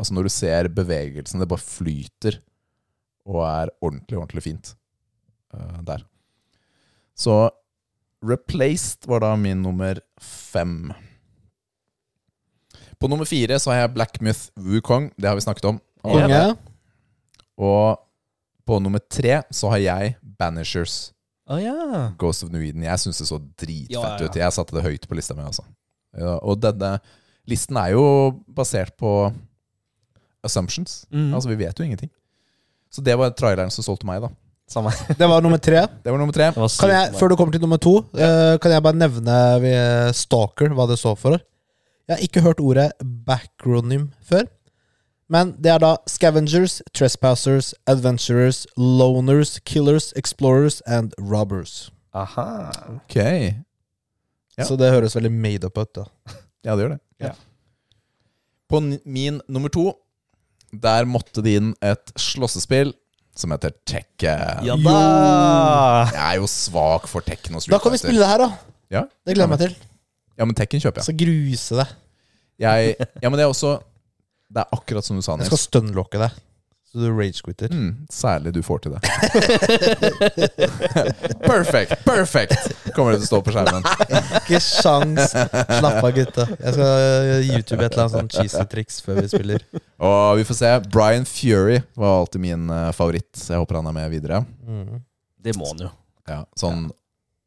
[SPEAKER 2] Altså når du ser bevegelsen, det bare flyter og er ordentlig, ordentlig fint eh, der. Så Replaced var da min nummer fem. På nummer fire så har jeg Blackmyth Wukong. Det har vi snakket om.
[SPEAKER 1] Konge.
[SPEAKER 2] Og på nummer tre så har jeg Banishers.
[SPEAKER 3] Å ja.
[SPEAKER 2] Ghost of New Eden. Jeg syns det så dritfett
[SPEAKER 3] Ja, ja, ja.
[SPEAKER 2] ut. Jeg satte det høyt på lista mi, altså. Ja, og denne listen er jo basert på assumptions.
[SPEAKER 3] Mm.
[SPEAKER 2] Altså, vi vet jo ingenting. Så det var traileren som solgte meg, da.
[SPEAKER 3] Samme.
[SPEAKER 1] Det var nummer tre.
[SPEAKER 2] Det var nummer tre.
[SPEAKER 3] Det var
[SPEAKER 1] Kan
[SPEAKER 3] sykt
[SPEAKER 1] jeg,
[SPEAKER 3] bra.
[SPEAKER 1] før du kommer til nummer to, eh, kan jeg bare nevne ved Stalker hva det står for? Jeg har ikke hørt ordet backronym før. Men det er da scavengers, trespassers, adventurers, loners, killers, explorers and robbers.
[SPEAKER 3] Aha.
[SPEAKER 2] Ok. Ja, Ja.
[SPEAKER 1] Så det høres veldig made up ut. da
[SPEAKER 2] det gjør det.
[SPEAKER 3] Ja.
[SPEAKER 2] På n- min nummer to, der måtte det inn et slåssespill som heter Tekken.
[SPEAKER 3] Ja da!
[SPEAKER 2] Jeg er jo svak for Tekken og Street
[SPEAKER 1] Da kan vi
[SPEAKER 2] Fighter.
[SPEAKER 1] spille det her, da.
[SPEAKER 2] Ah, Ja,
[SPEAKER 1] Det gleder jeg meg til.
[SPEAKER 2] ja men Tekken kjøper jeg.
[SPEAKER 1] Så gruse det.
[SPEAKER 2] jeg. Ja, men det er også Det er akkurat som du sa,
[SPEAKER 1] Jeg skal
[SPEAKER 2] Nils.
[SPEAKER 1] stunlocke deg, så du ragequitter.
[SPEAKER 2] Mm, særlig du får til det. perfect! Perfect! Kommer det til å stå på skjermen.
[SPEAKER 1] Ikke sjans! Slapp av, gutta. Jeg skal YouTube et eller annet sånn cheesy triks før vi spiller.
[SPEAKER 2] Og vi får se. Brian Fury var alltid min eh, favoritt. Jeg håper han er med videre.
[SPEAKER 1] Mm.
[SPEAKER 3] Det må han jo.
[SPEAKER 2] Ja, sånn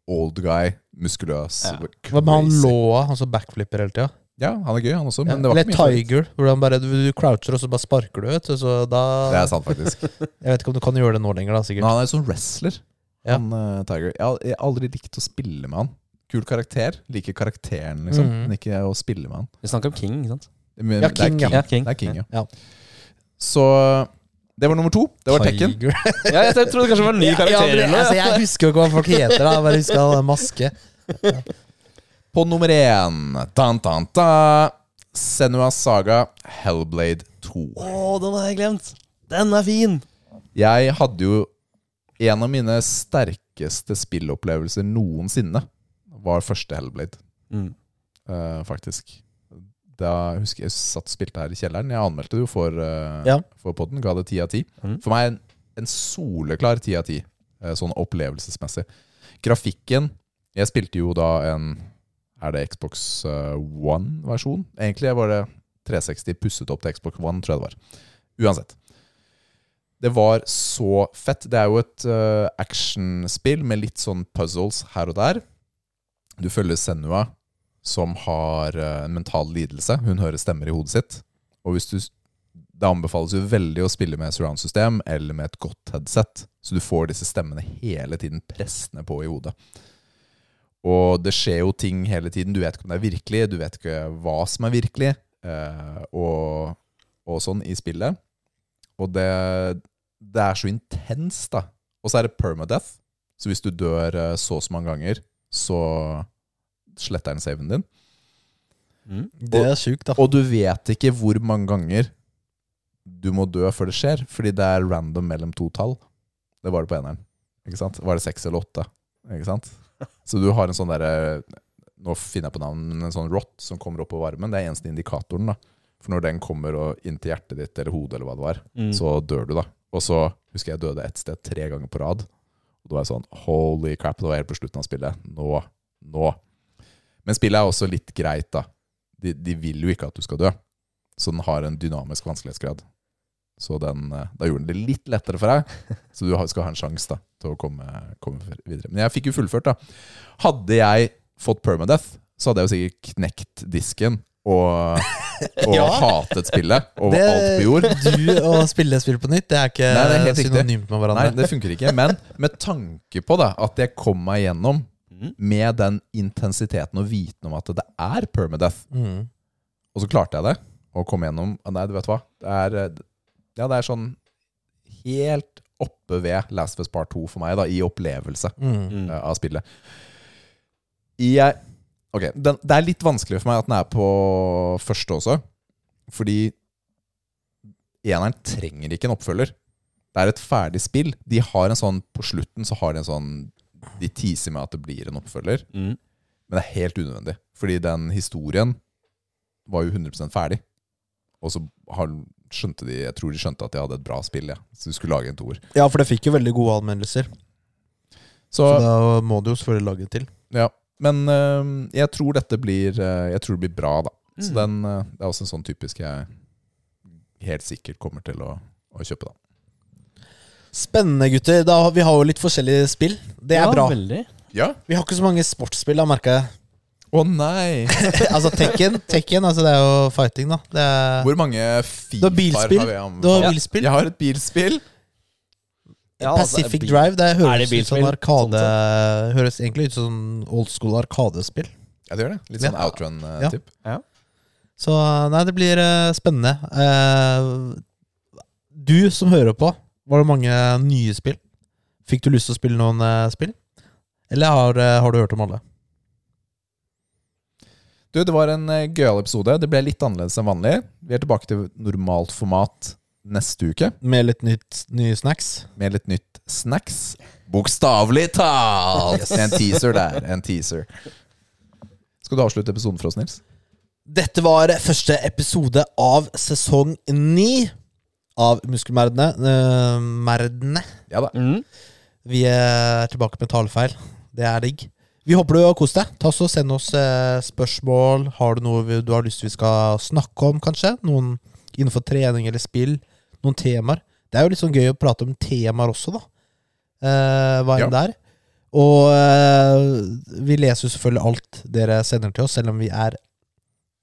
[SPEAKER 2] old guy, muskuløs.
[SPEAKER 3] Ja.
[SPEAKER 1] Hva med han
[SPEAKER 2] crazy.
[SPEAKER 1] låa, han som backflipper hele tida?
[SPEAKER 2] Ja, han er gøy, han også. Men det var
[SPEAKER 1] Eller
[SPEAKER 2] ikke min favoritt.
[SPEAKER 1] Tiger, hvor han bare, du, du croucher og så bare sparker du ut. Så da
[SPEAKER 2] Det er sant, faktisk.
[SPEAKER 1] Jeg vet ikke om du kan gjøre det nå lenger, da,
[SPEAKER 2] Men
[SPEAKER 1] sikkert.
[SPEAKER 2] han er jo sånn wrestler,
[SPEAKER 1] Ja.
[SPEAKER 2] han eh, Tiger. Jeg har jeg har aldri likt å spille med han. Kul karakter. Liker karakteren, liksom,
[SPEAKER 1] Mhm.
[SPEAKER 2] men ikke å spille med han.
[SPEAKER 3] Vi snakker om King, ikke sant?
[SPEAKER 2] Men,
[SPEAKER 1] Ja,
[SPEAKER 2] det er
[SPEAKER 1] King, ja.
[SPEAKER 3] Ja, King.
[SPEAKER 2] Det er King, ja.
[SPEAKER 1] Ja.
[SPEAKER 2] Så det var nummer to. Det var Tekken.
[SPEAKER 1] Tiger.
[SPEAKER 3] Ja, jeg trodde kanskje det var en ny
[SPEAKER 1] Ja,
[SPEAKER 3] karakter.
[SPEAKER 1] men
[SPEAKER 3] eller
[SPEAKER 1] jeg,
[SPEAKER 3] noe,
[SPEAKER 1] altså, jeg husker jo ikke hva folk heter, da. Jeg bare husker han hadde maske.
[SPEAKER 2] På nummer én dan, dan, da. Senua Saga Hellblade 2.
[SPEAKER 3] Å, den har jeg glemt! Den er fin!
[SPEAKER 2] Jeg hadde jo en av mine sterkeste spillopplevelser noensinne. Var første Hellblade,
[SPEAKER 3] Mm.
[SPEAKER 2] eh, faktisk. Da jeg husker jeg satt og spilte her i kjelleren. Jeg anmeldte det jo for, uh,
[SPEAKER 1] Ja.
[SPEAKER 2] for podden. Ga det ti av ti.
[SPEAKER 3] Mhm.
[SPEAKER 2] For meg en, en soleklar ti av ti, eh, sånn opplevelsesmessig. Grafikken Jeg spilte jo da en Er det Xbox eh, One-versjon? Egentlig var det 360 pusset opp til Xbox One, tror jeg det var. Uansett. Det var så fett. Det er jo et eh, actionspill med litt sånn puzzles her og der. Du følger Senua, som har eh, en mental lidelse. Hun hører stemmer i hodet sitt. Og hvis du, det anbefales jo veldig å spille med surround-system eller med et godt headset, så du får disse stemmene hele tiden pressende på i hodet. Og det skjer jo ting hele tiden. Du vet ikke om det er virkelig, du vet ikke hva som er virkelig, eh, og, og sånn i spillet. Og det, det er så intenst, da. Og så er det permadeath. Så hvis du dør eh, så og så mange ganger, så sletter den saven din.
[SPEAKER 3] Mm.
[SPEAKER 1] Det er sjukt, da.
[SPEAKER 2] Og du vet ikke hvor mange ganger du må dø før det skjer, fordi det er random mellom to tall. Det var det på eneren. Ikke sant? Var det seks eller åtte? Ikke sant? Så du har en sånn derre Nå finner jeg på navn, men en sånn rot som kommer opp på varmen. Det er eneste indikatoren, da. For når den kommer og inn til hjertet ditt eller hodet eller hva det var,
[SPEAKER 3] Mm.
[SPEAKER 1] Mm.
[SPEAKER 2] så dør du, da. Og så husker jeg jeg døde ett sted tre ganger på rad. Og da var jeg sånn Holy crap, det var helt på slutten av spillet. Nå. Nå. Men spillet er også litt greit, da. De, de vil jo ikke at du skal dø. Så den har en dynamisk vanskelighetsgrad. Så den, eh, da gjorde den det litt lettere for deg, så du har- skal ha en sjanse da, til å komme, komme videre. Men jeg fikk jo fullført, da. Hadde jeg fått permadeath, så hadde jeg jo sikkert knekt disken og, og
[SPEAKER 1] Ja.
[SPEAKER 2] hatet spillet og
[SPEAKER 1] Det-
[SPEAKER 2] alt på jord.
[SPEAKER 1] Du å spille spill på nytt, det er ikke
[SPEAKER 2] Nei, det er helt riktig.
[SPEAKER 1] synonymt med hverandre.
[SPEAKER 2] Nei, det funker ikke. Men med tanke på da, at jeg kom meg gjennom
[SPEAKER 3] Mhm.
[SPEAKER 2] med den intensiteten og viten om at det er permadeath,
[SPEAKER 1] Mm.
[SPEAKER 2] og så klarte jeg det, og kom gjennom Ah, Nei, du vet hva. Det er, eh, ja, det er sånn helt oppe ved Last of Us Part 2 for meg, da, i opplevelse
[SPEAKER 1] Mm.
[SPEAKER 2] eh, av spillet. Jeg Ok, den, det er litt vanskelig for meg at den er på første også, fordi eneren trenger ikke en oppfølger. Det er et ferdig spill. De har en sånn På slutten så har de en sånn De teaser med at det blir en oppfølger,
[SPEAKER 3] Mm.
[SPEAKER 2] men det er helt unødvendig. Fordi den historien var jo 100 ferdig. Og så har, skjønte de Jeg tror de skjønte at de hadde et bra spill, ja. så de skulle lage en toer.
[SPEAKER 1] Ja, for det fikk jo veldig gode anmeldelser.
[SPEAKER 2] Så,
[SPEAKER 1] Så da må du jo selvfølgelig lage til.
[SPEAKER 2] Ja, men øhm, jeg tror dette blir øh, Jeg tror det blir bra, da. Så
[SPEAKER 3] Mm.
[SPEAKER 2] den, øh, det er også en sånn typisk jeg helt sikkert kommer til å, å kjøpe, da.
[SPEAKER 1] Spennende, gutter. Da, har- vi har jo litt forskjellige spill. Det er
[SPEAKER 3] ja,
[SPEAKER 1] bra.
[SPEAKER 3] Veldig.
[SPEAKER 2] Ja?
[SPEAKER 1] Vi har ikke så mange sportsspill, da, merker jeg.
[SPEAKER 2] Å nei!
[SPEAKER 1] altså Tekken, Tekken altså, det er jo fighting, da. Det er,
[SPEAKER 2] Hvor mange
[SPEAKER 1] har
[SPEAKER 2] Fifaer
[SPEAKER 1] bilspill.
[SPEAKER 2] har vi
[SPEAKER 1] du har
[SPEAKER 2] anbefalt?
[SPEAKER 1] bilspill.
[SPEAKER 2] Jeg har et bilspill.
[SPEAKER 3] Ja, altså,
[SPEAKER 1] Pacific
[SPEAKER 3] bil-
[SPEAKER 1] Drive. Det
[SPEAKER 3] Er
[SPEAKER 1] høres
[SPEAKER 3] det
[SPEAKER 1] ut som
[SPEAKER 3] bilspill?
[SPEAKER 1] arkade
[SPEAKER 3] Sånn
[SPEAKER 1] Høres egentlig ut som old school arkadespill.
[SPEAKER 2] Ja, det gjør det. Litt sånn
[SPEAKER 1] Ja. Ja.
[SPEAKER 2] outrun-tipp.
[SPEAKER 1] Så nei, det blir eh, spennende. Eh, du som hører på, var det mange nye spill? Fikk du lyst til å spille noen eh, spill? Eller har, eh, har du hørt om alle?
[SPEAKER 2] eh, Du, det var en øh, gøyal episode. Det ble litt annerledes enn vanlig. Vi er tilbake til normalt format neste uke
[SPEAKER 1] Med litt nytt, nye snacks.
[SPEAKER 2] med litt nytt snacks. Bokstavelig talt! En teaser der. En teaser. Skal du avslutte episoden for oss, Nils?
[SPEAKER 1] Dette var første episode av sesong ni av Muskelmerdene. Eh, merdene.
[SPEAKER 2] Ja da.
[SPEAKER 3] Mm.
[SPEAKER 1] Vi er tilbake med talefeil. Det er digg. Vi håper du har kost deg. Ta så og Send oss eh, spørsmål. Har du noe vi- du har lyst til vi skal snakke om, kanskje? Noen innenfor trening eller spill? Noen temaer? Det er jo litt sånn gøy å prate om temaer også, da. Eh, hva enn det er. Og eh, vi leser jo selvfølgelig alt dere sender til oss, selv om vi er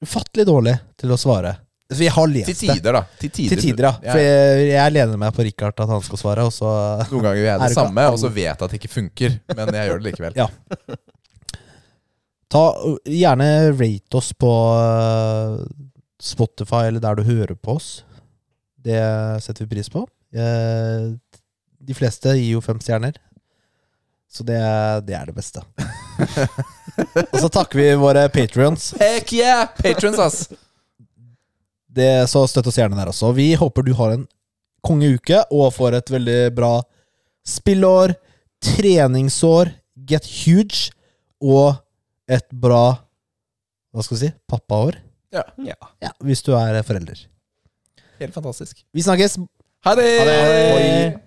[SPEAKER 1] ufattelig dårlige til å svare. Vi har
[SPEAKER 2] Til
[SPEAKER 1] lest det.
[SPEAKER 2] tider, da. Til tider,
[SPEAKER 1] Til tider, ja. For jeg, jeg lener meg på Richard at han skal svare, og så
[SPEAKER 2] Noen ganger gjør jeg
[SPEAKER 1] Er
[SPEAKER 2] det,
[SPEAKER 1] det ikke
[SPEAKER 2] samme, og så
[SPEAKER 1] alle-
[SPEAKER 2] vet jeg at det ikke funker. Men jeg gjør det likevel.
[SPEAKER 1] Ja. Ta ø, gjerne rate oss på ø, Spotify eller der du hører på oss. Det setter vi pris på. Eh, De fleste gir jo fem stjerner, så det, det er det beste. Og så takker vi våre patrions.
[SPEAKER 2] Heck yeah! Patrons, ass!
[SPEAKER 1] Så støtt oss gjerne der også. Vi håper du har en kongeuke og får et veldig bra spillår, treningsår, get huge og et bra Hva skal vi si? Pappaår.
[SPEAKER 3] Ja.
[SPEAKER 1] Ja, hvis du er forelder.
[SPEAKER 2] Helt fantastisk.
[SPEAKER 1] Vi snakkes!
[SPEAKER 2] Ha det!
[SPEAKER 3] Ha det!